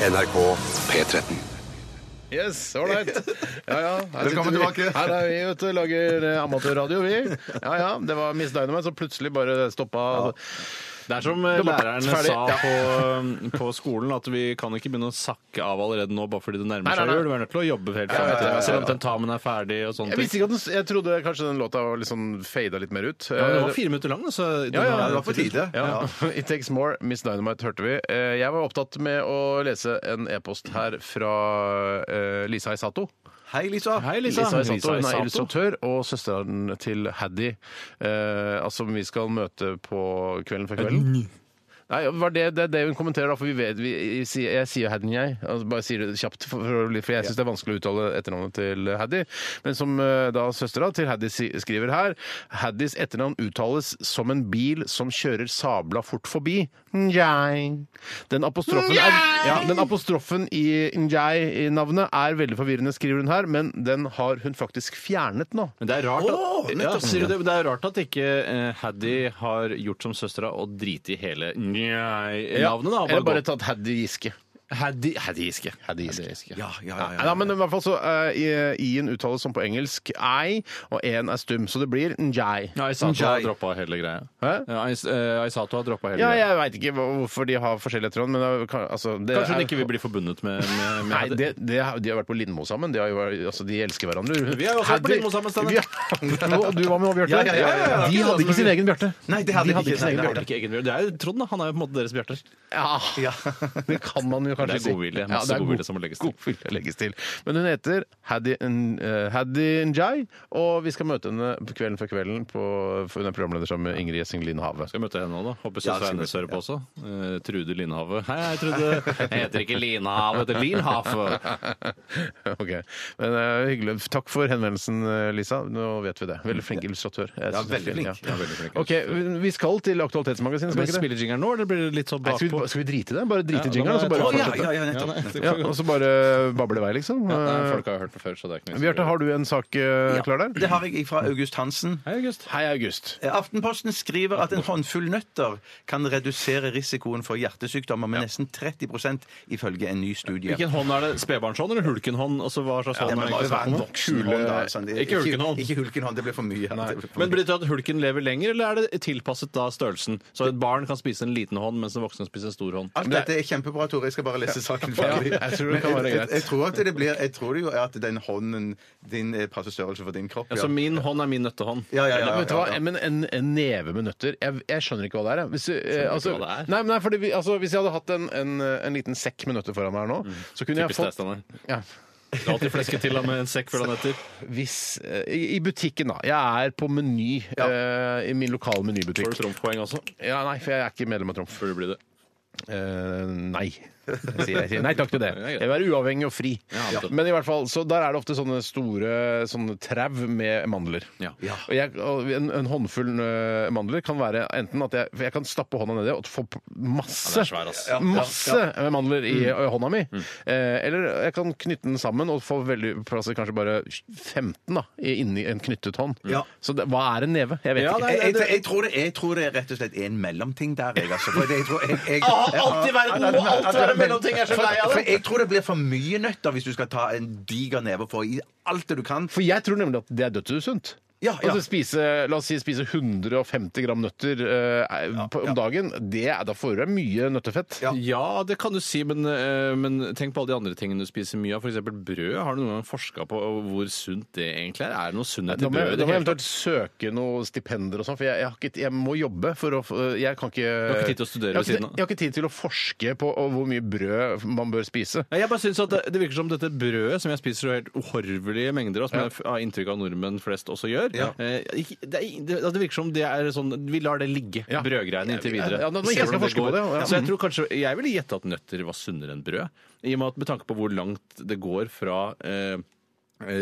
[SPEAKER 1] NRK P13.
[SPEAKER 4] Yes, ålreit. Ja, ja. her
[SPEAKER 6] Velkommen
[SPEAKER 4] sitter vi.
[SPEAKER 6] tilbake.
[SPEAKER 4] Her er vi ute og lager eh, amatørradio, vi. Ja, ja. Det var Miss Dynamite som plutselig bare stoppa.
[SPEAKER 5] Det er som eh,
[SPEAKER 4] Det var
[SPEAKER 5] lærerne
[SPEAKER 4] ferdig.
[SPEAKER 5] sa på, eh, på skolen, at vi kan ikke begynne å sakke av allerede nå bare fordi det
[SPEAKER 4] Nei,
[SPEAKER 5] nærmer
[SPEAKER 4] nei,
[SPEAKER 5] seg
[SPEAKER 4] nei.
[SPEAKER 5] jul. Vi er nødt til å jobbe helt
[SPEAKER 4] ja,
[SPEAKER 5] fram
[SPEAKER 4] ja,
[SPEAKER 5] til
[SPEAKER 4] ja.
[SPEAKER 5] selv om tentamen er ferdig og sånne
[SPEAKER 4] Jeg visste
[SPEAKER 5] ting.
[SPEAKER 4] ikke at den, jeg trodde kanskje den låta var litt sånn fada litt mer ut. Eh,
[SPEAKER 5] Ja, den var fire minutter lang, altså. da, så den
[SPEAKER 4] Ja, ja,
[SPEAKER 5] har-
[SPEAKER 6] det var på tide.
[SPEAKER 4] Ja. It Takes More, Miss Dynamite hørte vi. Eh, Jeg var opptatt med å lese en e-post her fra eh, Lisa Isato.
[SPEAKER 6] Hei, Lisa.
[SPEAKER 5] Hei, Lisa.
[SPEAKER 4] Lisa Isato. Hun er
[SPEAKER 5] Isato.
[SPEAKER 4] illustratør og søsteren til Haddy, eh, altså, som vi skal møte på Kvelden før kvelden. Nei, var det, det er det hun kommenterer, da, for vi vet, vi, jeg sier- jeg sier Hadden, jeg. Altså, bare sier det kjapt, for, for, for jeg syns det er vanskelig å uttale etternavnet til Haddy. Men som eh, da søstera til Haddy si- skriver her, Haddys etternavn uttales som en bil som kjører sabla fort forbi. Njei. Den apostrofen, er, ja, den apostrofen i njei i navnet er veldig forvirrende, skriver hun her, men den har hun faktisk fjernet nå.
[SPEAKER 5] Men det er rart at,
[SPEAKER 6] Åh, nettopp.
[SPEAKER 5] ja, sier du det, det er rart at ikke eh, Haddy har gjort som søstera og driti i hele njei-navnet. da. og
[SPEAKER 4] Eller bare
[SPEAKER 5] gått-
[SPEAKER 4] tatt Haddy Giske.
[SPEAKER 5] Haddy Haddy Giske.
[SPEAKER 4] Haddy Giske.
[SPEAKER 6] Ja, ja, ja, ja.
[SPEAKER 4] Nei, da, men i hvert fall så eh, i- i-en uttales som på engelsk ei, og en er stum, så det blir njei.
[SPEAKER 5] Ja, Aisato har
[SPEAKER 6] Njei.
[SPEAKER 5] droppa hele greia.
[SPEAKER 4] Hæ?
[SPEAKER 5] Ja, Ais- eh, Aisato har droppet hele
[SPEAKER 4] Ja,
[SPEAKER 5] greia.
[SPEAKER 4] jeg veit ikke hva- hvorfor de har forskjellige etternavn, men det er kan- altså det
[SPEAKER 5] Kanskje hun
[SPEAKER 4] er-
[SPEAKER 5] ikke vil bli forbundet med, med, med
[SPEAKER 4] Nei,
[SPEAKER 5] Haddy.
[SPEAKER 4] det, det, har- de har vært på Lindmo sammen. De, har jo, vært- altså, de elsker hverandre.
[SPEAKER 5] Vi har jo også vært på
[SPEAKER 4] Haddy-
[SPEAKER 5] Lindmo sammen, Steinar.
[SPEAKER 4] Vi har- Og du var med òg, Bjarte.
[SPEAKER 6] Ja, ja, ja, ja, ja.
[SPEAKER 4] De hadde ikke sin egen Bjarte.
[SPEAKER 6] Nei, det hadde
[SPEAKER 4] de
[SPEAKER 6] de ikke.
[SPEAKER 4] sin
[SPEAKER 6] Nei,
[SPEAKER 4] egen
[SPEAKER 6] nei,
[SPEAKER 4] Bjarte.
[SPEAKER 5] Det er ikke egen vilje. Det er jo Trond, da. Han er jo på en måte deres Bjarte.
[SPEAKER 4] Ja, det kan man jo kanskje
[SPEAKER 5] Det er godvilje. Masse
[SPEAKER 4] det er
[SPEAKER 5] godvilje som må legges til.
[SPEAKER 4] Godvilje legges til. Men hun heter Haddy, N- eh, Haddy Njai, og vi skal møte henne på kvelden før kvelden. På, for hun er programleder sammen med Ingrid Gjessing Lien Have.
[SPEAKER 5] Skal jeg møte henne nå, da? Håper
[SPEAKER 6] Ja,
[SPEAKER 5] søstera
[SPEAKER 6] skal
[SPEAKER 5] hennes hører på også. Eh, Trude Linhave. Hei, hei, Trude. Jeg heter ikke Linhave, jeg heter Linhave.
[SPEAKER 4] Ok, Men eh, hyggelig. Takk for henvendelsen, eh, Lisa. Nå vet vi det. Veldig flink illustratør.
[SPEAKER 6] Ja,
[SPEAKER 4] Jeg synes det er
[SPEAKER 6] veldig
[SPEAKER 4] fint,
[SPEAKER 6] flink.
[SPEAKER 4] ja.
[SPEAKER 5] Ja, veldig flink.
[SPEAKER 4] Ok, vi- Vi skal til Aktualitetsmagasinet, skal vi ikke
[SPEAKER 5] Skal vi
[SPEAKER 4] det?
[SPEAKER 5] spille jingeren nå, eller blir det litt sånn
[SPEAKER 4] Nei, skal,
[SPEAKER 5] bakpå?
[SPEAKER 4] vi, skal vi drite i det? Bare drite i
[SPEAKER 5] Ja,
[SPEAKER 4] jingeren, og så
[SPEAKER 5] da
[SPEAKER 4] bare
[SPEAKER 5] må jeg-
[SPEAKER 6] Å, ja,
[SPEAKER 4] fortsette?
[SPEAKER 6] ja, ja, nettopp.
[SPEAKER 5] Ja, nei,
[SPEAKER 4] Ja,
[SPEAKER 5] det kan vi
[SPEAKER 4] og
[SPEAKER 5] godt.
[SPEAKER 4] så bare bable i vei, liksom.
[SPEAKER 5] Ja, nei,
[SPEAKER 4] Eh,
[SPEAKER 5] folk har hørt den før, så det er ikke noe
[SPEAKER 4] Bjarte, har du en sak eh, klar der?
[SPEAKER 6] Det har jeg fra August Hansen. Eh,
[SPEAKER 5] Hei, August.
[SPEAKER 4] Hei, August.
[SPEAKER 6] Aftenposten skriver at en håndfull nøtter kan redusere risikoen for hjertesykdommer med nesten 30 ifølge en ny studie.
[SPEAKER 5] Hvilken hånd er det? Spedbarnshånd eller hulkenhånd? Altså, hva slags hånd
[SPEAKER 6] men
[SPEAKER 5] er
[SPEAKER 6] må jo
[SPEAKER 5] det?
[SPEAKER 6] være en voksen
[SPEAKER 5] Kule-
[SPEAKER 6] hånd, da, sånn. Det-
[SPEAKER 5] Ikke hulkenhånd.
[SPEAKER 6] Ikke hulkenhånd, det blir for mye.
[SPEAKER 5] Men betyr det at hulken lever lenger, eller er det tilpasset da størrelsen? Så et barn kan spise en liten hånd, mens en voksen spiser en stor hånd.
[SPEAKER 6] Alt dette er kjempebra, Tore. Jeg skal bare lese saken ferdig.
[SPEAKER 4] jeg tror det
[SPEAKER 6] Men
[SPEAKER 4] kan være
[SPEAKER 6] jeg, jeg,
[SPEAKER 4] greit.
[SPEAKER 6] jeg tror at det blir Jeg tror det jo er at den hånden din eh, passer størrelse for din kropp.
[SPEAKER 5] Altså, min hånd er min nøttehånd.
[SPEAKER 6] Ja, ja, ja,
[SPEAKER 4] Nei,
[SPEAKER 6] ja,
[SPEAKER 4] men vet du hva?
[SPEAKER 6] ja, ja.
[SPEAKER 4] Men en, en neve med nøtter jeg, jeg skjønner ikke hva det er. jeg. Hvis, du, eh,
[SPEAKER 5] ikke
[SPEAKER 4] altså,
[SPEAKER 5] hva det er?
[SPEAKER 4] Nei, men nei, fordi vi, altså, hvis jeg hadde hatt en, en, en liten sekk med nøtter foran meg her nå, så kunne jeg
[SPEAKER 5] Mm. Typisk deg,
[SPEAKER 4] fått
[SPEAKER 5] Steinar.
[SPEAKER 4] ja,
[SPEAKER 5] Du har alltid flesket til deg med en sekk full av nøtter.
[SPEAKER 4] hvis, eh, i, I butikken, da. Jeg er på Meny, eh, i min lokale
[SPEAKER 5] Får du
[SPEAKER 4] menybutikk.
[SPEAKER 5] trumfpoeng også?
[SPEAKER 4] Ja, nei, for jeg er ikke medlem av Trumf.
[SPEAKER 5] Burde bli det.
[SPEAKER 4] Eh, nei. Jeg sier, jeg sier nei takk til det. Jeg
[SPEAKER 5] greit.
[SPEAKER 4] vil være uavhengig og fri.
[SPEAKER 5] Ja, nettopp.
[SPEAKER 4] Men i hvert fall, så der er det ofte sånne store sånne trau med mandler.
[SPEAKER 5] Ja. Ja.
[SPEAKER 4] Og jeg, og en, en håndfull eh, mandler kan være enten at jeg, for jeg kan stappe hånda nedi og få p- masse
[SPEAKER 5] Ja, det er svær, ass. Mm. Ja,
[SPEAKER 4] masse eh, mandler i eh, hånda mi. Eh, eller jeg kan knytte den sammen og få veldig plass til kanskje bare 15 da, i- inni en knyttet hånd.
[SPEAKER 6] Ja.
[SPEAKER 4] Så det, hva er en neve? Jeg vet
[SPEAKER 5] Ja,
[SPEAKER 4] ikke.
[SPEAKER 5] nei,
[SPEAKER 6] Jeg,
[SPEAKER 5] nei,
[SPEAKER 6] jeg,
[SPEAKER 5] det-
[SPEAKER 6] jeg, tror det, jeg tror det er rett og slett en mellomting der, jeg, altså. For jeg tror jeg, jeg,
[SPEAKER 5] alt i verden må alltid være mellomting, jeg er så
[SPEAKER 6] For-
[SPEAKER 5] lei av det.
[SPEAKER 6] For jeg tror det blir for mye nøtter hvis du skal ta en diger neve og få i alt det du kan.
[SPEAKER 4] For jeg tror nemlig at det er dødsusunt.
[SPEAKER 6] Ja, ja.
[SPEAKER 4] Altså spise, la oss si spise 150 gram nøtter eh, på, om dagen. Det, er- da får du deg mye nøttefett.
[SPEAKER 6] Ja.
[SPEAKER 5] Ja, det kan du si, men, eh, men tenk på alle de andre tingene du spiser mye av. F.eks. brød. Har du noen gang forska på hvor sunt det egentlig er? Er det noe sunnhet
[SPEAKER 4] Da
[SPEAKER 5] i
[SPEAKER 4] må jeg
[SPEAKER 5] brød?
[SPEAKER 4] da
[SPEAKER 5] i det
[SPEAKER 4] må jeg
[SPEAKER 5] hele tatt?
[SPEAKER 4] eventuelt søke noen stipender og sånn, for jeg, jeg, har ikke, jeg må jobbe for å få- Jeg kan ikke Du
[SPEAKER 5] ikke tid til å studere
[SPEAKER 4] jeg har,
[SPEAKER 5] ved siden
[SPEAKER 4] ikke,
[SPEAKER 5] av.
[SPEAKER 4] jeg har ikke tid til å forske på og hvor mye brød man bør spise.
[SPEAKER 5] Nei, Jeg bare synes at det, det virker som dette brødet, som jeg spiser så helt uhorvelige mengder av, som jeg f- har inntrykk av nordmenn flest også gjør
[SPEAKER 6] Ja.
[SPEAKER 5] eh, ikke- det, er- det, det virker som det er sånn Vi lar det ligge,
[SPEAKER 4] Ja.
[SPEAKER 5] brødgreiene, inntil
[SPEAKER 4] Ja,
[SPEAKER 5] videre.
[SPEAKER 4] ja, nå- nå
[SPEAKER 5] Ser
[SPEAKER 4] ikke jeg skal
[SPEAKER 5] hvordan
[SPEAKER 4] forske på
[SPEAKER 5] går.
[SPEAKER 4] det, ja.
[SPEAKER 5] Så jeg tror kanskje Jeg ville gjette at nøtter var sunnere enn brød, i og med at med tanke på hvor langt det går fra eh,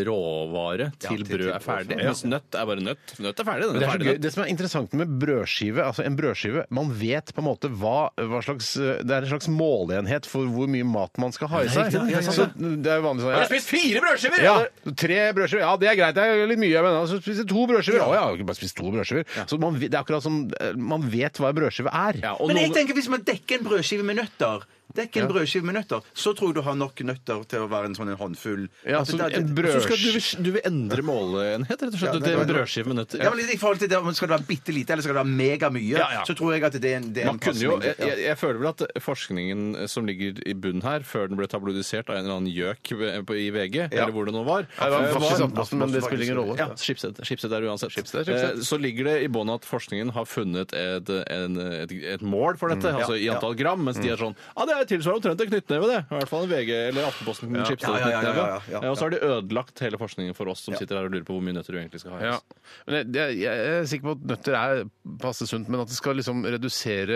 [SPEAKER 5] Råvare til
[SPEAKER 6] til- til
[SPEAKER 5] brød er ferdig. Mens nøtt er bare nøtt. Nøtt er ferdig. Den
[SPEAKER 4] Det,
[SPEAKER 5] er
[SPEAKER 4] er så
[SPEAKER 5] ferdig
[SPEAKER 4] gøy.
[SPEAKER 5] nøtt.
[SPEAKER 4] det som er interessant med brødskive, altså en brødskive Man vet på en måte hva, hva slags eh, Det er en slags måleenhet for hvor mye mat man skal ha i seg.
[SPEAKER 5] riktig, ja, ja, ja.
[SPEAKER 4] Så det er jo vanlig sånn
[SPEAKER 5] Jeg har spist fire brødskiver!
[SPEAKER 4] Ja, tre brødskiver. Ja, det er greit. Det er litt mye. Men altså, spise to brødskiver. Å ja, jeg har bare spist to brødskiver. Så man, vet- det er akkurat som eh, man vet hva en brødskive er.
[SPEAKER 5] Ja, og
[SPEAKER 6] Men jeg
[SPEAKER 5] noen-
[SPEAKER 6] tenker hvis man dekker en brødskive med nøtter Dekk en brødskive med nøtter, så tror jeg du har nok nøtter til å være en sånn en håndfull.
[SPEAKER 4] Ja,
[SPEAKER 6] Altså,
[SPEAKER 4] så
[SPEAKER 6] det-
[SPEAKER 4] en
[SPEAKER 5] Så skal du,
[SPEAKER 4] brødskive
[SPEAKER 5] vil- du vil endre måleenhet, rett og slett?
[SPEAKER 6] Ja,
[SPEAKER 5] Du-
[SPEAKER 6] det
[SPEAKER 5] det er en
[SPEAKER 6] kan-
[SPEAKER 5] brødskive med nøtter?
[SPEAKER 6] Ja, men litt I forhold til det, om skal det være bitte lite eller skal det være megamye,
[SPEAKER 5] Ja, ja.
[SPEAKER 6] så tror jeg at det er en, det er
[SPEAKER 5] Man
[SPEAKER 6] en
[SPEAKER 5] kunne jo,
[SPEAKER 6] passning.
[SPEAKER 5] jeg,
[SPEAKER 6] Ja.
[SPEAKER 5] jeg, jeg føler vel at forskningen som ligger i bunnen her, før den ble tabloidisert av en eller annen gjøk ved- på- i VG, eller hvor det nå var,
[SPEAKER 4] Det var
[SPEAKER 5] eh,
[SPEAKER 4] faktisk i Aftenposten, men det spiller ingen rolle.
[SPEAKER 5] ja, Schibsted. Schibsted er det uansett.
[SPEAKER 4] Schibsted.
[SPEAKER 5] Eh, Så ligger det i bånn
[SPEAKER 6] Mm,
[SPEAKER 5] at forskningen har funnet et, en, et, et mål for dette, altså i antall gram, mens de er sånn Ja, det er tilsvarer omtrent en knyttneve, det. I hvert fall en VG eller Aftenposten ja.
[SPEAKER 6] Ja, ja, ja, ja, ja, ja, ja.
[SPEAKER 5] Og så har de ødelagt hele forskningen for oss som sitter her og lurer på hvor mye nøtter du egentlig skal ha. i
[SPEAKER 4] Ja.
[SPEAKER 5] oss.
[SPEAKER 4] Men jeg, jeg, jeg er sikker på at nøtter er passe sunt, men at det skal liksom redusere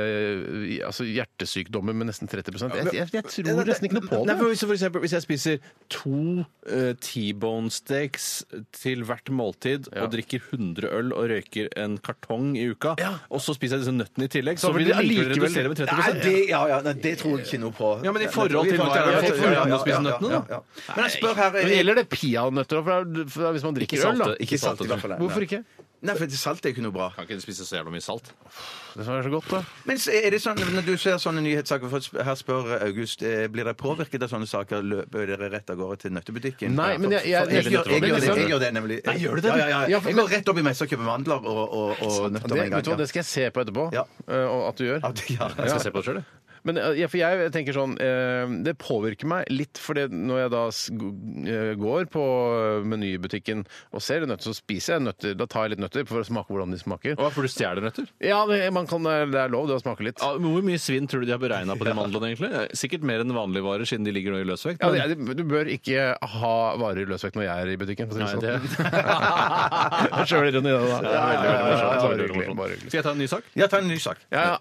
[SPEAKER 4] eh, i- altså hjertesykdommer med nesten 30 Jeg, jeg, jeg tror nesten ikke noe på
[SPEAKER 5] Nei,
[SPEAKER 4] det.
[SPEAKER 5] for hvis, for eksempel, hvis jeg spiser to eh, T-bone steaks til hvert måltid og drikker 100 øl og røyker en kartong i uka, og så spiser jeg disse nøttene i tillegg, så,
[SPEAKER 4] Så vil
[SPEAKER 5] vil det
[SPEAKER 4] det allikevel
[SPEAKER 5] likevel redusere med 30
[SPEAKER 6] Nei, det, ja, ja, nei, det tror jeg ikke noe på.
[SPEAKER 5] Ja, men i forhold til hva
[SPEAKER 6] Ja,
[SPEAKER 5] er det
[SPEAKER 6] ja,
[SPEAKER 5] for
[SPEAKER 6] ja,
[SPEAKER 5] forhånd å spise
[SPEAKER 6] ja, ja,
[SPEAKER 5] nøttene,
[SPEAKER 6] ja,
[SPEAKER 5] da?
[SPEAKER 6] ja. Men jeg spør her
[SPEAKER 4] Men gjelder det peanøtter da? For det er- for det er hvis man drikker øl, da?
[SPEAKER 5] Ikke salt,
[SPEAKER 6] i hvert fall. nei.
[SPEAKER 4] Hvorfor ikke?
[SPEAKER 6] Nei, for det salt er ikke noe bra.
[SPEAKER 5] Kan ikke spise så jævla mye salt.
[SPEAKER 4] Det som er så godt, da.
[SPEAKER 6] Men så er det sånn, når du ser sånne nyhetssaker, for her spør August, eh, blir dere påvirket av sånne saker? Løper dere rett av gårde til nøttebutikken?
[SPEAKER 4] Nei, men jeg- jeg-
[SPEAKER 6] jeg, gjør- jeg, gjør det, jeg gjør det nemlig.
[SPEAKER 5] Nei, gjør du det?
[SPEAKER 6] Ja, ja, ja.
[SPEAKER 4] Ja, for-
[SPEAKER 6] Jeg går rett opp i messa og kjøper mandler og, og, og
[SPEAKER 4] Det,
[SPEAKER 6] nøtter med en
[SPEAKER 4] vet du hva,
[SPEAKER 6] gang.
[SPEAKER 4] det skal jeg se på etterpå.
[SPEAKER 6] Ja.
[SPEAKER 4] eh, og at du gjør.
[SPEAKER 6] Ja. At- Ja.
[SPEAKER 5] Jeg skal se på det sjøl, jeg.
[SPEAKER 4] Men eh, ja, for jeg tenker sånn eh, Det påvirker meg litt, for når jeg da s- g- eh, går på menybutikken og ser nøtter, så spiser jeg nøtter. Da tar jeg litt nøtter for å smake hvordan de smaker.
[SPEAKER 5] Hva, for du stjeler nøtter?
[SPEAKER 4] Ja, det, man kan, det er lov det å smake litt.
[SPEAKER 5] Ja, men hvor mye svinn tror du de har beregna på de mandlene, egentlig? Sikkert mer enn vanlige varer, siden de ligger nå i løsvekt.
[SPEAKER 4] Ja, det- du bør ikke ha varer i løsvekt når jeg er i butikken. For å
[SPEAKER 5] Nei,
[SPEAKER 4] si
[SPEAKER 5] det...
[SPEAKER 4] det sånn. Det er sjølironi, det, da.
[SPEAKER 5] Ja, ja, ja, ja, ja.
[SPEAKER 4] Bare hyggelig, bare hyggelig.
[SPEAKER 5] Skal jeg ta en ny sak?
[SPEAKER 6] ja, ta en ny sak.
[SPEAKER 4] Ja, ja.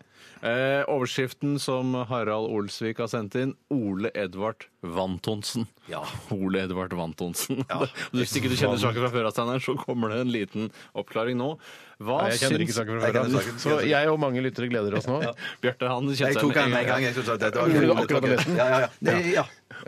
[SPEAKER 5] Eh, overskriften som Harald Olsvik har sendt inn, Ole Edvard Vantonsen. Ja. Ole Edvard Vantonsen. Du, hvis ikke du kjenner saken fra før, av, Steinar, så kommer det en liten oppklaring nå. Hva
[SPEAKER 4] Nei, Jeg kjenner ikke saken fra
[SPEAKER 6] Jeg kjenner
[SPEAKER 4] før.
[SPEAKER 6] saken.
[SPEAKER 4] Så jeg og mange lyttere gleder oss nå.
[SPEAKER 5] Bjarte, han
[SPEAKER 6] Jeg
[SPEAKER 5] kjente
[SPEAKER 6] tok
[SPEAKER 5] seg
[SPEAKER 6] den med en gang. Jeg synes at dette var
[SPEAKER 4] Gjorde du akkurat det nesten?
[SPEAKER 6] Ja, ja, ja. Det- Eh, ja.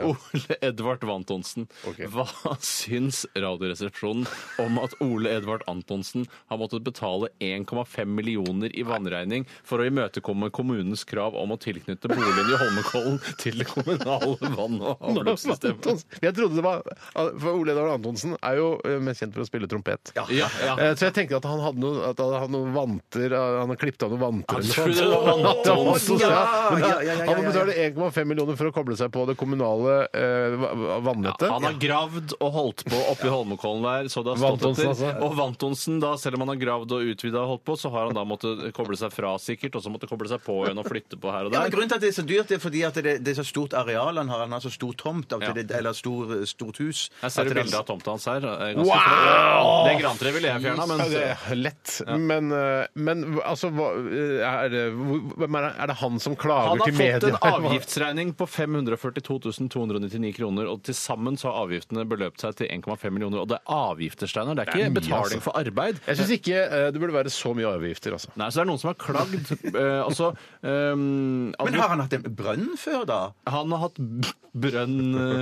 [SPEAKER 5] Ole Edvard Vantonsen. Hva syns Radioresepsjonen om at Ole Edvard Antonsen har måttet betale 1,5 millioner i vannregning for å imøtekomme kommunens krav om å tilknytte boligen i Holmenkollen til det kommunale vann- og avløpssystemet?
[SPEAKER 4] Jeg trodde det var For Ole Edvard Antonsen er jo eh, mest kjent for å spille trompet.
[SPEAKER 5] Ja, ja.
[SPEAKER 4] Eh, Så jeg tenkte at han hadde noe, at han hadde noen vanter eh, Han har klippet av noen vanter eller noe
[SPEAKER 5] tror det
[SPEAKER 4] sånt.
[SPEAKER 5] var vanter.
[SPEAKER 4] At det var så-
[SPEAKER 6] Ja,
[SPEAKER 4] Men det-
[SPEAKER 6] ja, ja, ja,
[SPEAKER 4] Han må
[SPEAKER 6] ja,
[SPEAKER 4] betale 1,5 millioner for å koble seg på det kommunale eh, va- va- vannettet.
[SPEAKER 5] Han har gravd og holdt på oppi Holmenkollen der. Så det har stått
[SPEAKER 4] Vantonsen,
[SPEAKER 5] etter.
[SPEAKER 4] altså.
[SPEAKER 5] Og Vantonsen, da, selv om han har gravd og utvida og holdt på, så har han da måttet koble seg fra sikkert, og så måtte koble seg på igjen og flytte på her og
[SPEAKER 6] Ja, men
[SPEAKER 5] der.
[SPEAKER 6] grunnen til at det er så dyrt, det er fordi at det, det er så stort areal han har. Han har så stor tomt, at
[SPEAKER 5] Ja.
[SPEAKER 6] det, eller stor, stort hus.
[SPEAKER 5] Her ser
[SPEAKER 6] at
[SPEAKER 5] du
[SPEAKER 6] det er-
[SPEAKER 5] bildet av tomta hans her. Det er ganske flott. Det grantreet ville jeg fjerna, men
[SPEAKER 4] Ja, det er lett. Men, eh, men hva- altså hva, eh, er, det, hvor- hvem er, det, er det han som klager
[SPEAKER 5] han har
[SPEAKER 4] til
[SPEAKER 5] fått
[SPEAKER 4] media?
[SPEAKER 5] en avgiftsregning på 542 299 kroner, og til sammen så har avgiftene beløpt seg til 1,5 millioner. Og det er avgifter, Steinar. Det er
[SPEAKER 4] Det er
[SPEAKER 5] ikke
[SPEAKER 4] mye,
[SPEAKER 5] betaling
[SPEAKER 4] altså.
[SPEAKER 5] for arbeid.
[SPEAKER 4] Jeg syns ikke eh, det burde være så mye avgifter, altså.
[SPEAKER 5] Nei, så det er noen som har klagd. eh, altså ehm,
[SPEAKER 6] Men har han hatt en brønn før, da?
[SPEAKER 5] Han har hatt b- brønn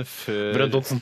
[SPEAKER 5] eh, før
[SPEAKER 4] Brønn-Dodsen.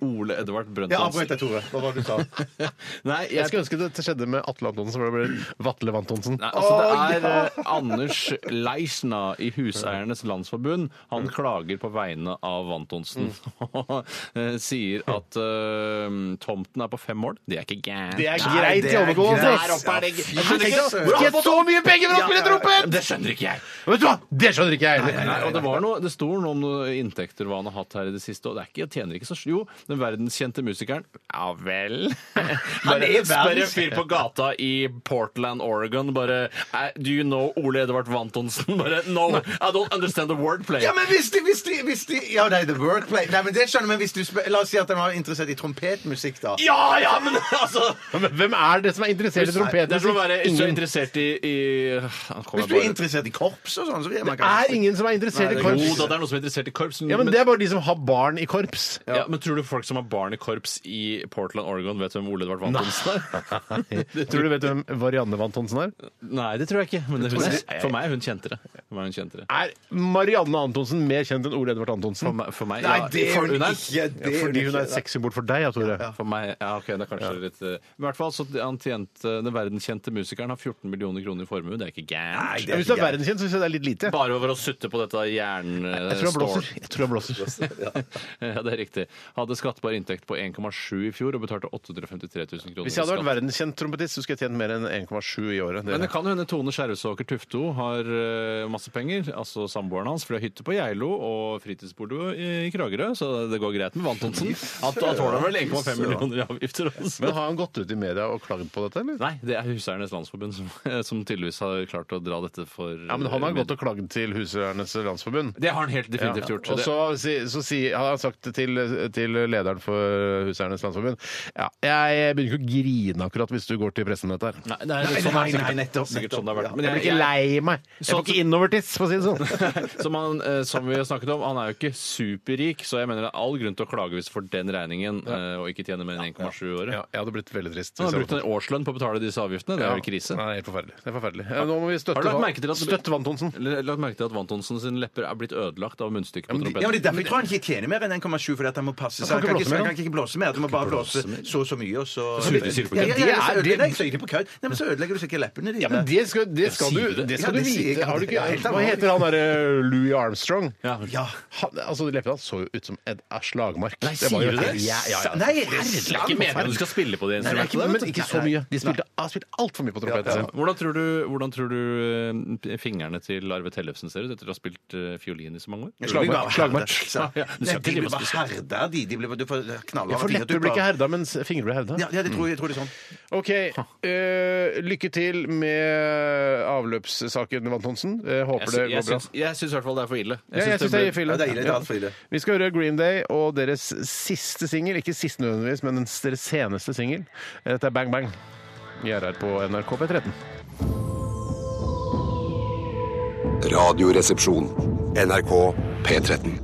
[SPEAKER 5] Ole Edvard
[SPEAKER 6] Ja,
[SPEAKER 5] Brønn-Tonsen.
[SPEAKER 6] avbryt deg, Tore. Hva var det du sa?
[SPEAKER 5] Nei,
[SPEAKER 4] Jeg
[SPEAKER 5] jeg
[SPEAKER 4] skulle ønske det skjedde med Atle Antonsen, for det blir Vatle Vantonsen.
[SPEAKER 5] Nei, altså Det er eh, Anders Leisna i Huseiernes Landsforbund. Han klager på vegne av Vantonsen.
[SPEAKER 4] Mm.
[SPEAKER 5] Eh, Sier at eh, tomten er på fem mål. Det er ikke gærent.
[SPEAKER 4] Det er
[SPEAKER 6] Nei,
[SPEAKER 4] greit
[SPEAKER 6] det
[SPEAKER 4] i
[SPEAKER 6] er
[SPEAKER 4] overgående.
[SPEAKER 6] greit.
[SPEAKER 4] ass.
[SPEAKER 6] Ja, fy
[SPEAKER 5] altså.
[SPEAKER 6] søren.
[SPEAKER 4] Hvor har han fått så mye penger for å spille trompet?!
[SPEAKER 5] Det skjønner ikke jeg.
[SPEAKER 4] Vet du hva? Det skjønner ikke jeg
[SPEAKER 5] Nei,
[SPEAKER 4] heller.
[SPEAKER 5] og det, var noe, det står noe om noe inntekter hva han har hatt her i det siste. Og det er ikke, jeg tjener ikke så Jo, den verdenskjente musikeren Ja vel? Bare
[SPEAKER 6] er
[SPEAKER 5] spør en
[SPEAKER 6] verdens-
[SPEAKER 5] fyr på gata i Portland, Oregon, bare "Eh, Do you know Ole Edvard Vantonsen? Bare No, I don't understand the wordplay.
[SPEAKER 6] Ja, men hvis de, hvis de, hvis de Ja, nei, The Workplay. Nei, men det skjønner jeg, men hvis du spør, La oss si at han var interessert i trompetmusikk, da.
[SPEAKER 5] Ja, ja, men altså
[SPEAKER 4] Men hvem er det som er interessert i
[SPEAKER 5] Det er som å være så
[SPEAKER 4] trompetmusikk?
[SPEAKER 5] interessert i, i Han
[SPEAKER 6] Hvis
[SPEAKER 5] kommer
[SPEAKER 6] du er
[SPEAKER 5] bare-
[SPEAKER 6] interessert i korps og sånn, så vil jeg
[SPEAKER 4] Det er ingen som er interessert i
[SPEAKER 5] Jo
[SPEAKER 4] korps.
[SPEAKER 5] da, det er noen som er interessert i korps.
[SPEAKER 4] Ja, men Det er bare de som har barn i korps.
[SPEAKER 5] ja. men tror du folk som har barn i korps i Portland, Oregon, vet hvem Ole Edvard Vantonsen er?
[SPEAKER 4] Tror du vet hvem Varianne Vantonsen er?
[SPEAKER 5] Nei, det tror jeg ikke. Men hun, for meg er hun kjentere. For meg er hun kjentere.
[SPEAKER 4] Er Marianne Antonsen mer kjent enn Ole Edvard Antonsen?
[SPEAKER 5] For meg,
[SPEAKER 6] Nei,
[SPEAKER 5] ja,
[SPEAKER 6] det er
[SPEAKER 5] for,
[SPEAKER 6] hun
[SPEAKER 5] hun er-
[SPEAKER 6] ikke. Det er
[SPEAKER 4] Fordi hun
[SPEAKER 6] ikke.
[SPEAKER 4] er sexsymbol for deg, ja, Tore.
[SPEAKER 5] For meg, ja, ok, det er kanskje litt eh, Men i hvert fall, så han tjente, Den verdenskjente musikeren har 14 millioner kroner i formue. Det er ikke
[SPEAKER 6] Nei,
[SPEAKER 5] gærent.
[SPEAKER 6] det er
[SPEAKER 4] Hvis du er
[SPEAKER 6] ikke
[SPEAKER 4] verdenskjent, så syns jeg det er litt lite.
[SPEAKER 5] Bare over å sutte på dette jern... eh,
[SPEAKER 4] Jeg tror han blåser.
[SPEAKER 5] stål.
[SPEAKER 4] Jeg tror han blåser.
[SPEAKER 5] Ja, det er riktig. Hadde skattbar inntekt på 1,7 i fjor og betalte 853 000 kroner.
[SPEAKER 4] Hvis jeg hadde vært
[SPEAKER 5] i skatt.
[SPEAKER 4] verdenskjent trompetist, så skulle jeg tjent mer enn 1,7 i året.
[SPEAKER 5] Men det
[SPEAKER 4] Det-
[SPEAKER 5] kan jo hende Tone Skjervesåker Tufto har eh, masse penger, altså samboeren hans, for de har hytte på Geilo og fritidsbord i i Kragerø, så det går greit med Vantonsen. At da tåler han vel 1,5 millioner i avgifter også.
[SPEAKER 4] Men har han gått ut i media og klagd på dette, eller?
[SPEAKER 5] Nei, det er Huseiernes Landsforbund som, eh, som tydeligvis har klart å dra dette for eh,
[SPEAKER 4] Ja, men han har gått og klagd til Huseiernes Landsforbund.
[SPEAKER 5] Det har han helt
[SPEAKER 4] Ja.
[SPEAKER 5] definitivt gjort.
[SPEAKER 4] Og så, si- så si, han har sagt det til, til lederen for Huseiernes Landsforbund ja, Jeg begynner ikke å grine akkurat hvis du går til pressen med dette her.
[SPEAKER 5] Nei, det er
[SPEAKER 6] Nei, nei,
[SPEAKER 5] sånn det er
[SPEAKER 6] nei,
[SPEAKER 5] sikkert-
[SPEAKER 6] nettopp,
[SPEAKER 5] sikkert sånn det har
[SPEAKER 6] nettopp,
[SPEAKER 5] vært. Men
[SPEAKER 4] Jeg blir ikke lei meg. Jeg
[SPEAKER 5] Så-
[SPEAKER 4] får ikke innovertiss, for å si det sånn.
[SPEAKER 5] som, han, eh, som vi har snakket om, han er jo ikke superrik, så jeg mener det er all grunn til å klage hvis du får den regningen eh, og ikke tjener mer enn 1,7 i året.
[SPEAKER 4] Ja, jeg hadde blitt veldig trist.
[SPEAKER 5] Han
[SPEAKER 4] hvis
[SPEAKER 5] har
[SPEAKER 4] jeg
[SPEAKER 5] brukt
[SPEAKER 4] var-
[SPEAKER 5] en årslønn på å betale disse avgiftene. Det er jo krise.
[SPEAKER 4] Nei, det er helt forferdelig. Det er forferdelig. Ja, nå må vi støtte,
[SPEAKER 5] Har du lagt
[SPEAKER 4] Van-
[SPEAKER 5] merke til at-
[SPEAKER 4] støtte Vantonsen.
[SPEAKER 5] Eller Lagt merke til at Vantonsen sine lepper er blitt ødelagt av munnstykket på
[SPEAKER 6] Ja, men
[SPEAKER 5] trompeten.
[SPEAKER 6] det er Derfor jeg tror han ikke tjener mer enn 1,7, fordi at han må passe seg. Han
[SPEAKER 4] kan
[SPEAKER 6] kan
[SPEAKER 4] ikke
[SPEAKER 6] ikke,
[SPEAKER 4] blåse mer,
[SPEAKER 6] han kan ikke blåse mer. Du må bare blåse så og så mye, og så
[SPEAKER 5] Så du sier på kødd.
[SPEAKER 6] Ja, ja, ja, så
[SPEAKER 4] Det er-
[SPEAKER 6] ødelegger- Nei, så er det på kødd. Nei, men så ødelegger du sikkert leppene dine.
[SPEAKER 4] Ja, men det skal, det skal
[SPEAKER 5] Sier
[SPEAKER 4] du,
[SPEAKER 5] du det?
[SPEAKER 4] det skal
[SPEAKER 6] Ja,
[SPEAKER 4] du
[SPEAKER 6] det sier jeg.
[SPEAKER 4] vite. Har du
[SPEAKER 6] Ja,
[SPEAKER 4] ikke,
[SPEAKER 6] helt
[SPEAKER 4] hva heter han derre eh, Louis Armstrong?
[SPEAKER 5] Ja.
[SPEAKER 6] Ja.
[SPEAKER 4] Han, altså, Leppene hans så jo ut som et et slagmark.
[SPEAKER 5] Nei,
[SPEAKER 4] Det var jo
[SPEAKER 5] sier du det?
[SPEAKER 4] helt- Ja, ja, ja.
[SPEAKER 6] Nei, det
[SPEAKER 5] Det er ikke meningen at du skal spille på det
[SPEAKER 4] Nei, det er ikke, men
[SPEAKER 5] instrumentet. vet du.
[SPEAKER 4] ikke så mye. De spilte, har spilt altfor mye på trompeten sin.
[SPEAKER 5] Hvordan tror, du, hvordan tror du eh, fingrene til Arve Tellefsen ser ut etter å ha spilt eh, fiolin i så mange år?
[SPEAKER 4] Slagmark, slagmark.
[SPEAKER 5] Ja, du skal
[SPEAKER 6] Nei,
[SPEAKER 5] ikke
[SPEAKER 6] de
[SPEAKER 5] drive
[SPEAKER 6] blir
[SPEAKER 5] og
[SPEAKER 6] bare
[SPEAKER 5] spise.
[SPEAKER 6] herda, de. de blir bare, du får knallharde
[SPEAKER 4] Ja, for
[SPEAKER 6] fingertupper.
[SPEAKER 4] lepper blir ikke herda, mens fingre blir herda.
[SPEAKER 6] Ja, ja, det tror jeg, jeg tror det er sånn.
[SPEAKER 4] OK. eh, lykke til med avløpssaken, Vantonsen. Uh, håper
[SPEAKER 5] Jeg
[SPEAKER 4] det
[SPEAKER 5] sy- Jeg
[SPEAKER 4] går bra.
[SPEAKER 5] syns jeg syns i hvert fall det er for ille.
[SPEAKER 4] Ja, jeg
[SPEAKER 5] syns
[SPEAKER 4] syns det er ille.
[SPEAKER 6] Ja, det er ille, det er alt for ille.
[SPEAKER 4] Vi skal høre Green Day og deres siste singel. Ikke siste nødvendigvis, men den- deres seneste singel. Dette er Bang Bang. Vi er her på NRK P13.
[SPEAKER 1] Radioresepsjon. NRK P13.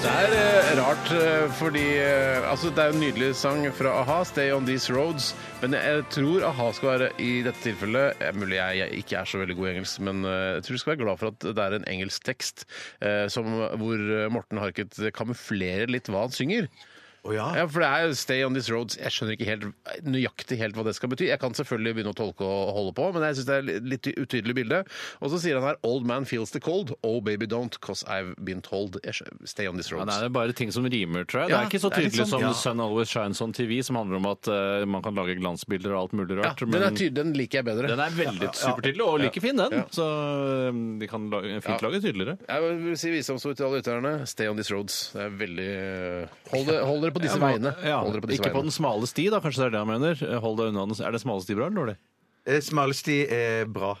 [SPEAKER 4] Det er eh, rart, eh, fordi eh, altså, det er en nydelig sang fra A-ha, 'Stay On These Roads'. Men jeg tror A-ha skal være i dette tilfellet eh, Mulig jeg, jeg ikke er så veldig god i engelsk, men eh, jeg tror du skal være glad for at det er en engelsk tekst eh, som, hvor eh, Morten Harket kamuflerer litt hva han synger.
[SPEAKER 6] Å ja.
[SPEAKER 4] Ja, for det er jo 'Stay on these roads'. Jeg skjønner ikke helt, nøyaktig helt hva det skal bety. Jeg kan selvfølgelig begynne å tolke og holde på, men jeg syns det er et litt utydelig bilde. Og så sier han her 'Old man feels the cold'. Oh baby don't, cause I've been told. Jeg skjø- Stay on these
[SPEAKER 5] Ja,
[SPEAKER 4] roads.
[SPEAKER 5] nei, det er bare ting som rimer, tror jeg.
[SPEAKER 4] Ja,
[SPEAKER 5] det er ikke så
[SPEAKER 4] det er litt
[SPEAKER 5] tydelig
[SPEAKER 4] sånn,
[SPEAKER 5] som
[SPEAKER 4] ja.
[SPEAKER 5] The Sun Always Shines on TV, som handler om at eh, man kan lage glansbilder og alt
[SPEAKER 4] Ja,
[SPEAKER 5] mulig rart.
[SPEAKER 4] den, er tydelig, den liker jeg bedre.
[SPEAKER 5] den er veldig supertydelig, og like fin, den. Så eh, de kan lage, fint
[SPEAKER 4] Ja.
[SPEAKER 5] lage tydeligere.
[SPEAKER 4] Jeg vil si visdomsord til alle lytterne. Stay on these roads. Det er veldig eh, Hold, det- hold dere på disse
[SPEAKER 5] Ja, men-
[SPEAKER 4] veiene.
[SPEAKER 5] Ja,
[SPEAKER 4] Hold dere på disse
[SPEAKER 5] ikke på
[SPEAKER 4] veiene.
[SPEAKER 5] den smale sti, da. Kanskje det er det han mener. Hold deg unna den. Er det smale sti bra eller dårlig?
[SPEAKER 6] Eh, Smalsti er bra.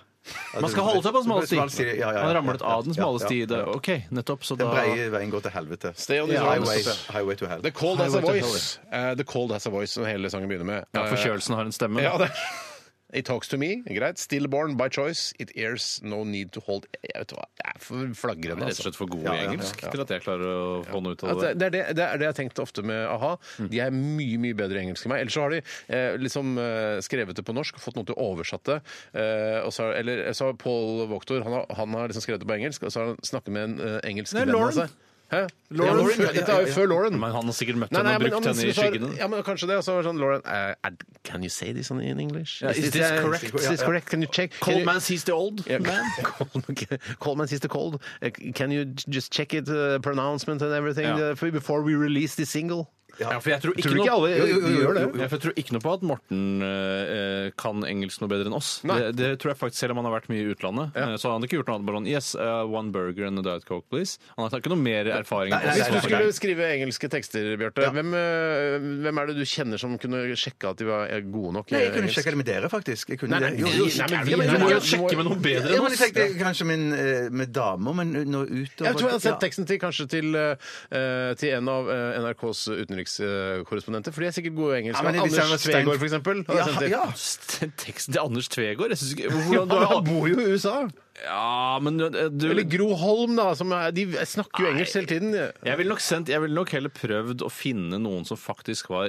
[SPEAKER 5] Man skal holde seg på den smale sti.
[SPEAKER 6] ja, ja, ja.
[SPEAKER 5] Han ramlet av den smale
[SPEAKER 6] Ja, ja.
[SPEAKER 5] sti. Det- OK, nettopp. Så
[SPEAKER 6] Den
[SPEAKER 5] da
[SPEAKER 6] breie veien går til helvete.
[SPEAKER 4] Stay on these
[SPEAKER 6] Ja, highway,
[SPEAKER 4] roads.
[SPEAKER 6] highway to hell.
[SPEAKER 4] The cold has a
[SPEAKER 5] Highway to
[SPEAKER 4] voice. Eh, the cold has a voice, som hele sangen begynner med.
[SPEAKER 5] ja,
[SPEAKER 4] Eh,
[SPEAKER 5] Forkjølelsen har en stemme.
[SPEAKER 4] Ja, det It talks to me, greit. Stillborn by choice. It ears no need to hold Jeg vet hva, jeg er for
[SPEAKER 5] Jeg
[SPEAKER 4] flagrende,
[SPEAKER 5] er rett og
[SPEAKER 4] altså.
[SPEAKER 5] slett for god i engelsk til at jeg klarer å få noe ut av
[SPEAKER 4] At
[SPEAKER 5] det.
[SPEAKER 4] det, det, er det, det er det jeg har tenkt ofte med a-ha.
[SPEAKER 5] Mm.
[SPEAKER 4] De er mye mye bedre i engelsk enn meg. Ellers så har de eh, liksom eh, skrevet det på norsk og fått noen til å oversette. Eh, og så, har- eller så har Paul Waaktor han har, han har liksom skrevet det på engelsk, og så har han snakket med en eh, engelsk
[SPEAKER 5] Nei,
[SPEAKER 4] venn av
[SPEAKER 5] Lauren.
[SPEAKER 4] seg. Hæ?
[SPEAKER 5] Lauren,
[SPEAKER 4] Lauren,
[SPEAKER 5] ja,
[SPEAKER 4] før- Dette er jo før Lauren.
[SPEAKER 5] Men han har sikkert møtt
[SPEAKER 4] Nei,
[SPEAKER 5] henne
[SPEAKER 4] nei,
[SPEAKER 5] og
[SPEAKER 4] men,
[SPEAKER 5] brukt
[SPEAKER 4] men,
[SPEAKER 5] henne i
[SPEAKER 4] så har-
[SPEAKER 5] skyggene.
[SPEAKER 4] ja, men kanskje det. Og så var det sånn Lauren eh, ad- Can you say this on- in English?
[SPEAKER 5] Ja, is this correct?
[SPEAKER 4] Is this correct? Can you check? Can you-
[SPEAKER 5] sees the old
[SPEAKER 4] Yeah, Cold- Coleman sees the cold. Uh, Can you j- just check it, uh, pronouncement and everything,
[SPEAKER 5] Ja.
[SPEAKER 4] uh, f- before we release this single?
[SPEAKER 5] Ja, for jeg tror ikke,
[SPEAKER 4] Tror du ikke
[SPEAKER 5] noe...
[SPEAKER 4] alle
[SPEAKER 6] Jo, jo, jo,
[SPEAKER 4] de gjør
[SPEAKER 6] jo,
[SPEAKER 4] det?
[SPEAKER 6] jo.
[SPEAKER 5] Ja, for jeg tror ikke noe på at Morten eh, kan engelsk noe bedre enn oss. Det,
[SPEAKER 4] Nei.
[SPEAKER 5] det tror jeg faktisk Selv om han har vært mye i utlandet, eh, så har han ikke gjort noe annet. Bare sånn, yes, uh, one burger and a diet coke, please. Han har ikke noe mer erfaring. enn
[SPEAKER 6] Nei,
[SPEAKER 5] oss.
[SPEAKER 4] Hvis du
[SPEAKER 5] Nei,
[SPEAKER 4] skulle skrive engelske tekster, Bjarte, hvem, øh, hvem er det du kjenner som kunne sjekka at de var er gode nok? i
[SPEAKER 6] Nei, jeg kunne
[SPEAKER 4] engelsk?
[SPEAKER 6] sjekke det med dere, faktisk. Jeg kunne
[SPEAKER 4] Nei, nei,
[SPEAKER 6] det. Jo,
[SPEAKER 4] vi-
[SPEAKER 6] jo,
[SPEAKER 4] nei, men vi-
[SPEAKER 6] ja,
[SPEAKER 5] Du
[SPEAKER 4] nei,
[SPEAKER 5] må jo
[SPEAKER 4] nei,
[SPEAKER 5] sjekke med noen bedre
[SPEAKER 6] Ja,
[SPEAKER 5] enn
[SPEAKER 6] men jeg
[SPEAKER 5] oss.
[SPEAKER 6] tenkte kanskje min, eh, med damer, men nå utover
[SPEAKER 4] Jeg tror jeg har sendt
[SPEAKER 6] Ja.
[SPEAKER 4] teksten til, kanskje til, eh, til en av eh, NRKs utenrikskorrespondenter, for de er sikkert gode i
[SPEAKER 6] Ja,
[SPEAKER 4] engelsk.
[SPEAKER 6] men hvis jeg var
[SPEAKER 4] Anders
[SPEAKER 6] Stein-
[SPEAKER 4] Tvegård, for eksempel. har jeg
[SPEAKER 6] Ja,
[SPEAKER 4] sendt til.
[SPEAKER 6] ja.
[SPEAKER 5] Den teksten til Anders Tvegård? Jeg synes ikke,
[SPEAKER 4] Ja, men
[SPEAKER 5] hvordan, du,
[SPEAKER 4] han bor jo i USA.
[SPEAKER 5] ja, men eh, du,
[SPEAKER 4] Eller Gro Holm, da. Som er, de snakker jo engelsk hele tiden.
[SPEAKER 5] Jeg ville nok, sendt- jeg ville nok heller prøvd å finne noen som faktisk var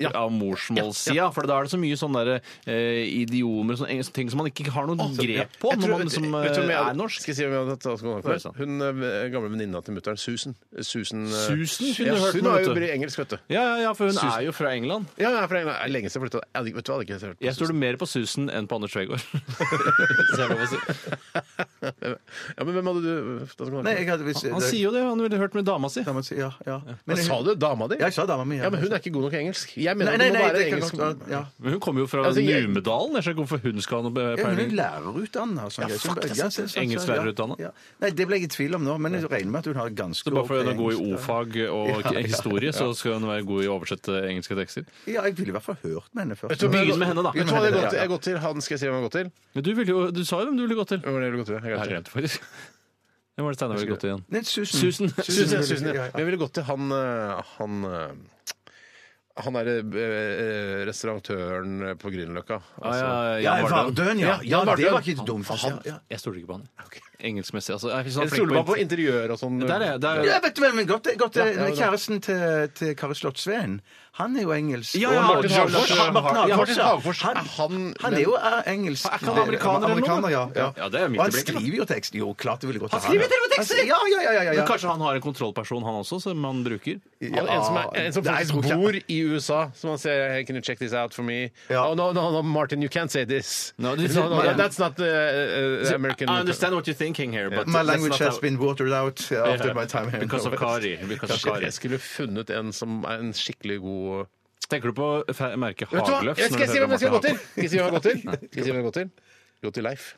[SPEAKER 4] Ja, ja, ja.
[SPEAKER 5] av morsmålssida. For da er det så mye sånne der, eh, idiomer sånne engelske ting som man ikke har noen grep på
[SPEAKER 4] Jeg
[SPEAKER 5] når
[SPEAKER 4] tror-
[SPEAKER 5] man liksom,
[SPEAKER 4] vet du hvem
[SPEAKER 5] eh,
[SPEAKER 4] jeg hadde-
[SPEAKER 5] er norsk.
[SPEAKER 4] Skal jeg si hvem jeg hadde tatt kontakt
[SPEAKER 5] Hva er det sånn?
[SPEAKER 4] med? Hun eh, gamle venninna til mutter'n, Susan. Susan, eh,
[SPEAKER 5] Susan kunne
[SPEAKER 4] ja,
[SPEAKER 5] du hørt
[SPEAKER 4] Hun er
[SPEAKER 5] med,
[SPEAKER 4] jo
[SPEAKER 5] vet du.
[SPEAKER 4] bra i engelsk, vet du.
[SPEAKER 5] Ja, ja, ja, for hun
[SPEAKER 4] Susan.
[SPEAKER 5] er jo fra England.
[SPEAKER 4] Ja, jeg er fra England. Det er lenge siden jeg flytta. Vet du hva, jeg hadde ikke hørt på
[SPEAKER 5] Jeg
[SPEAKER 4] Susan.
[SPEAKER 5] stoler mer på Susan enn på Anders Tvegård. Hvis jeg har lov å si.
[SPEAKER 4] ja, men hvem hadde du da skal du
[SPEAKER 6] Nei,
[SPEAKER 4] snakke
[SPEAKER 6] jeg hadde visst
[SPEAKER 5] Han sier jo det, han ville hørt med dama si.
[SPEAKER 6] Dama si, ja, ja.
[SPEAKER 4] om? Sa du dama di?
[SPEAKER 6] Ja, jeg sa dama mi.
[SPEAKER 4] Ja, men hun er ikke god nok i engelsk. Jeg mener
[SPEAKER 6] Nei, nei,
[SPEAKER 4] at det
[SPEAKER 6] nei,
[SPEAKER 4] må være
[SPEAKER 6] det kan
[SPEAKER 4] engelsk.
[SPEAKER 6] godt være- ja.
[SPEAKER 5] Men hun kommer jo fra
[SPEAKER 4] Altså, jeg-
[SPEAKER 5] Numedalen. Jeg skjønner ikke hvorfor hun skal ha noe
[SPEAKER 6] Ja, hun er
[SPEAKER 5] peiling.
[SPEAKER 6] lærerutdanna. Sånn, ja,
[SPEAKER 5] fuck, det er sant.
[SPEAKER 6] sånn,
[SPEAKER 5] Engelsklærerutdannet.
[SPEAKER 6] Ja, ja. Nei, det ble jeg i tvil om nå, men jeg regner med at hun har ganske
[SPEAKER 5] Så bare fordi hun er
[SPEAKER 6] ok
[SPEAKER 5] god i
[SPEAKER 6] engelsk, da.
[SPEAKER 5] o-fag og
[SPEAKER 6] Ja, ja,
[SPEAKER 5] historie, så skal hun være god i å oversette engelske tekster.
[SPEAKER 6] Ja, jeg ville i hvert fall hørt med henne først.
[SPEAKER 4] Vet du hva jeg
[SPEAKER 5] Begynn med henne, da.
[SPEAKER 4] Vet du hva jeg har gått til?
[SPEAKER 6] Ja,
[SPEAKER 4] Jeg
[SPEAKER 6] ja.
[SPEAKER 4] har gått til han skal jeg si hvem jeg har gått til.
[SPEAKER 5] Men du, ville jo, du sa jo hvem du ville gått til.
[SPEAKER 4] Hvem var det jeg ville gått til? Jeg
[SPEAKER 5] Jeg har
[SPEAKER 4] glemte.
[SPEAKER 5] glemt faktisk. Hvem var det Steinar ville gått til igjen?
[SPEAKER 6] Nei, Susan.
[SPEAKER 5] Susan.
[SPEAKER 4] Susan, ja, Susan,
[SPEAKER 6] ja,
[SPEAKER 4] ja.
[SPEAKER 6] ja.
[SPEAKER 4] Men jeg ville gått til han eh, Han, eh, han er eh, restaurantøren på Grünerløkka.
[SPEAKER 5] Ah, ja,
[SPEAKER 4] Altså.
[SPEAKER 6] Ja,
[SPEAKER 5] Jan Vardø.
[SPEAKER 6] Vardøen, ja.
[SPEAKER 4] Ja,
[SPEAKER 6] Ja,
[SPEAKER 4] Vardøen.
[SPEAKER 6] det var ikke et dumt
[SPEAKER 5] Han,
[SPEAKER 6] forslag. Ja.
[SPEAKER 5] jeg stoler ikke på han. Engelskmessig, altså. Jeg, synes han
[SPEAKER 4] Jeg
[SPEAKER 5] er flink
[SPEAKER 4] stoler bare på
[SPEAKER 5] på
[SPEAKER 4] interiør og sånn.
[SPEAKER 5] Der er jeg. Der er
[SPEAKER 6] Ja,
[SPEAKER 5] jeg.
[SPEAKER 6] vet du hvem men godt, godt, eh,
[SPEAKER 4] ja, ja.
[SPEAKER 6] Kjæresten til, til Kari Slottsveen, han er jo engelsk.
[SPEAKER 5] Ja,
[SPEAKER 6] Og
[SPEAKER 5] ja,
[SPEAKER 6] Martin
[SPEAKER 5] Martin
[SPEAKER 6] Hagfors.
[SPEAKER 5] Hagfors.
[SPEAKER 6] Martin Hagfors,
[SPEAKER 4] Ja, Martin
[SPEAKER 6] ja.
[SPEAKER 4] Hagfors, er han-
[SPEAKER 6] han er jo eh, engelsk.
[SPEAKER 5] Er ikke han amerikaner eller noe?
[SPEAKER 6] Amerikaner, ja, ja.
[SPEAKER 5] Ja, det er midt
[SPEAKER 6] Og
[SPEAKER 5] i
[SPEAKER 6] han
[SPEAKER 5] blinken, da.
[SPEAKER 6] skriver jo tekst. Jo, klart det ville gått
[SPEAKER 5] Han skriver til og med
[SPEAKER 6] Han-
[SPEAKER 5] tekster!
[SPEAKER 6] Ja, ja, ja, ja, ja.
[SPEAKER 5] Men kanskje han har en kontrollperson, han også, som han bruker?
[SPEAKER 4] Han, en som, er, en som
[SPEAKER 6] Nei, jeg tror
[SPEAKER 4] faktisk
[SPEAKER 6] ikke-
[SPEAKER 4] bor i USA, som han sier hey, Can you check this out for me?
[SPEAKER 6] Ja.
[SPEAKER 4] Oh, no, no, no, Martin, you can't say this.
[SPEAKER 5] No, this is-
[SPEAKER 4] no,
[SPEAKER 5] Martin-
[SPEAKER 4] that's not uh, uh, American
[SPEAKER 5] I understand what you're thinking here, but
[SPEAKER 6] My language has been watered out uh, after my time here.
[SPEAKER 5] Because of Kari. Because of Kari.
[SPEAKER 4] Jeg skulle funnet en som er en skikkelig god
[SPEAKER 5] Tenker du på fe- merket
[SPEAKER 4] Vet du hva?
[SPEAKER 5] Hagløff?
[SPEAKER 4] Jeg skal
[SPEAKER 5] når
[SPEAKER 4] jeg
[SPEAKER 5] du
[SPEAKER 4] si
[SPEAKER 5] hører
[SPEAKER 4] hvem jeg skal
[SPEAKER 5] Martin
[SPEAKER 4] gå til?
[SPEAKER 5] Hagløff?
[SPEAKER 4] Skal jeg si hvem jeg går til? Skal jeg si hvem jeg går til? Gå til Leif.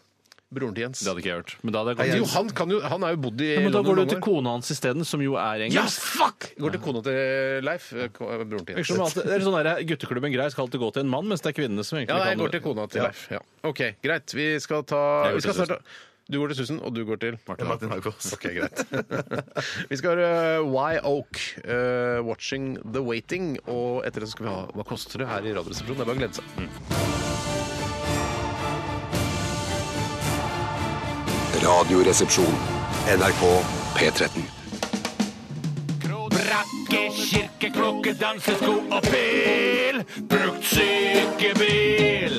[SPEAKER 4] Broren til Jens.
[SPEAKER 5] Det hadde ikke jeg gjort. Men da hadde jeg
[SPEAKER 4] Jo,
[SPEAKER 5] gått
[SPEAKER 4] han, kan jo, han er jo bodd i
[SPEAKER 5] Ja, men da
[SPEAKER 4] London
[SPEAKER 5] går du
[SPEAKER 4] mange
[SPEAKER 5] til
[SPEAKER 4] år.
[SPEAKER 5] kona hans isteden, som jo er
[SPEAKER 4] Ja,
[SPEAKER 5] engelsk.
[SPEAKER 4] fuck! Går til kona til Leif. eh, ko- eh, Broren til
[SPEAKER 5] Virker som
[SPEAKER 4] Jens.
[SPEAKER 5] alltid- Det er sånn der, Gutteklubben Grei skal alltid gå til en mann, mens det er kvinnene som egentlig
[SPEAKER 4] Ja, nei, jeg
[SPEAKER 5] kan
[SPEAKER 4] går til kona til Leif. Ja. OK, greit. Vi skal ta
[SPEAKER 5] Jeg går
[SPEAKER 4] vi skal
[SPEAKER 5] til
[SPEAKER 4] snart, ta- Du går til Susan, og du går til
[SPEAKER 5] Martin
[SPEAKER 6] Martin Hagfors.
[SPEAKER 4] OK, greit. vi skal høre Why Oak, eh, 'Watching The Waiting', og etter det så skal vi ha Hva koster det her i Radioresepsjonen. Det er bare å glede seg.
[SPEAKER 1] Radioresepsjon. NRK P13.
[SPEAKER 5] Brakke, kirkeklokke, dansesko og pil. Brukt sykebil.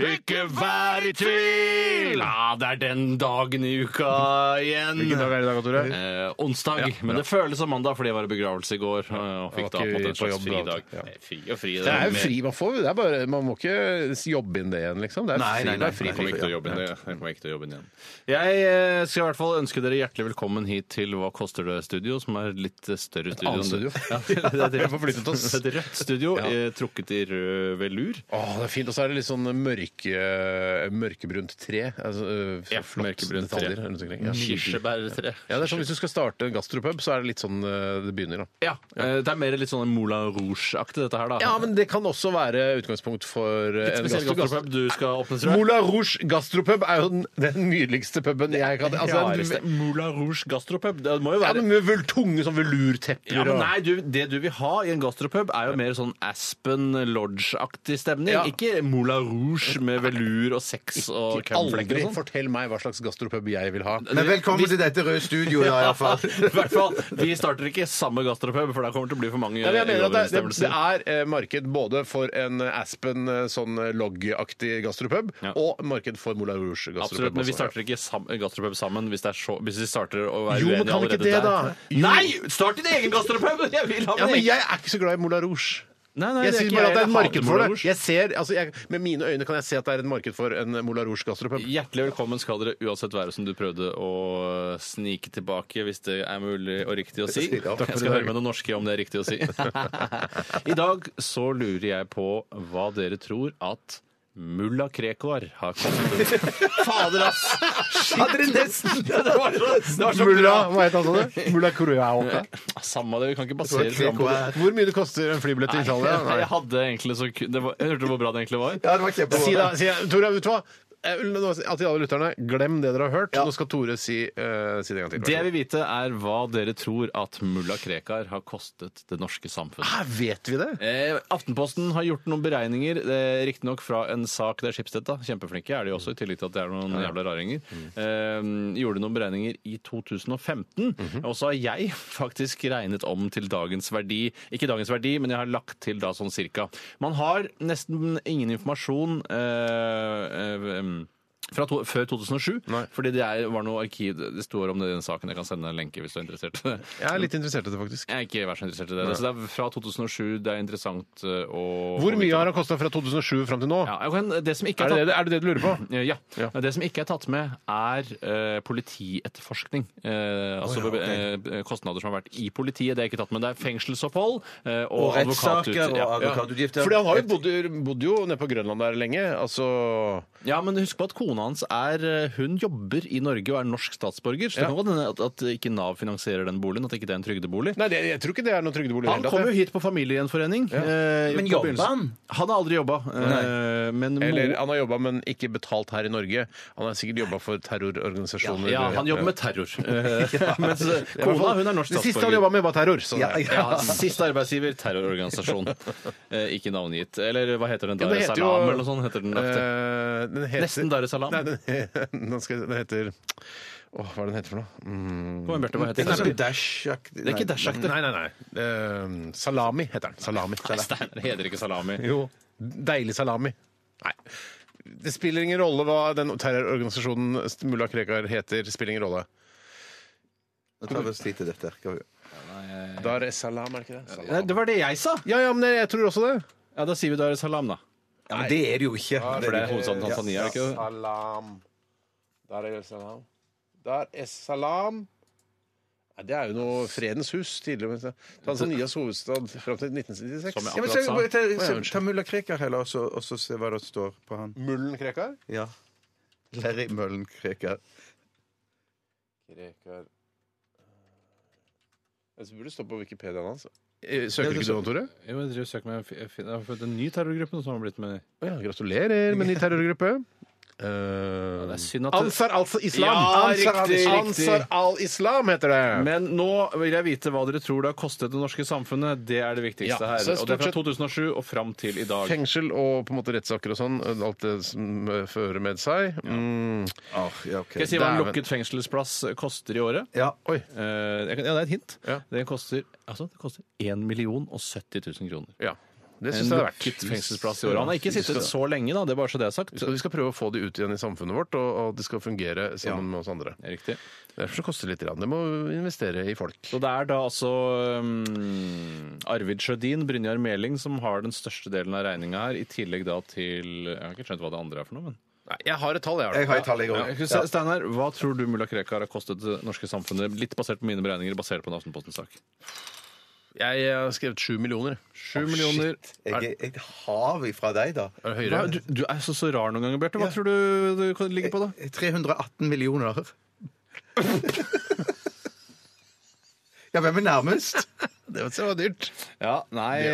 [SPEAKER 5] Ikke vær i tvil! Ja, det er den dagen i uka igjen.
[SPEAKER 4] Hvilken dag er det i dag, Tore?
[SPEAKER 5] Eh, onsdag, men det føles som mandag fordi jeg var i begravelse i går. eh, Og fikk
[SPEAKER 4] Da var
[SPEAKER 5] da på en
[SPEAKER 4] ikke
[SPEAKER 5] måte en
[SPEAKER 4] vi på
[SPEAKER 5] slags
[SPEAKER 4] jobb da,
[SPEAKER 5] fridag.
[SPEAKER 4] ja.
[SPEAKER 5] Eh, Fri og fri.
[SPEAKER 4] Det er jo
[SPEAKER 5] med-
[SPEAKER 4] fri man får. Det er bare, man må ikke jobbe inn det igjen, liksom. Det er
[SPEAKER 6] Nei,
[SPEAKER 4] fri,
[SPEAKER 6] nei, nei,
[SPEAKER 4] det er fri
[SPEAKER 6] nei,
[SPEAKER 4] for
[SPEAKER 5] Jeg
[SPEAKER 6] nei.
[SPEAKER 4] meg.
[SPEAKER 5] kommer ikke til å jobbe inn igjen. Jeg kommer ikke til å jobbe inn igjen. Jeg eh, skal i hvert fall ønske dere hjertelig velkommen hit til Hva koster det studio, som er litt eh, større studio.
[SPEAKER 4] annet
[SPEAKER 5] enn-
[SPEAKER 4] studio.
[SPEAKER 5] Ja,
[SPEAKER 4] Vi
[SPEAKER 5] det er et
[SPEAKER 4] har forflyttet oss.
[SPEAKER 5] Det er et rødt studio,
[SPEAKER 4] Ja.
[SPEAKER 5] eh, trukket i rød velur.
[SPEAKER 4] Åh, det er fint. Og så er det litt sånn mørke, eh, mørkebrunt tre. Altså, øh,
[SPEAKER 5] Ja,
[SPEAKER 4] flott
[SPEAKER 5] mørkebrunt tre.
[SPEAKER 4] detaljer rundt omkring. Ja.
[SPEAKER 5] Kirsebærtre.
[SPEAKER 4] Ja, det er sånn Hvis du skal starte en gastropub, så er det litt sånn øh, det begynner. da.
[SPEAKER 5] Ja, eh, det er mer litt sånn Moulin Rouge-aktig, dette her, da.
[SPEAKER 4] Ja, men det kan også være utgangspunkt for øh, en
[SPEAKER 5] Spesielt
[SPEAKER 4] gastro...
[SPEAKER 5] gastropub du skal åpne, tror jeg.
[SPEAKER 4] Moulin Rouge gastropub er jo den, den nydeligste puben jeg kan altså,
[SPEAKER 5] Rareste.
[SPEAKER 4] den,
[SPEAKER 5] Moulin Rouge gastropub. Det må jo
[SPEAKER 4] ja,
[SPEAKER 5] være
[SPEAKER 4] men Med vel tunge sånn velurtepper
[SPEAKER 5] Ja, men
[SPEAKER 4] og-
[SPEAKER 5] nei, du, Det du vil ha i en gastropub, er jo mer sånn Aspen Lodge-aktig stemning.
[SPEAKER 4] Ja.
[SPEAKER 5] Ikke Moulin Rouge med velur og sex og
[SPEAKER 4] Aldri
[SPEAKER 5] cumflekker og sånn.
[SPEAKER 4] fortell meg hva slags gastropub jeg vil ha.
[SPEAKER 6] Men velkommen til dette røde studioet, da, i hvert fall.
[SPEAKER 5] I hvert fall, Vi starter ikke samme gastropub, for da kommer det til å bli for mange
[SPEAKER 4] Ja, men jeg mener at det, det, det
[SPEAKER 5] uoverensstemmelser.
[SPEAKER 4] er eh, marked både for en eh, Aspen eh, sånn eh, log-aktig gastropub
[SPEAKER 5] Ja.
[SPEAKER 4] og marked for Moulin Rouge gastropub.
[SPEAKER 5] Absolutt, men vi
[SPEAKER 4] også,
[SPEAKER 5] starter ikke sam gastropub sammen hvis, det er så, hvis vi starter å være
[SPEAKER 4] Jo, men
[SPEAKER 5] uenige
[SPEAKER 4] kan vi ikke
[SPEAKER 5] allerede
[SPEAKER 4] det, da?
[SPEAKER 5] der.
[SPEAKER 4] Jo.
[SPEAKER 5] Nei! Start din egen gastropub! Jeg vil ha
[SPEAKER 4] ja. ja,
[SPEAKER 5] min
[SPEAKER 4] men
[SPEAKER 5] egen.
[SPEAKER 4] jeg er ikke så glad i Moulin Rouge.
[SPEAKER 5] Nei, nei,
[SPEAKER 4] Jeg
[SPEAKER 5] det er
[SPEAKER 4] sier
[SPEAKER 5] ikke
[SPEAKER 4] bare at det er
[SPEAKER 5] Jeg
[SPEAKER 4] et
[SPEAKER 5] hater
[SPEAKER 4] marked for
[SPEAKER 5] Moulin
[SPEAKER 4] det.
[SPEAKER 5] Rouge.
[SPEAKER 4] Jeg ser, altså, jeg, med mine øyne kan jeg se at det er et marked for en eh, Moulin Rouge gastropub.
[SPEAKER 5] Hjertelig velkommen skal dere uansett være som du prøvde å snike tilbake, hvis det er mulig og riktig å si. Jeg
[SPEAKER 6] Takk
[SPEAKER 5] skal høre med noen norske om det er riktig å si. I dag så lurer jeg på hva dere tror at Mulla Krekar har kostet. Fader, ass!
[SPEAKER 6] Hadde det nesten
[SPEAKER 5] Det var så, det var så
[SPEAKER 4] Mulla,
[SPEAKER 5] bra.
[SPEAKER 4] hva het han sånn? Mulla Kuruaoka.
[SPEAKER 5] Samme det, vi kan ikke basere fram på det.
[SPEAKER 4] Hvor mye det koster en flybillett til Italia?
[SPEAKER 5] Jeg, jeg hadde egentlig så ku- det var, Jeg hørte hvor bra det egentlig var.
[SPEAKER 6] Ja, det var kjempebra.
[SPEAKER 4] Si da, si, Tore, vet du hva? Eh, nå- Til alle lytterne, glem det dere har hørt. Nå skal Tore si, eh, si det en gang til.
[SPEAKER 5] Det jeg vil vite, er hva dere tror at Mulla Krekar har kostet det norske samfunnet.
[SPEAKER 4] Hæ, vet vi det?
[SPEAKER 5] Eh, Aftenposten har gjort noen beregninger, eh, riktignok fra en sak der Schibsted da, kjempeflinke er de også, i tillegg til at det er noen jævla raringer, eh, gjorde noen beregninger i 2015. Og så har jeg faktisk regnet om til dagens verdi. Ikke dagens verdi, men jeg har lagt til da sånn cirka. Man har nesten ingen informasjon eh, eh, fra to, før 2007.
[SPEAKER 4] Nei.
[SPEAKER 5] Fordi det er, var noe arkiv Det står om det i den saken. Jeg kan sende en lenke hvis du er interessert.
[SPEAKER 4] Jeg er litt interessert i det, faktisk.
[SPEAKER 5] Jeg er ikke vært så interessert i det. Så det er fra 2007. Det er interessant eh, å
[SPEAKER 4] Hvor
[SPEAKER 5] å vite.
[SPEAKER 4] mye har det kosta fra 2007 fram til nå?
[SPEAKER 5] ja, jeg kan, Det som ikke
[SPEAKER 4] Er
[SPEAKER 5] er
[SPEAKER 4] det
[SPEAKER 5] tatt
[SPEAKER 4] det, er det det du lurer på?
[SPEAKER 5] Eh, Ja.
[SPEAKER 4] Ja.
[SPEAKER 5] Det som ikke er tatt med, er eh, politietterforskning. Eh, altså eh, kostnader som har vært i politiet. Det er ikke tatt med. Det er fengselsopphold eh, og,
[SPEAKER 6] Og rettssaker
[SPEAKER 5] advokatutgifter.
[SPEAKER 6] og
[SPEAKER 5] Ja.
[SPEAKER 6] advokatutgifter.
[SPEAKER 4] Fordi han har jo bodd, bodd jo nede på Grønland der lenge. Altså
[SPEAKER 5] Ja, men husk på at kona hans er eh, Hun jobber i Norge og er norsk statsborger. Så det
[SPEAKER 4] Ja.
[SPEAKER 5] kan godt hende at, at ikke Nav finansierer den boligen, at ikke det er en trygdebolig.
[SPEAKER 4] Nei, det, jeg tror ikke det er noen trygdebolig. i
[SPEAKER 5] Han
[SPEAKER 4] det hele
[SPEAKER 5] kom jo
[SPEAKER 4] tatt,
[SPEAKER 5] hit på familiegjenforening. eh,
[SPEAKER 6] Men
[SPEAKER 5] på
[SPEAKER 6] jobber
[SPEAKER 5] begynnelsen.
[SPEAKER 6] han?
[SPEAKER 5] Han har aldri jobba. eh, Men
[SPEAKER 4] jeg.
[SPEAKER 5] mo-
[SPEAKER 4] Eller han har jobba, men ikke betalt her i Norge. Han har sikkert jobba for terrororganisasjoner.
[SPEAKER 5] ja, han jobber med terror. Eh, Mens eh, kona hun er norsk
[SPEAKER 4] Det siste han
[SPEAKER 5] statsborger.
[SPEAKER 4] jobba med, var terror. Så
[SPEAKER 6] Ja, ja.
[SPEAKER 5] Ja, Siste arbeidsgiver, terrororganisasjon. Eh, ikke navngitt. Eller hva heter den?
[SPEAKER 4] Den
[SPEAKER 5] Dar es
[SPEAKER 4] heter jo-
[SPEAKER 5] Salaam, eller noe sånt? heter den etter.
[SPEAKER 4] Eh, den heter,
[SPEAKER 5] Nesten Dar es Salaam.
[SPEAKER 4] Nei, den, den, skal, den heter Åh, hva er den heter for noe? Mm.
[SPEAKER 5] Kom igjen, Bjarte, hva
[SPEAKER 6] Det
[SPEAKER 5] heter
[SPEAKER 6] er
[SPEAKER 5] den?
[SPEAKER 6] ikke Dash-aktig.
[SPEAKER 5] Det er ikke Dash-aktig.
[SPEAKER 4] Nei, nei, nei. Eh, salami heter den. Salami.
[SPEAKER 5] Nei, Steinar det heter ikke salami.
[SPEAKER 4] Jo. Deilig salami. Nei. Det spiller ingen rolle hva den terrororganisasjonen mulla Krekar heter. spiller ingen rolle.
[SPEAKER 6] Nå tar vi oss tid til dette. Skal vi-
[SPEAKER 4] Dar es Salaam, er det ikke det? Salam.
[SPEAKER 5] Nei, det var det jeg sa!
[SPEAKER 4] Ja, ja, men jeg tror også det.
[SPEAKER 5] Ja, Da sier vi Dar es Salaam, da.
[SPEAKER 6] Ja, men det er det jo ikke.
[SPEAKER 5] For det er hovedstaden Tanzania, er det ikke det?
[SPEAKER 4] Salam. Dar es Salaam. Dar es Salaam. Nei, det er jo noe Fredens hus tidligere. men det- Tanzanias hovedstad fram til 1996.
[SPEAKER 5] Som jeg
[SPEAKER 6] Ja, men
[SPEAKER 5] akkurat sa.
[SPEAKER 6] se- ta-
[SPEAKER 4] Å, ja,
[SPEAKER 6] se-
[SPEAKER 4] unnskyld.
[SPEAKER 6] Ta mulla Krekar heller, og så- og så se hva det står på han.
[SPEAKER 4] Mullen Krekar?
[SPEAKER 6] Ja. Larry Møllen Krekar.
[SPEAKER 4] Krekar Det Eh, burde stå på Wikipediaen hans. Eh, Søker ikke du nå, Tore?
[SPEAKER 5] Jo, jeg driver og søker meg jeg finner- jeg har fått en ny terrorgruppe som har blitt med
[SPEAKER 4] Å ja, gratulerer med ny terrorgruppe. Eh,
[SPEAKER 5] Det er synd at det...
[SPEAKER 4] Ansar al-Islam!
[SPEAKER 5] Ja,
[SPEAKER 4] Ansar al-
[SPEAKER 5] riktig, riktig.
[SPEAKER 4] Ansar al-Islam heter det!
[SPEAKER 5] Men nå vil jeg vite hva dere tror det har kostet det norske samfunnet. Det er det
[SPEAKER 4] Ja,
[SPEAKER 5] viktigste her.
[SPEAKER 4] så
[SPEAKER 5] Og det er fra
[SPEAKER 4] stort
[SPEAKER 5] 2007 og fram til i dag.
[SPEAKER 4] Fengsel og på en måte rettssaker og sånn. Alt det som eh, fører med seg. Mm.
[SPEAKER 6] Ah, ja, ok.
[SPEAKER 5] Skal jeg si hva en
[SPEAKER 4] Dæven.
[SPEAKER 5] lukket fengselsplass koster i året?
[SPEAKER 6] Ja.
[SPEAKER 4] Oi.
[SPEAKER 5] Eh, jeg kan, ja, det er et hint.
[SPEAKER 4] Ja.
[SPEAKER 5] Det koster altså, det koster 1 million og 70 000 kroner.
[SPEAKER 4] Ja. Det
[SPEAKER 5] En
[SPEAKER 4] syns jeg er
[SPEAKER 5] lukket fengselsplass i året. Han har ikke sittet så lenge, da. Det er bare så det er sagt.
[SPEAKER 4] Så vi skal prøve å få de ut igjen i samfunnet vårt, og, og de skal fungere sammen med oss andre.
[SPEAKER 5] Det er Riktig.
[SPEAKER 4] Derfor så koster det litt. grann. Det må investere i folk.
[SPEAKER 5] Så det er da altså um, Arvid Sjødin, Brynjar Meling, som har den største delen av regninga her, i tillegg da til Jeg har ikke skjønt hva det andre er for noe, men
[SPEAKER 4] Nei, jeg har et tall, jeg.
[SPEAKER 6] Jeg
[SPEAKER 4] har det.
[SPEAKER 6] har et tall, jeg
[SPEAKER 5] ja.
[SPEAKER 6] òg.
[SPEAKER 5] Ste- Steinar, hva tror du mulla Krekar har kostet det norske samfunnet, litt basert på mine beregninger, basert på en Aftenposten-sak?
[SPEAKER 4] Jeg eh, har skrevet sju millioner.
[SPEAKER 5] Sju millioner.
[SPEAKER 6] Jeg er et hav ifra deg, da.
[SPEAKER 4] Er det
[SPEAKER 5] Hva,
[SPEAKER 4] høyere?
[SPEAKER 5] du, du er så, så rar noen ganger, Bjarte. Hva
[SPEAKER 6] Ja.
[SPEAKER 5] tror du det kan ligge på, da?
[SPEAKER 6] 318 Eh, millioner. ja, hvem er nærmest?
[SPEAKER 4] Det var- det var dyrt.
[SPEAKER 5] Ja, nei eh,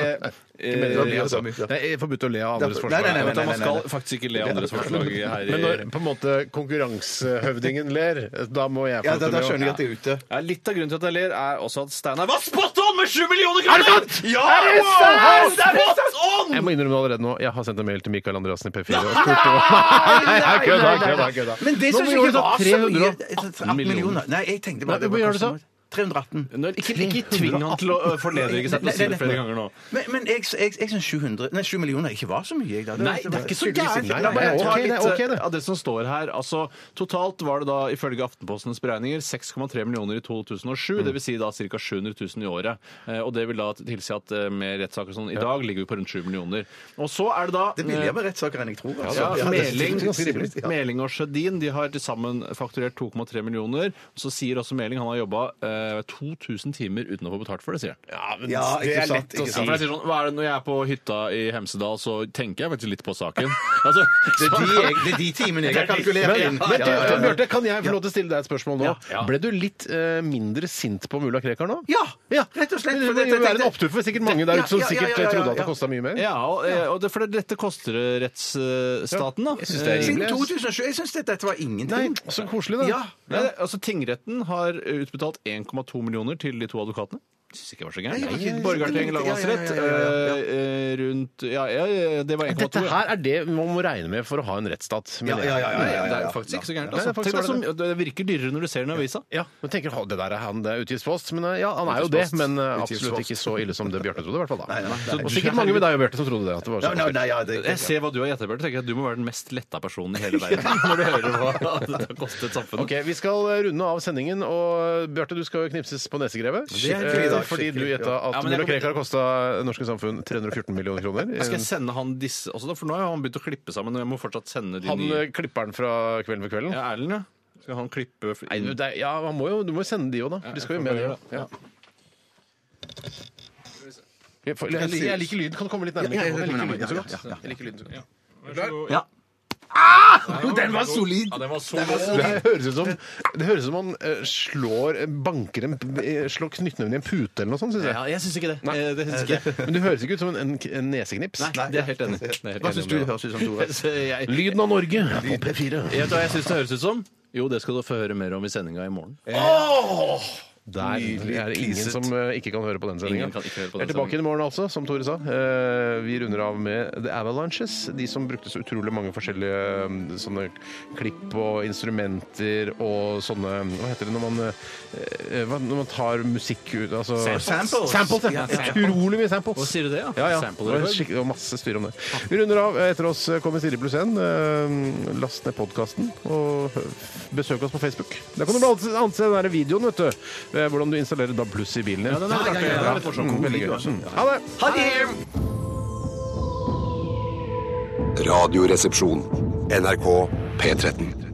[SPEAKER 6] mener det var mye,
[SPEAKER 5] eh,
[SPEAKER 6] altså.
[SPEAKER 4] Det er forbudt å le av andres
[SPEAKER 6] Nei,
[SPEAKER 4] forslag.
[SPEAKER 6] nei, nei, nei, nei.
[SPEAKER 5] Man skal faktisk ikke le av andres forslag her.
[SPEAKER 4] Men når
[SPEAKER 5] i-
[SPEAKER 4] på en måte konkurransehøvdingen ler, da må jeg få
[SPEAKER 6] Ja,
[SPEAKER 4] lov
[SPEAKER 6] da,
[SPEAKER 4] til
[SPEAKER 6] da
[SPEAKER 4] å le
[SPEAKER 6] skjønner jeg
[SPEAKER 4] også.
[SPEAKER 6] at jeg er ute.
[SPEAKER 5] Ja, litt av grunnen til at jeg ler, er også at Steinar var spot on med 7 millioner kroner! Ja! wow, spot on!
[SPEAKER 4] Jeg må innrømme allerede nå, jeg har sendt en mail til Mikael Andreassen i P4 og spurt om Nei, jeg kødda, jeg kødda, jeg kødda.
[SPEAKER 6] Men det
[SPEAKER 4] Nå
[SPEAKER 6] som
[SPEAKER 4] må vi gjøre sånn
[SPEAKER 6] ikke var så mye
[SPEAKER 4] 318
[SPEAKER 6] 318 millioner. Nei, jeg tenkte
[SPEAKER 4] Nei,
[SPEAKER 6] bare det
[SPEAKER 4] hva
[SPEAKER 6] var
[SPEAKER 4] gjør du så?
[SPEAKER 6] kanskje- 318.
[SPEAKER 5] Nå, Ikke, ikke tving han til å ø, forlede seg til å si det flere ganger nå.
[SPEAKER 6] Men, men jeg, jeg, jeg syns 700 Nei, 7 millioner ikke var så mye. Jeg, da.
[SPEAKER 5] Nei, det er ikke så gærent.
[SPEAKER 4] Nei,
[SPEAKER 5] La meg
[SPEAKER 4] nei,
[SPEAKER 5] ta
[SPEAKER 4] ok, det er
[SPEAKER 5] litt,
[SPEAKER 4] ok, det.
[SPEAKER 5] eh, av det som står her. Altså, totalt var det da, ifølge Aftenpostens beregninger, 6,3 millioner i
[SPEAKER 6] Mm.
[SPEAKER 5] 2007. Det vil si da ca. 700 000 i året. Eh, Og det vil da tilsi at eh, med rettssaker og sånn i dag ligger vi på rundt 7 millioner. Og så er det da eh,
[SPEAKER 6] Det er billigere med rettssaker enn jeg tror. altså.
[SPEAKER 5] Ja,
[SPEAKER 6] Ja, det er
[SPEAKER 5] Meling,
[SPEAKER 6] ganske rimelig, ja.
[SPEAKER 5] Meling og Sjødin de har til sammen fakturert 2,3 millioner. Og så sier også Meling han har jobba eh, 2000 timer uten å få betalt for det, sier han.
[SPEAKER 4] Ja, men
[SPEAKER 6] Ja,
[SPEAKER 4] det
[SPEAKER 6] ikke
[SPEAKER 4] er
[SPEAKER 6] sant,
[SPEAKER 4] lett å
[SPEAKER 6] ikke
[SPEAKER 5] Ja,
[SPEAKER 4] si.
[SPEAKER 5] for jeg sier sånn, hva er det Når jeg er på hytta i Hemsedal, så tenker jeg faktisk litt på saken.
[SPEAKER 6] Det
[SPEAKER 5] Altså,
[SPEAKER 6] er
[SPEAKER 5] så-
[SPEAKER 6] de, jeg, det er de timene jeg har kalkulert inn.
[SPEAKER 4] Men du, Bjarte, kan jeg få lov til å stille deg et spørsmål nå?
[SPEAKER 5] Ja. Ja.
[SPEAKER 4] Ble du litt eh, mindre sint på mulla Krekar nå?
[SPEAKER 6] Ja, rett og slett,
[SPEAKER 4] Det
[SPEAKER 6] for
[SPEAKER 4] må
[SPEAKER 6] dette
[SPEAKER 4] jo være en
[SPEAKER 6] tenkte-
[SPEAKER 4] opptur for sikkert mange der ute som
[SPEAKER 6] Ja, ja, ja,
[SPEAKER 4] sikkert
[SPEAKER 6] ja, ja,
[SPEAKER 4] trodde at
[SPEAKER 6] ja.
[SPEAKER 4] det kosta mye mer.
[SPEAKER 5] Ja, og, eh, og det, for dette koster det rettsstaten, da.
[SPEAKER 4] jeg synes det er
[SPEAKER 5] Eh,
[SPEAKER 4] rimelig.
[SPEAKER 6] Siden 2007. Jeg syns dette var
[SPEAKER 4] Nei,
[SPEAKER 6] ingenting.
[SPEAKER 4] Mm, så koselig, da.
[SPEAKER 6] Ja.
[SPEAKER 5] Eh, Nei, altså Tingretten har utbetalt 1,2 millioner til de to advokatene. Syns ikke det var så
[SPEAKER 6] Nei, det var
[SPEAKER 5] gærent.
[SPEAKER 6] ikke-
[SPEAKER 5] Borgarting lagmannsrett
[SPEAKER 6] Ja, ja, ja, ja, ja.
[SPEAKER 5] eh, eh, rundt Ja, ja, det var 1,2.
[SPEAKER 4] Dette
[SPEAKER 5] ja.
[SPEAKER 4] her er det man må regne med for å ha en rettsstat. mener
[SPEAKER 6] Ja, ja, ja, ja, ja, ja, ja.
[SPEAKER 5] Det er faktisk ikke så
[SPEAKER 4] Nei,
[SPEAKER 5] gærent.
[SPEAKER 4] det er
[SPEAKER 5] Altså.
[SPEAKER 4] faktisk
[SPEAKER 5] Tenk deg
[SPEAKER 4] var
[SPEAKER 5] som,
[SPEAKER 4] det
[SPEAKER 5] det virker dyrere når du ser den i avisa.
[SPEAKER 4] Ja, men tenker han, Det der er han, det er utgiftspost. Men eh, ja, han er jo det,
[SPEAKER 5] Utgiftspost.
[SPEAKER 4] men eh, absolutt
[SPEAKER 5] Utgiftspost.
[SPEAKER 4] ikke så ille som det Bjarte trodde. I hvert fall da
[SPEAKER 6] Nei, nei, nei.
[SPEAKER 4] Og sikkert mange med deg og Bjarte som trodde det. At det var
[SPEAKER 6] Ja,
[SPEAKER 4] sånn.
[SPEAKER 6] nei, nei, ja, det,
[SPEAKER 5] Jeg ser hva du har gjettet, Bjarte. tenker at Du må være den mest letta personen i hele verden når du hører hva det har kostet samfunnet.
[SPEAKER 4] Ok, Vi skal eh, runde av sendingen, og Bjarte, du skal jo knipses på nesegrevet.
[SPEAKER 6] Skikkelig i dag,
[SPEAKER 4] Eh, Fordi du
[SPEAKER 6] skikkelig, ja.
[SPEAKER 4] gjetta at
[SPEAKER 5] Ja, men jeg
[SPEAKER 4] Mulla
[SPEAKER 5] kan-
[SPEAKER 4] Krekar kosta norske samfunn 314 millioner kroner.
[SPEAKER 5] Skal jeg sende han disse også, da? For nå har han begynt å klippe sammen. Og jeg må fortsatt sende de
[SPEAKER 4] Han
[SPEAKER 5] nye.
[SPEAKER 4] eh, klipperen fra Kvelden ved kvelden?
[SPEAKER 5] Ja, Erlend, ja. Skal han klippe
[SPEAKER 4] Nei, du, det, er- ja, han må jo, du må jo sende de òg, da. De skal jo med, de. Ja. Jeg, får- jeg, jeg liker lyden. Kan du komme litt nærmere?
[SPEAKER 6] ja, ja,
[SPEAKER 4] Jeg liker
[SPEAKER 6] ja,
[SPEAKER 4] lyden så
[SPEAKER 6] ja,
[SPEAKER 4] godt.
[SPEAKER 6] ja, ja.
[SPEAKER 4] Jeg liker lyden så godt.
[SPEAKER 5] Ja.
[SPEAKER 6] Den var solid!
[SPEAKER 5] ja, den var så god.
[SPEAKER 4] Det her høres ut som Det høres ut som man eh, slår banker en, eh, slår knyttneven i en pute eller noe sånt, syns jeg.
[SPEAKER 5] Ja, jeg syns ikke det. Eh, Det synes ikke jeg.
[SPEAKER 4] Men det høres ikke ut som en, en, en neseknips.
[SPEAKER 5] Nei, det er helt enig. Det er helt
[SPEAKER 6] Hva
[SPEAKER 5] enig
[SPEAKER 6] syns
[SPEAKER 5] med
[SPEAKER 6] du det
[SPEAKER 5] deg.
[SPEAKER 6] høres ut som, Tore?
[SPEAKER 5] Så jeg-
[SPEAKER 4] Lyden av Norge på P4.
[SPEAKER 5] Vet du hva jeg syns det høres ut som? Jo, det skal du få høre mer om i sendinga i morgen.
[SPEAKER 4] Der er det ingen som eh, ikke kan høre på den sendinga.
[SPEAKER 5] Ingen kan ikke høre på
[SPEAKER 4] Vi er
[SPEAKER 5] den
[SPEAKER 4] tilbake i morgen altså, som Tore sa. Eh, Vi runder av med The Avalanches. De som brukte så utrolig mange forskjellige eh, sånne klipp og instrumenter og sånne Hva heter det når man, eh, hva- når man tar musikk ut altså,
[SPEAKER 6] Samples.
[SPEAKER 4] Samples, ja.
[SPEAKER 6] Ja, samples.
[SPEAKER 4] Utrolig mye samples.
[SPEAKER 5] Hva sier du det, ja?
[SPEAKER 4] Ja, ja. Det
[SPEAKER 5] Sample
[SPEAKER 4] var
[SPEAKER 5] reverb?
[SPEAKER 4] skikk- det var masse styr om det. Vi runder av. Etter oss kommer 4 pluss 1. Last ned podkasten, og hø- besøk oss på Facebook. Der kan du blant annet se den der videoen, vet du. eh, Hvordan du installerer DAB pluss i bilen din. Ja,
[SPEAKER 5] ja, ja, ja.
[SPEAKER 4] litt morsom. Veldig gøy. Mm. Ha det!
[SPEAKER 1] Radioresepsjon. NRK P13.